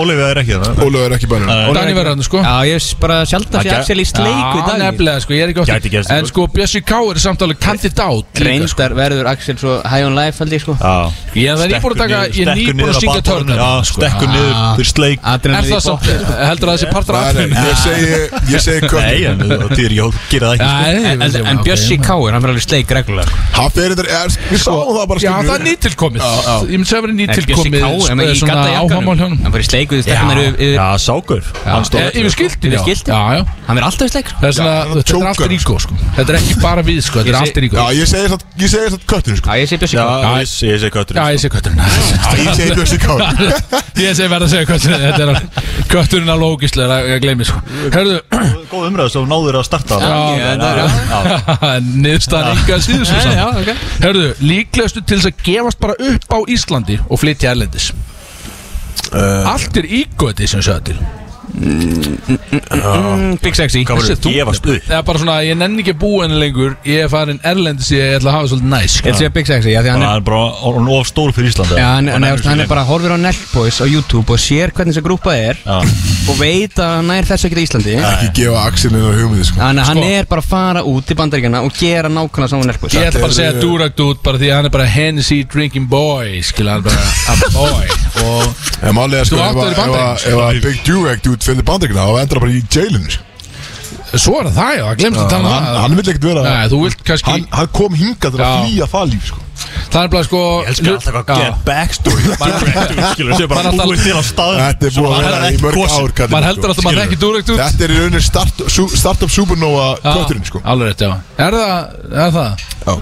S5: Ólífið er ekki það
S2: Ólöf er ekki bænum
S4: Dæni verður hann sko
S3: Já, ég er bara sjálf að sé
S5: Það gæ-
S3: Axel í sleiku í
S4: Já,
S3: dag
S4: nefnilega sko, ég er ekki
S5: Gæti gerst,
S4: ofta En
S5: sko.
S4: sko, Bjössi Ká er samt alveg kandidat líka, sko.
S3: Reyndar verður Axel svo high on life held ég sko
S5: Já
S4: Ég það er nýbúin að taka, ég er nýbúin að syngja törnum
S5: Já, stekkur niður fyrir sleik
S4: Er
S3: Adrenalin í
S4: það samt,
S3: botni.
S4: heldur það að þessi partur af
S2: Nei, nei, ég segi, ég segi
S5: Nei,
S2: kötturinn
S5: en það er ekki, gera það ekki sko.
S3: En, en, en Björnsæk Káir, hann verður alveg sleik reglulega sko.
S2: Hann fyrir þetta, er- við sáum það bara
S4: Sko, Já,
S2: skilur
S4: það er nýtilkomið Ég myndi segja að vera
S3: En Bjössi Káir, hann
S4: nýtilkomið sko,
S3: er í
S4: Svona
S3: gadda
S4: áhamál
S3: jakkanum
S4: hjónum
S3: Hann fyrir sleik við stelpunar
S4: Já.
S3: yfir
S5: Já, sákur Hann
S4: Eh,
S5: stóð
S4: Yfir skiltin,
S3: Yfir skiltin?
S4: já, já
S3: Hann verður alltaf í sleik sko.
S4: Það er svona,
S2: Já,
S4: þetta er
S2: tjókar.
S4: allt ríko sko Þetta er ekki bara við sko, þetta
S3: Ég
S4: er
S3: sé-
S4: allt ríko
S2: Já, ég segi samt- ég segi þetta kötturinn sko
S3: Já, ég sé Björnsæk
S5: Já,
S3: Káir
S5: ég sé- ég segi
S4: Já,
S5: kötturinn
S4: ég segi kötturinn
S2: Já, Ég segi Björnsi Kár
S4: Ég segi verð að segja kötturinn Þetta er alveg- kötturinn alveg ógíslega að gleymi sko Hörðu,
S5: Góð umræð, svo náður að starta
S4: Já, niðurstaðan enga síður svo
S3: já,
S4: saman
S3: ok.
S4: Hörðu, líklegustu til þess að gefast bara upp á Íslandi og flytja erlendis Allt er ígöti sem sögða til
S3: Mm, Big Sexy
S4: Hvað verður gefast upp? Það er bara svona, ég nenni ekki að búa henni lengur Ég er farin erlendis, ég ætla að hafa svolítið næs
S3: Ég
S4: sko.
S3: ætla að segja Big Sexy, já, því hann
S5: Það
S3: er
S5: er bara orðin of stór fyrir Íslanda
S3: Já, hann, hann, hann, hann er bara horfir á Nelpois á YouTube og sér hvernig þessi grúpa er og veit að hann nær þessu ekkert í Íslandi
S2: Ekki gefa Axelina hugmyndi sko
S3: Þannig að hann er bara að fara út til bandaríkjana og gera nákvæmlega saman Nelpois
S4: Ég ætla bara að segja Durag Dude bara því að hann er bara Hennessy drinking boy Skilja hann er bara a boy Og
S2: En málega sko
S4: Þú átt
S2: ef að-
S4: þér í Bandaríkjunum,
S2: ef að- Ef að Big Durek út fyrir bandaríkina þá endur það bara í jailinu sko.
S4: svo er það það já, það glemst að tala um
S2: Hann-
S4: það
S2: Hann vil ekkert vera
S4: Nei, þú vilt kannski
S2: Hann, hann kom hingað til að
S4: Já.
S2: flýja það líf sko.
S4: Það er bara sko Ég
S5: elska alltaf hvað get backstory Backstory, skilur, sem bara búið til á staðnum
S2: Þetta er
S5: sem
S2: búið að
S5: hann
S2: vera
S5: er
S2: í
S5: ekki
S2: mörg
S5: kosinn.
S2: ár kallinn, sko.
S4: Maður heldur alltaf maður
S2: Skilurðu?
S4: þekki Durag Dude
S2: Þetta er í rauninni start, sú- Startup Supernova Kvöturinn sko
S4: Alveg rétt, já Er það, er það?
S2: Já.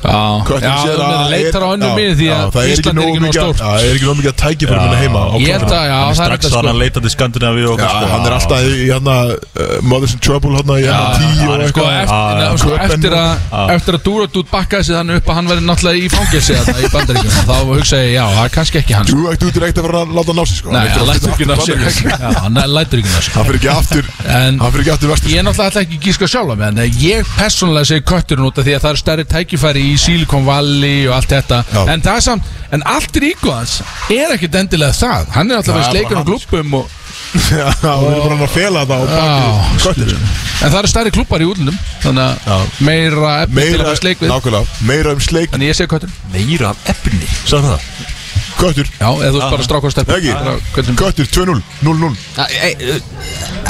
S4: Já, já,
S2: Kötturinn sér
S4: þú meina
S2: að-
S4: leitar á önnur
S2: Já,
S4: mið því
S2: já,
S4: að
S2: það er ekki
S4: Ísland er
S2: nógu
S4: ekki nóg
S2: mikið-
S4: stórt
S2: Já, það er ekki nógu mikið að tækja fyrir minna heima á
S4: Ég held
S2: kötturinn.
S4: að, já,
S5: Hann er
S4: það er
S5: strax
S4: þetta
S5: þar
S4: sko
S5: að leita til Skandinavíu og
S2: Já, hann er alltaf í hérna uh, Mothers in Trouble hérna í hérna tíu og
S5: hann er
S4: Sko,
S2: eitthvað
S4: eftir,
S5: Já, já,
S4: nefnum, sko,
S2: Köppen.
S4: eftir, a, eftir að Dúradút bakkaði sig þannig upp að hann verði náttúrulega í fangelsi þarna í bandaríkjum þá hugsa ég, já, það er kannski ekki hann sko.
S2: Þú ætti út reynd að vera að láta ná sig sko
S4: Nei,
S2: Hann vildi
S4: hann lætur ekki ná
S2: aftur
S4: sér
S2: Bandaríkin.
S4: Já, hann lætur ekki ná sér
S2: Hann fyrir ekki aftur
S4: En
S2: Hann fyrir ekki aftur vestur
S4: ég er náttúrulega ætla ekki að gíska sjálfa með hann en eh, Ég persónulega segi kötturinn út af því að það eru stærri tækifæri í Silicon Valley og allt þetta
S2: Já.
S4: En það er samt, en allt í hans er ekkit endilega það Hann er alltaf að sleikar á klubbum og
S2: Já, hann er bara að fela það á
S4: Já,
S2: bakið Köttur
S4: En það eru stærri klubbar í útlunum Þannig að meira efni til að
S2: Meira,
S4: fara sleik við
S2: nákvæmlega, meira um sleik
S4: Þannig ég segi kötturinn
S5: meira af efni Sæður það?
S2: Köttur,
S4: Já, eða þú ert bara strákar stelpur
S2: Ah. Ekki?
S4: Bara kötturinn.
S2: köttur, 2-0, 0-0
S3: eh,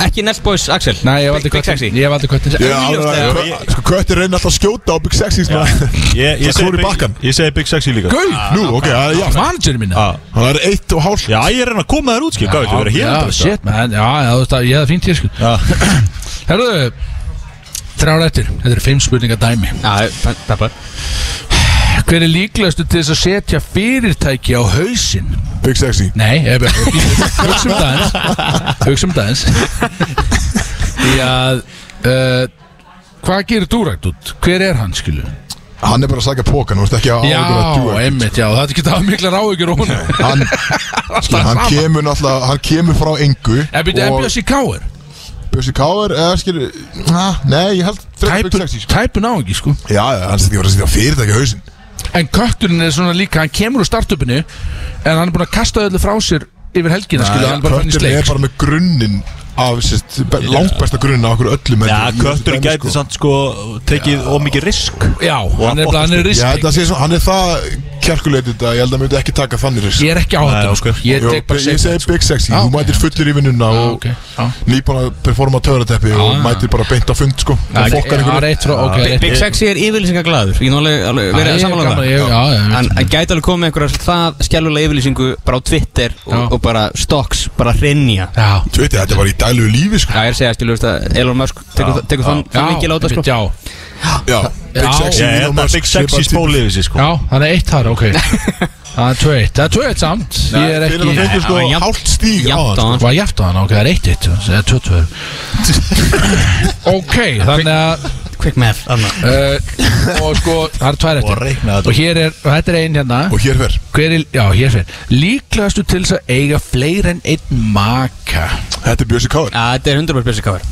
S3: Ekki Nelpois, Axel
S4: Nei, ég valdi
S3: Big
S4: kötturinn
S3: Sexy
S4: Ég valdi kötturinn
S2: Ég er alveg
S5: já, ég-
S2: að- Sko, köttur reynir alltaf að skjóta á Big Sexy sko.
S5: Ég, ég,
S2: Það
S5: segi
S2: klór í bakkann.
S5: big, ég segi Big Sexy líka
S4: Gauð
S2: Nú, ok, að- já
S4: Managerinn minna
S5: Já.
S2: Hann er eitt og hálf
S5: Já, ég er enn að koma þér út, skil, hvað veit, þú verið hér
S4: Já,
S5: undir þetta? sko.
S4: shit, man Já, já, þú veist að ég hefði fínt hér sko
S5: Já,
S4: Herðu Þrjár eftir Þetta eru fimm spurningar dæmi
S3: Já, peppar
S4: Hver er líklegastu til þess að setja fyrirtæki á hausinn?
S2: Big Sexy
S4: Nei, ég er bara Hugsa um dagins Hugsa um dagins Því að uh, Hvað gerir Duragt út? Hver er hann, skilu?
S2: Hann er bara að sækja pókan, þú veist ekki að
S4: Já,
S2: áhugur að dúa
S4: einmitt, já, það er ekki það mikla ráðugjur á hún
S2: Hann, skil, hann kemur náttúrulega, hann kemur frá engu
S4: En byrju, en Bjössi Káir
S2: Bjössi Káur, eða skil, na, nei, ég held frekar Big
S4: Tæpun,
S2: Sexy, sko.
S4: tæpun á ekki, sko
S2: Já, já, hann setja ekki að vera að setja fyrirtæki á hausinn
S4: En kötturinn er svona líka, hann kemur úr startupinu En hann er búin að kasta öllu frá sér Yfir helgina, skilu, hann er bara fann í
S2: Kötturinn er
S4: sleik
S2: bara með grunnin af, sérst, be- langbesta grunnin af okkur öllum
S5: já
S2: heldur, í þessu
S5: köttur
S2: dæmi,
S5: gæti samt sko tekið ómikið risk
S4: Já, hann er, bara- hann er
S2: Ég held
S4: risk
S2: að sé svona, hann er það kjarkuleitit að ég held að hann myndi ekki taka þannig risk
S4: Ég er ekki á
S5: Nei,
S4: þetta,
S5: ok.
S4: sko Ég
S2: Jó,
S4: tek bara
S2: Ég
S4: segja
S2: segi Big Sexy,
S4: Já,
S2: þú
S4: ok,
S2: mætir fullur í vinnuna
S4: Já,
S2: og
S4: ok, já. Ah.
S2: nýbúin að performa töðrateppi og
S4: já.
S2: mætir bara beint á fund, sko og fokkar
S4: Já,
S2: einhverju
S4: rétt frá, ok, rétt
S3: Big Sexy er yfirlýsingar glaður Ég nálega alveg
S4: Já,
S3: verið að
S4: ég er
S3: samanlega
S4: gaman-
S3: það
S4: ég- já, já, ég veit
S3: Hann hann gæti alveg komið með einhverja það skjálfulega yfirlýsingu bara á Twitter
S4: Já.
S3: og, og bara stocks, bara hrenja
S4: Já,
S2: Þú veit, þetta var í dælu lífi, sko
S3: Já, ég er að segja, skilur, veist að Elon Musk tekur tekur þann
S4: já,
S3: þann mikil á þetta, sko
S4: já,
S2: Já, Big
S4: Já,
S2: Sexy,
S5: Ég
S2: Elon
S5: held að
S2: Musk,
S5: Big Sexy
S2: svipað
S5: spóli yfir sig sko
S4: já, það er eitt þar, ok Það er tveitt, það er tveitt samt Ég er
S2: Fyrir að
S4: ekki,
S2: fengur sko
S3: já, jafnt-
S2: hálft stíg á
S3: Jafnt á
S2: hann
S3: hann
S4: hvað jæftu hann, ok, það er eitt eitt Það er tveitt tveitt Ok, þannig að
S3: Quick math Þannig
S4: uh, Og sko, það er tvær
S5: Og reikna þetta.
S4: eftir Og hér er, og þetta er ein hérna
S2: Og hér fer
S4: Hver er, já, hér fyrir Líklastu til þess að eiga fleiri en einn maka
S2: Þetta er Bjössi Káður
S3: Já, þetta er 100% bjössi káður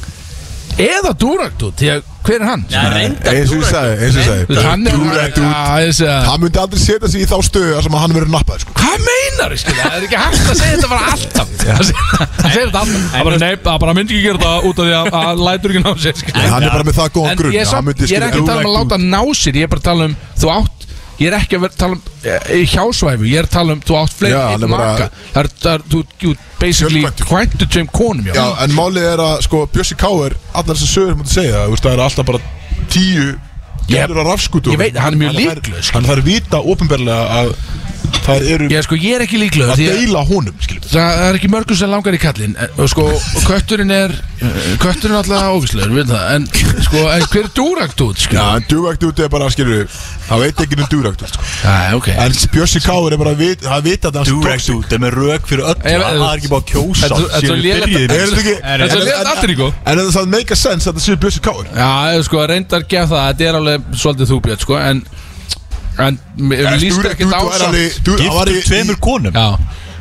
S4: Eða Dúraktu, því að hver er hann?
S3: Já, reyndar
S2: Eins og ég sagði, eins og ég
S4: Þú veist,
S2: sagði
S4: Hann er
S2: Durant út
S4: Já, ég segi það.
S2: Hann myndi aldrei setja sig í þá stöðu þar sem að hann verður nappað sko.
S4: Hvað meinar þið, skilja? Það er ekki hægt að segja þetta bara alltaf Það segir þetta alltaf Það bara, nei, það bara myndi ekki gera það út af því að- að hann lætur ekki ná sér,
S2: En
S4: skilja
S2: Hann er bara með það góðan
S4: En
S2: grunn
S4: ég,
S2: að hann
S4: samt,
S2: myndi,
S4: ég er
S2: skilja,
S4: ekki að tala um að
S2: Durant
S4: láta
S2: út.
S4: ná sér Ég er bara að tala um, þú átt Ég er ekki að vera að tala um eh, í hjásvæfu, ég er að tala um, þú átt fleiri
S2: Já,
S4: en
S2: hann er
S4: einn
S2: bara-
S4: maka Það er, það er, þú, þú, basically,
S2: Fjölkvæntur.
S4: kvæntu tveim konum,
S2: Já, en málið er að sko, Bjössi Káður Allar þessar sögur myndi segja þú veist, Það er alltaf bara tíu Gælur að rafskútu
S4: Ég veit, hann er mjög sko.
S2: fær-
S4: líklegur,
S2: Hann þarf vita ofinberlega að Það eru
S4: Ég, sko, ég er ekki líklega
S2: að deila honum skilur.
S4: Það er ekki mörgum sem langar í kallin og sko, og kötturinn er eh, kötturinn er alltaf óvíslegur, við það en sko, en hver er dúrakt út, sko
S2: Já, en dugvægt út er bara skilur Það veit ekki um dugvægt út sko.
S4: Já, ok
S2: En Bjössi Káður er bara að vita Það vita að hann
S5: Durekt út, þeim er rök fyrir öllu
S4: Ég veit-
S5: Það er ekki bara að kjósa
S4: Þetta- þetta er
S5: síðan við
S4: lélegt-
S5: byrjuðum í
S2: Er þetta
S5: þessu.
S2: ekki
S4: Er þetta liðan allir í sko? góð?
S2: En það er make a sense að þetta séu Bjössi Káur
S4: Já, eh, sko, reyndar gef það, þetta er alveg svolítið þúbjörn, sko, en en mér líst ekki
S2: Þú
S4: dásamt
S2: var í
S5: Giftur tveimur konum
S4: Já,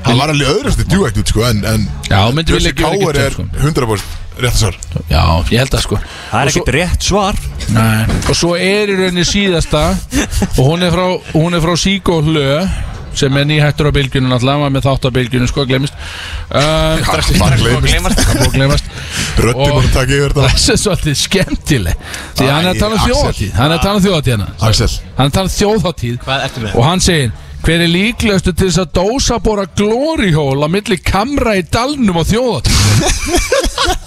S2: Hann var alveg öðrast í djúækt út sko En, en
S4: Já, myndi vilja
S2: Bjössi
S4: gera ekki
S2: Káir
S4: tveir,
S2: er
S4: sko.
S2: 100% rétt svar
S4: Já, ég held það sko
S2: Það er
S4: Og svo-
S2: ekkert rétt
S4: svar Nei. Og svo er í rauninni síðasta Og hún er frá, hún er frá Síko Hlö Sem er nýhættur á bylgjunum alltaf Var með þátt á bylgjunum, sko, glemist um,
S2: Bara gleymist.
S4: Bara glemist
S2: Röddin var að taka yfir þetta.
S4: Það er svolítið skemmtileg Því hann er að tala um
S2: Æ, Axel.
S4: þjóðhátíð Hann er að tala um þjóðhátíð hérna
S2: Axel
S4: Hann er að tala um þjóðhátíð
S3: Hvað ertu með?
S4: Og hann segir Hver er líklegustu til þess að dósa bóra glóriól á milli kamra í dalnum á þjóðatíð?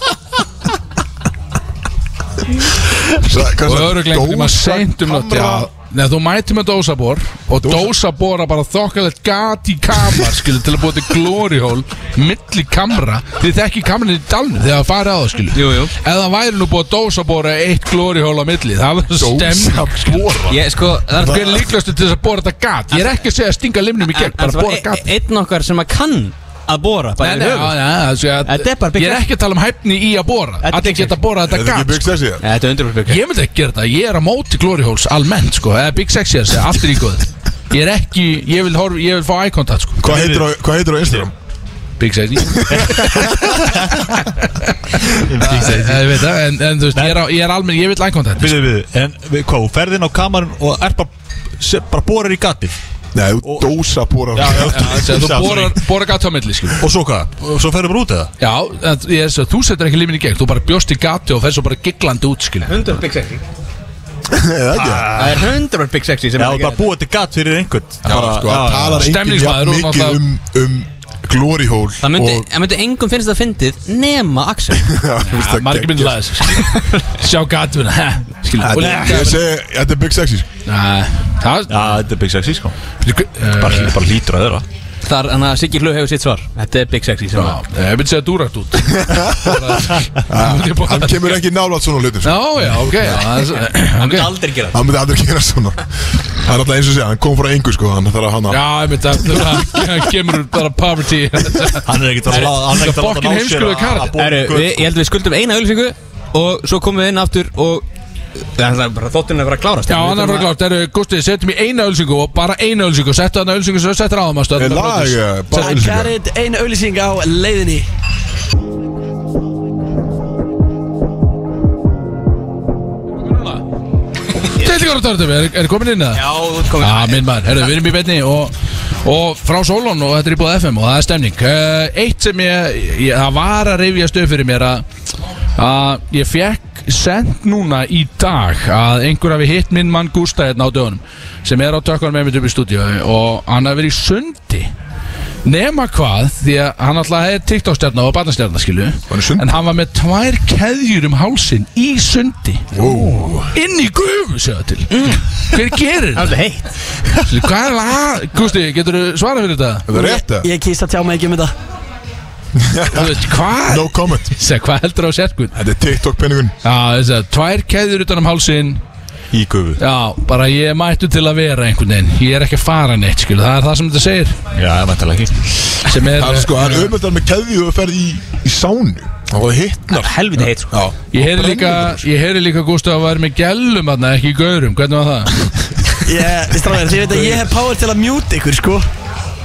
S4: og öruglega einhvern veginn seint um nátt Já, Nei, þú mætir með dósabor og dósabora bara þokkalegt gat í kamar skilu, til að búa til glórihól milli kamra, þið þekki kamrinni í dalnum þegar það farið á það skilu jú, jú. ef það væri nú búið að dósabora eitt glórihól á milli, það verður stemning
S3: Ég, sko, það er-
S4: hver líklastu til þess að bora þetta gat ég er ekki að segja að stinga limnum í gegn bara bora gat
S3: e- Einn okkar sem að kann að bora bara
S4: Nei,
S3: í
S4: nei,
S3: höfuð.
S4: já, já, já, já,
S3: Þetta er bara
S4: Ég
S3: byggja
S4: er ekki að tala um hæfni í að bora
S3: Þetta er
S4: Allir
S3: Big
S4: geta að bora
S3: Er
S4: þetta
S3: þetta
S4: gat
S3: ekki Big
S4: sko.
S3: Sexy? Nei, þetta er undirbúið Big Sexy.
S4: Ég myndi ekki gera þetta, ég er á móti Glory Holes almennt sko Eða Big Sexy að segja, aftur í góð Ég er ekki, ég vil, horf, ég vil fá eye contact sko
S2: Hvað heitir á- hvað heitir á Instagram?
S4: Big Sexy Ég veit það, en, en þú veist, ég er, á- ég er almennt, ég vil eye contact
S5: Býðu, býðu, en við, hvað, þú ferð inn á kamarinn og er bara, se- bara borar í gatið
S2: Nei, þú dósa borar
S5: Já, já,
S4: Já, þessi að Þú borar, borar gat á milli sko
S5: Og svo hvað, og svo ferðum við út eða?
S4: Já, en ég, er svo- þú setur ekki limin í gegn Þú bara bjóst í gati og fer svo bara giglandi út skilja
S3: Hundur Big Sexy
S2: Það
S3: er hundur Big Sexy sem
S5: Já,
S3: er að
S5: bara búa þetta gat fyrir einhvern
S2: Bara sko, það talar enginn jafn mikið um, um glory hole
S3: Það myndi,
S2: og-
S3: það myndi engum finnst það fyndið nema Axel
S2: Já, þú veist, það
S4: margir myndi
S2: geggjað.
S4: laga þessu Sjá gatuna Skilja
S2: Þetta- Ég segi, þetta er Big Sexy sko.
S4: Já,
S5: þetta er Big Sexy sko Bara,
S4: Eh.
S5: bara lítur að þeirra
S3: Þar, hann að Siggi Hlu hefur sitt svar Þetta er Big Sexy sem að
S4: Ég myndi segja dúrakt út
S2: Ah, Hann kemur ekki nálaðt svona hlutum sko.
S4: Já, já, ok já, það er-
S3: Hann myndi aldrei gera
S2: Hann myndi aldrei gera svona Það er alltaf eins og segja, hann kom frá engu sko Hann þarf að hann að
S4: Já, ég myndi að það- hann kemur úr bara poverty Hann
S5: er ekkert að láta- hann er ekkert að láta ná sér að- að búa-
S4: kart
S3: Heru, við, Ég held við skuldum eina auðlýsingu Og svo komum við inn aftur og Það er náttúrulega bara þóttinn að vera að klárast
S4: Já, hann er frá klárt, eru, Gústi, setjum í eina ölsingu og bara eina ölsingu, settu hann ölsingu sem settur áðum að stöða
S2: Er lag, eh, bara
S6: I got it, ein auðlýsing á leiðinni
S4: Þetta er þetta, er er komin inn það?
S3: Já, þú ert komin
S4: Já, minn maður, herru, við erum í betni og, og frá Solon og þetta er í búið FM og það er stemning uh, Eitt sem ég, ég, það var að reyfja stöð fyrir mér að að ég fekk sent núna í dag að einhver hafi hitt minn mann Gústa hérna á dögunum sem er á tökkanum með mitt upp í stúdíu og hann hafi verið í sundi nema hvað, því að hann alltaf hefði TikTok-stjarnar og barnastjarnar skilu en hann var með tvær keðjur um hálsin í sundi
S2: wow.
S4: inn í gufu, segja til
S2: Mm.
S4: hver gerir
S3: Það
S4: það?
S3: er heitt
S4: Skilu, Hvað er það? Gusti, getur þú svarað fyrir þetta?
S2: Það er rétt eh.
S6: Ég kýst að tjá mig ekki um þetta
S4: Þú veist, hvað?
S2: No comment
S4: Segja, hvað heldur á sérkun?
S2: Þetta er TikTok penningun
S4: Já, þess að tvær keðjur utan um hálsin
S5: Í gufu
S4: Já, bara ég mættu til að vera einhvern veginn Ég er ekki að fara neitt, skilu, það er það sem þetta segir
S5: Já, ég mætti alveg ekki
S4: sem er,
S2: Það er sko,
S4: eh.
S2: það er auðvitað með keðju og þú ferð í, í sánu og það hittnar
S3: Helviti heitt sko
S2: Já,
S4: Ég heyri líka, ég heyri líka Gústa að vera með gælum aðna, ekki í gaurum, hvernig var það?
S6: Ég, stráðir, þið veit að ég hef power til að mjúta ykkur, sko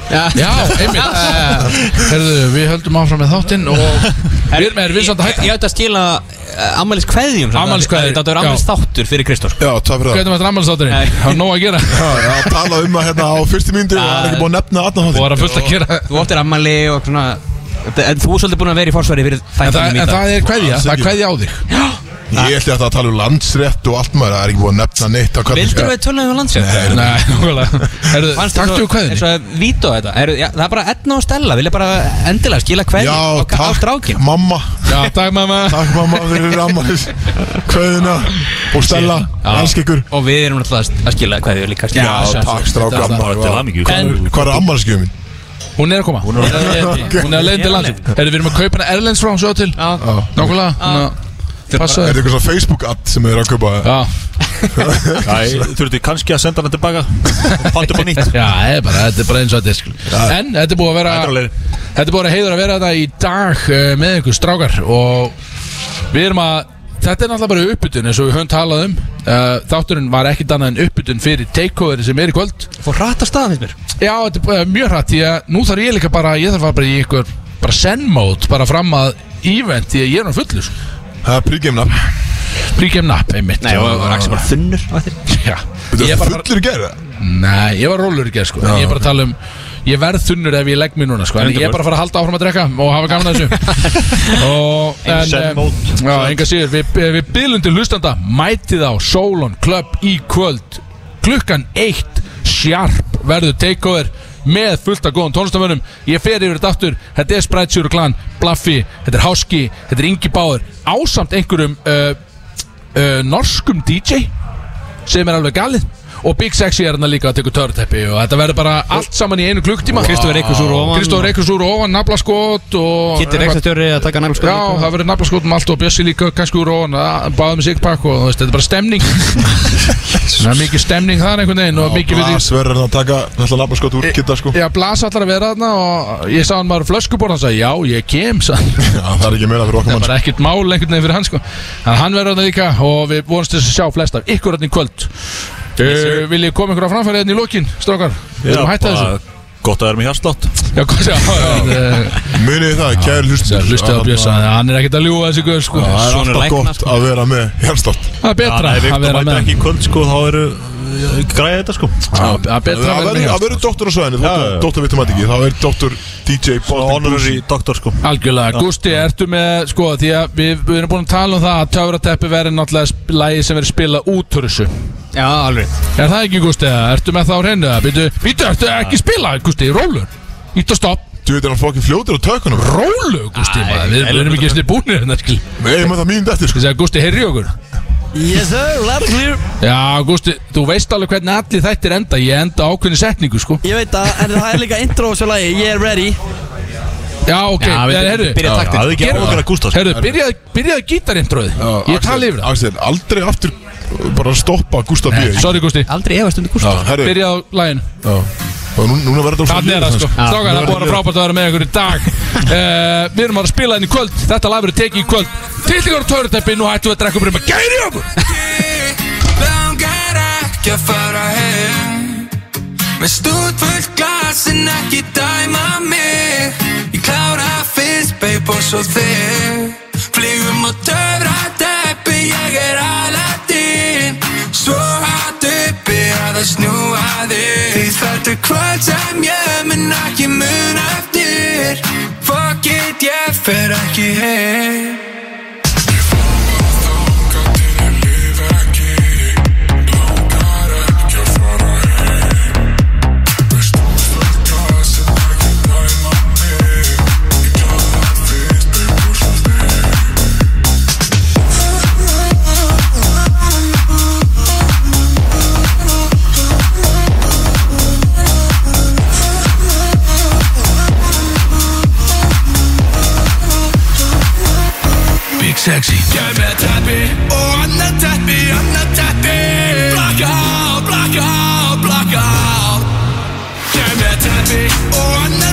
S4: Já, einmitt Eh, Herðu, við höldum áfram með þáttinn og við erum er við samt að
S3: Ég
S4: hætta
S3: ég ætti að skila uh, ammælis kveðjum
S4: Afmælis kveðjur,
S3: Þetta er
S4: já.
S3: ammælis þáttur fyrir Kristór
S2: Já, takk fyrir það
S4: Hvernig var þetta ammálsátturinn? Það var nóg að gera
S2: Já, já, tala um að hérna á fyrstu myndu og hann er ekki búin að nefna aðna
S4: og
S2: hótti
S4: var að fullt að gera
S3: Þú áttir ammæli og svona En þú er svolítið búin að vera í forsvari fyrir
S4: En það,
S3: þættunum í dag
S4: en það er kveðja, það er kveðja á þig
S2: Ég ætli að það tala um landsrétt og allt maður, það er ekki búin að nefna neitt á hvernig
S3: Vildur við um tölum við landsjö?
S4: Nei, nákvæmlega Herðu,
S3: Fannst
S4: takk til
S3: eins
S4: kveðinni
S3: og að vító þetta er, ja, það er bara etna og stella vilja bara endilega skila hverju
S2: Já,
S3: og á
S2: takk
S3: strákin
S2: mamma
S4: Já, takk mamma
S2: Takk mamma fyrir ammanis Kveðina og Stella, elsk ykkur
S3: og við erum náttúrulega að skila hverju líka
S2: Já, takk stráka
S4: Þetta-
S2: maður,
S5: Bara til
S2: vá.
S5: hamingju.
S2: Hvað er- Hvað er ammanisgjöfum minn?
S4: Hún er að koma Hún er að leiðin til landsum Herðu, við erum að kaupa hana Erlends frá svo til Nákvæmlega hún að- Passa
S2: Er þetta
S4: þér
S2: eitthvað svona Facebook-add sem þið eru að kaupa?
S4: Já,
S5: Æ, þurftu kannski að senda hana tilbaka Fattu bara nýtt
S4: já, það er bara, þetta er bara eins og þetta er, skilur. En þetta er búið að vera
S5: Þetta er alveg.
S4: Þetta er búið að vera heiður að vera þetta í dag eh, með ykkur strákar og við erum að Þetta er náttúrulega bara uppbytun eins og við höfum talað um uh, Þátturinn var ekkit annað en uppbytun fyrir takeover sem er í kvöld Fór hratt að staða fyrir mér Já, þetta er uh, mjög hratt Því að nú þarf ég líka bara, ég þarf að fara bara í ykkur bara sendmót, bara fram að event því að ég er nú fullur
S2: Það er príkjumnapp
S4: Príkjumnapp, einmitt
S2: Nei, og- og Axel bara
S4: þunnur Já
S2: Þú
S4: Ég
S2: ert
S4: bara-
S2: fullur í gerða?
S4: Nei, ég var rólur í gerð sko Ég er bara að tala um Ég verð þunnur ef ég legg mér núna sko En ég er bara að fara að halda áfram að drekka Og hafa gaman að þessu Og
S5: Ein send
S4: em, Já, enga síður Við, eh, við bylum til hlustanda Mætið á Solon Club í kvöld Klukkan eitt Sjarp verður takeover Með fullt af góðum tónlistamönnum Ég fer yfir þetta aftur Þetta er Sprite Sjúru Klan Blaffi Þetta er Háski Þetta er Ingi Báður Ásamt einhverjum uh, uh, norskum DJ sem er alveg galið og Big Sexy er hann líka að tekur törteppi og þetta verður bara allt saman í einu klukktíma
S3: Og Kristófer Eiríkus úr ofan.
S4: Kristófer Eiríkus úr ofan, naflaskot og
S3: Kiddi rekstastjóri að taka naflaskot
S4: Já, það verður naflaskot um allt og Bjössi líka kannski úr ofan báðum sig pakk og þú veist, þetta er bara stemning það er mikið stemning þar einhvern veginn og mikið við því
S2: Sverður að taka Þetta labba skot úr kitta sko
S4: Já, Blas allar að vera þarna og ég sá hann maður flöskuborð hann sagði, já, ég kem sann. Já,
S2: það er ekki meira fyrir okkur
S4: Það er bara ekkert mál einhvern veginn fyrir hann sko Þannig að hann verður þarna líka og við vonumst þess að sjá flest af ykkur hann í kvöld uh, Vil ég koma ykkur á framfæri hérna í lokin, strákar? Við erum að hætta þessu
S5: Gott að vera með hjárslátt
S4: Já, gott, já, já
S2: Munið þið það, kæri hlustu
S4: Hlustið á Bjössa, hann er ekkert að ljúga þessi guð sko
S2: Það er alltaf gott að vera með Hjarnstátt
S4: Það er betra
S5: Nei,
S4: að
S5: við
S4: vera
S5: mæta
S4: með
S5: ekki í kvöld sko Þá eru eh, græja þetta sko
S4: Það er betra að vera með sko.
S2: Það verður doktor á svæðinu, doktor- doktor vitum að ekki Það er doktor DJ Honorary
S5: doktor sko
S4: Algjörlega, Gusti, ertu með, sko, því að við, við erum búin að tala um það að Töfrateppi verður náttúrulega sp- lagið sem verður spilað út úr þessu
S3: Já, alveg
S4: Er það ekki, Gusti, eða ertu með það á reynu, eða býtu, býtu, ertu ekki spilað, Gusti, rólur, ít og stopp
S2: Þú veit, er hann fokkin fljótur á tökunum
S4: Rólu, Gusti, maður, við, við erum ekki eins og búinir hérna, skil
S2: Nei, maður það mínum eftir,
S4: sko Þegar Gusti, heyrðu í okkur
S6: Yes sir, loud and clear
S4: Já, Gusti, þú veist alveg hvernig allir þættir enda, ég enda á ákveðni setningu, sko
S6: Ég veit að, en það er líka intro á þessu lagi Ég er ready
S4: Já, ok,
S6: Já, við-
S4: ja, herru,
S6: byrja taktinn.
S4: herru,
S6: Gerum
S4: gerum-
S6: okkar að Gústafs.
S4: Herru, byrjaði byrjað gítarintroðið, ég tala yfir það
S2: Axel, aldrei aftur uh, bara stoppa Gustaf B
S4: Nei, sorry, Gusti
S3: Aldrei efast um
S2: Gústaf. Já, herru.
S4: Byrja á lægin
S2: Já. Og nú- núna verður þetta
S4: Þannig er það sko Strákar, það er búin að
S2: frá
S4: frábært að vera með ykkur í dag uh, Við erum að spila henni í kvöld Þetta lag verður tekið í kvöld Til ykkur á töruteppi, nú hættum við að drekka upp um að gæri okkur
S1: Langar ekki að fara heim Með stúdfullt glas en ekki dæma mig Ég klára fyrst, babe, og svo þig Flygum á töfra deppi, ég er aladinn Svo hatt uppi að það snúa þig Því þetta er kvöld sem ég mun ekki mun eftir Fuck it, ég fer ekki heim Big sexy Gæð með teppi Og annað teppi, annað teppi Blackout, blackout, blackout Gæð með teppi Og annað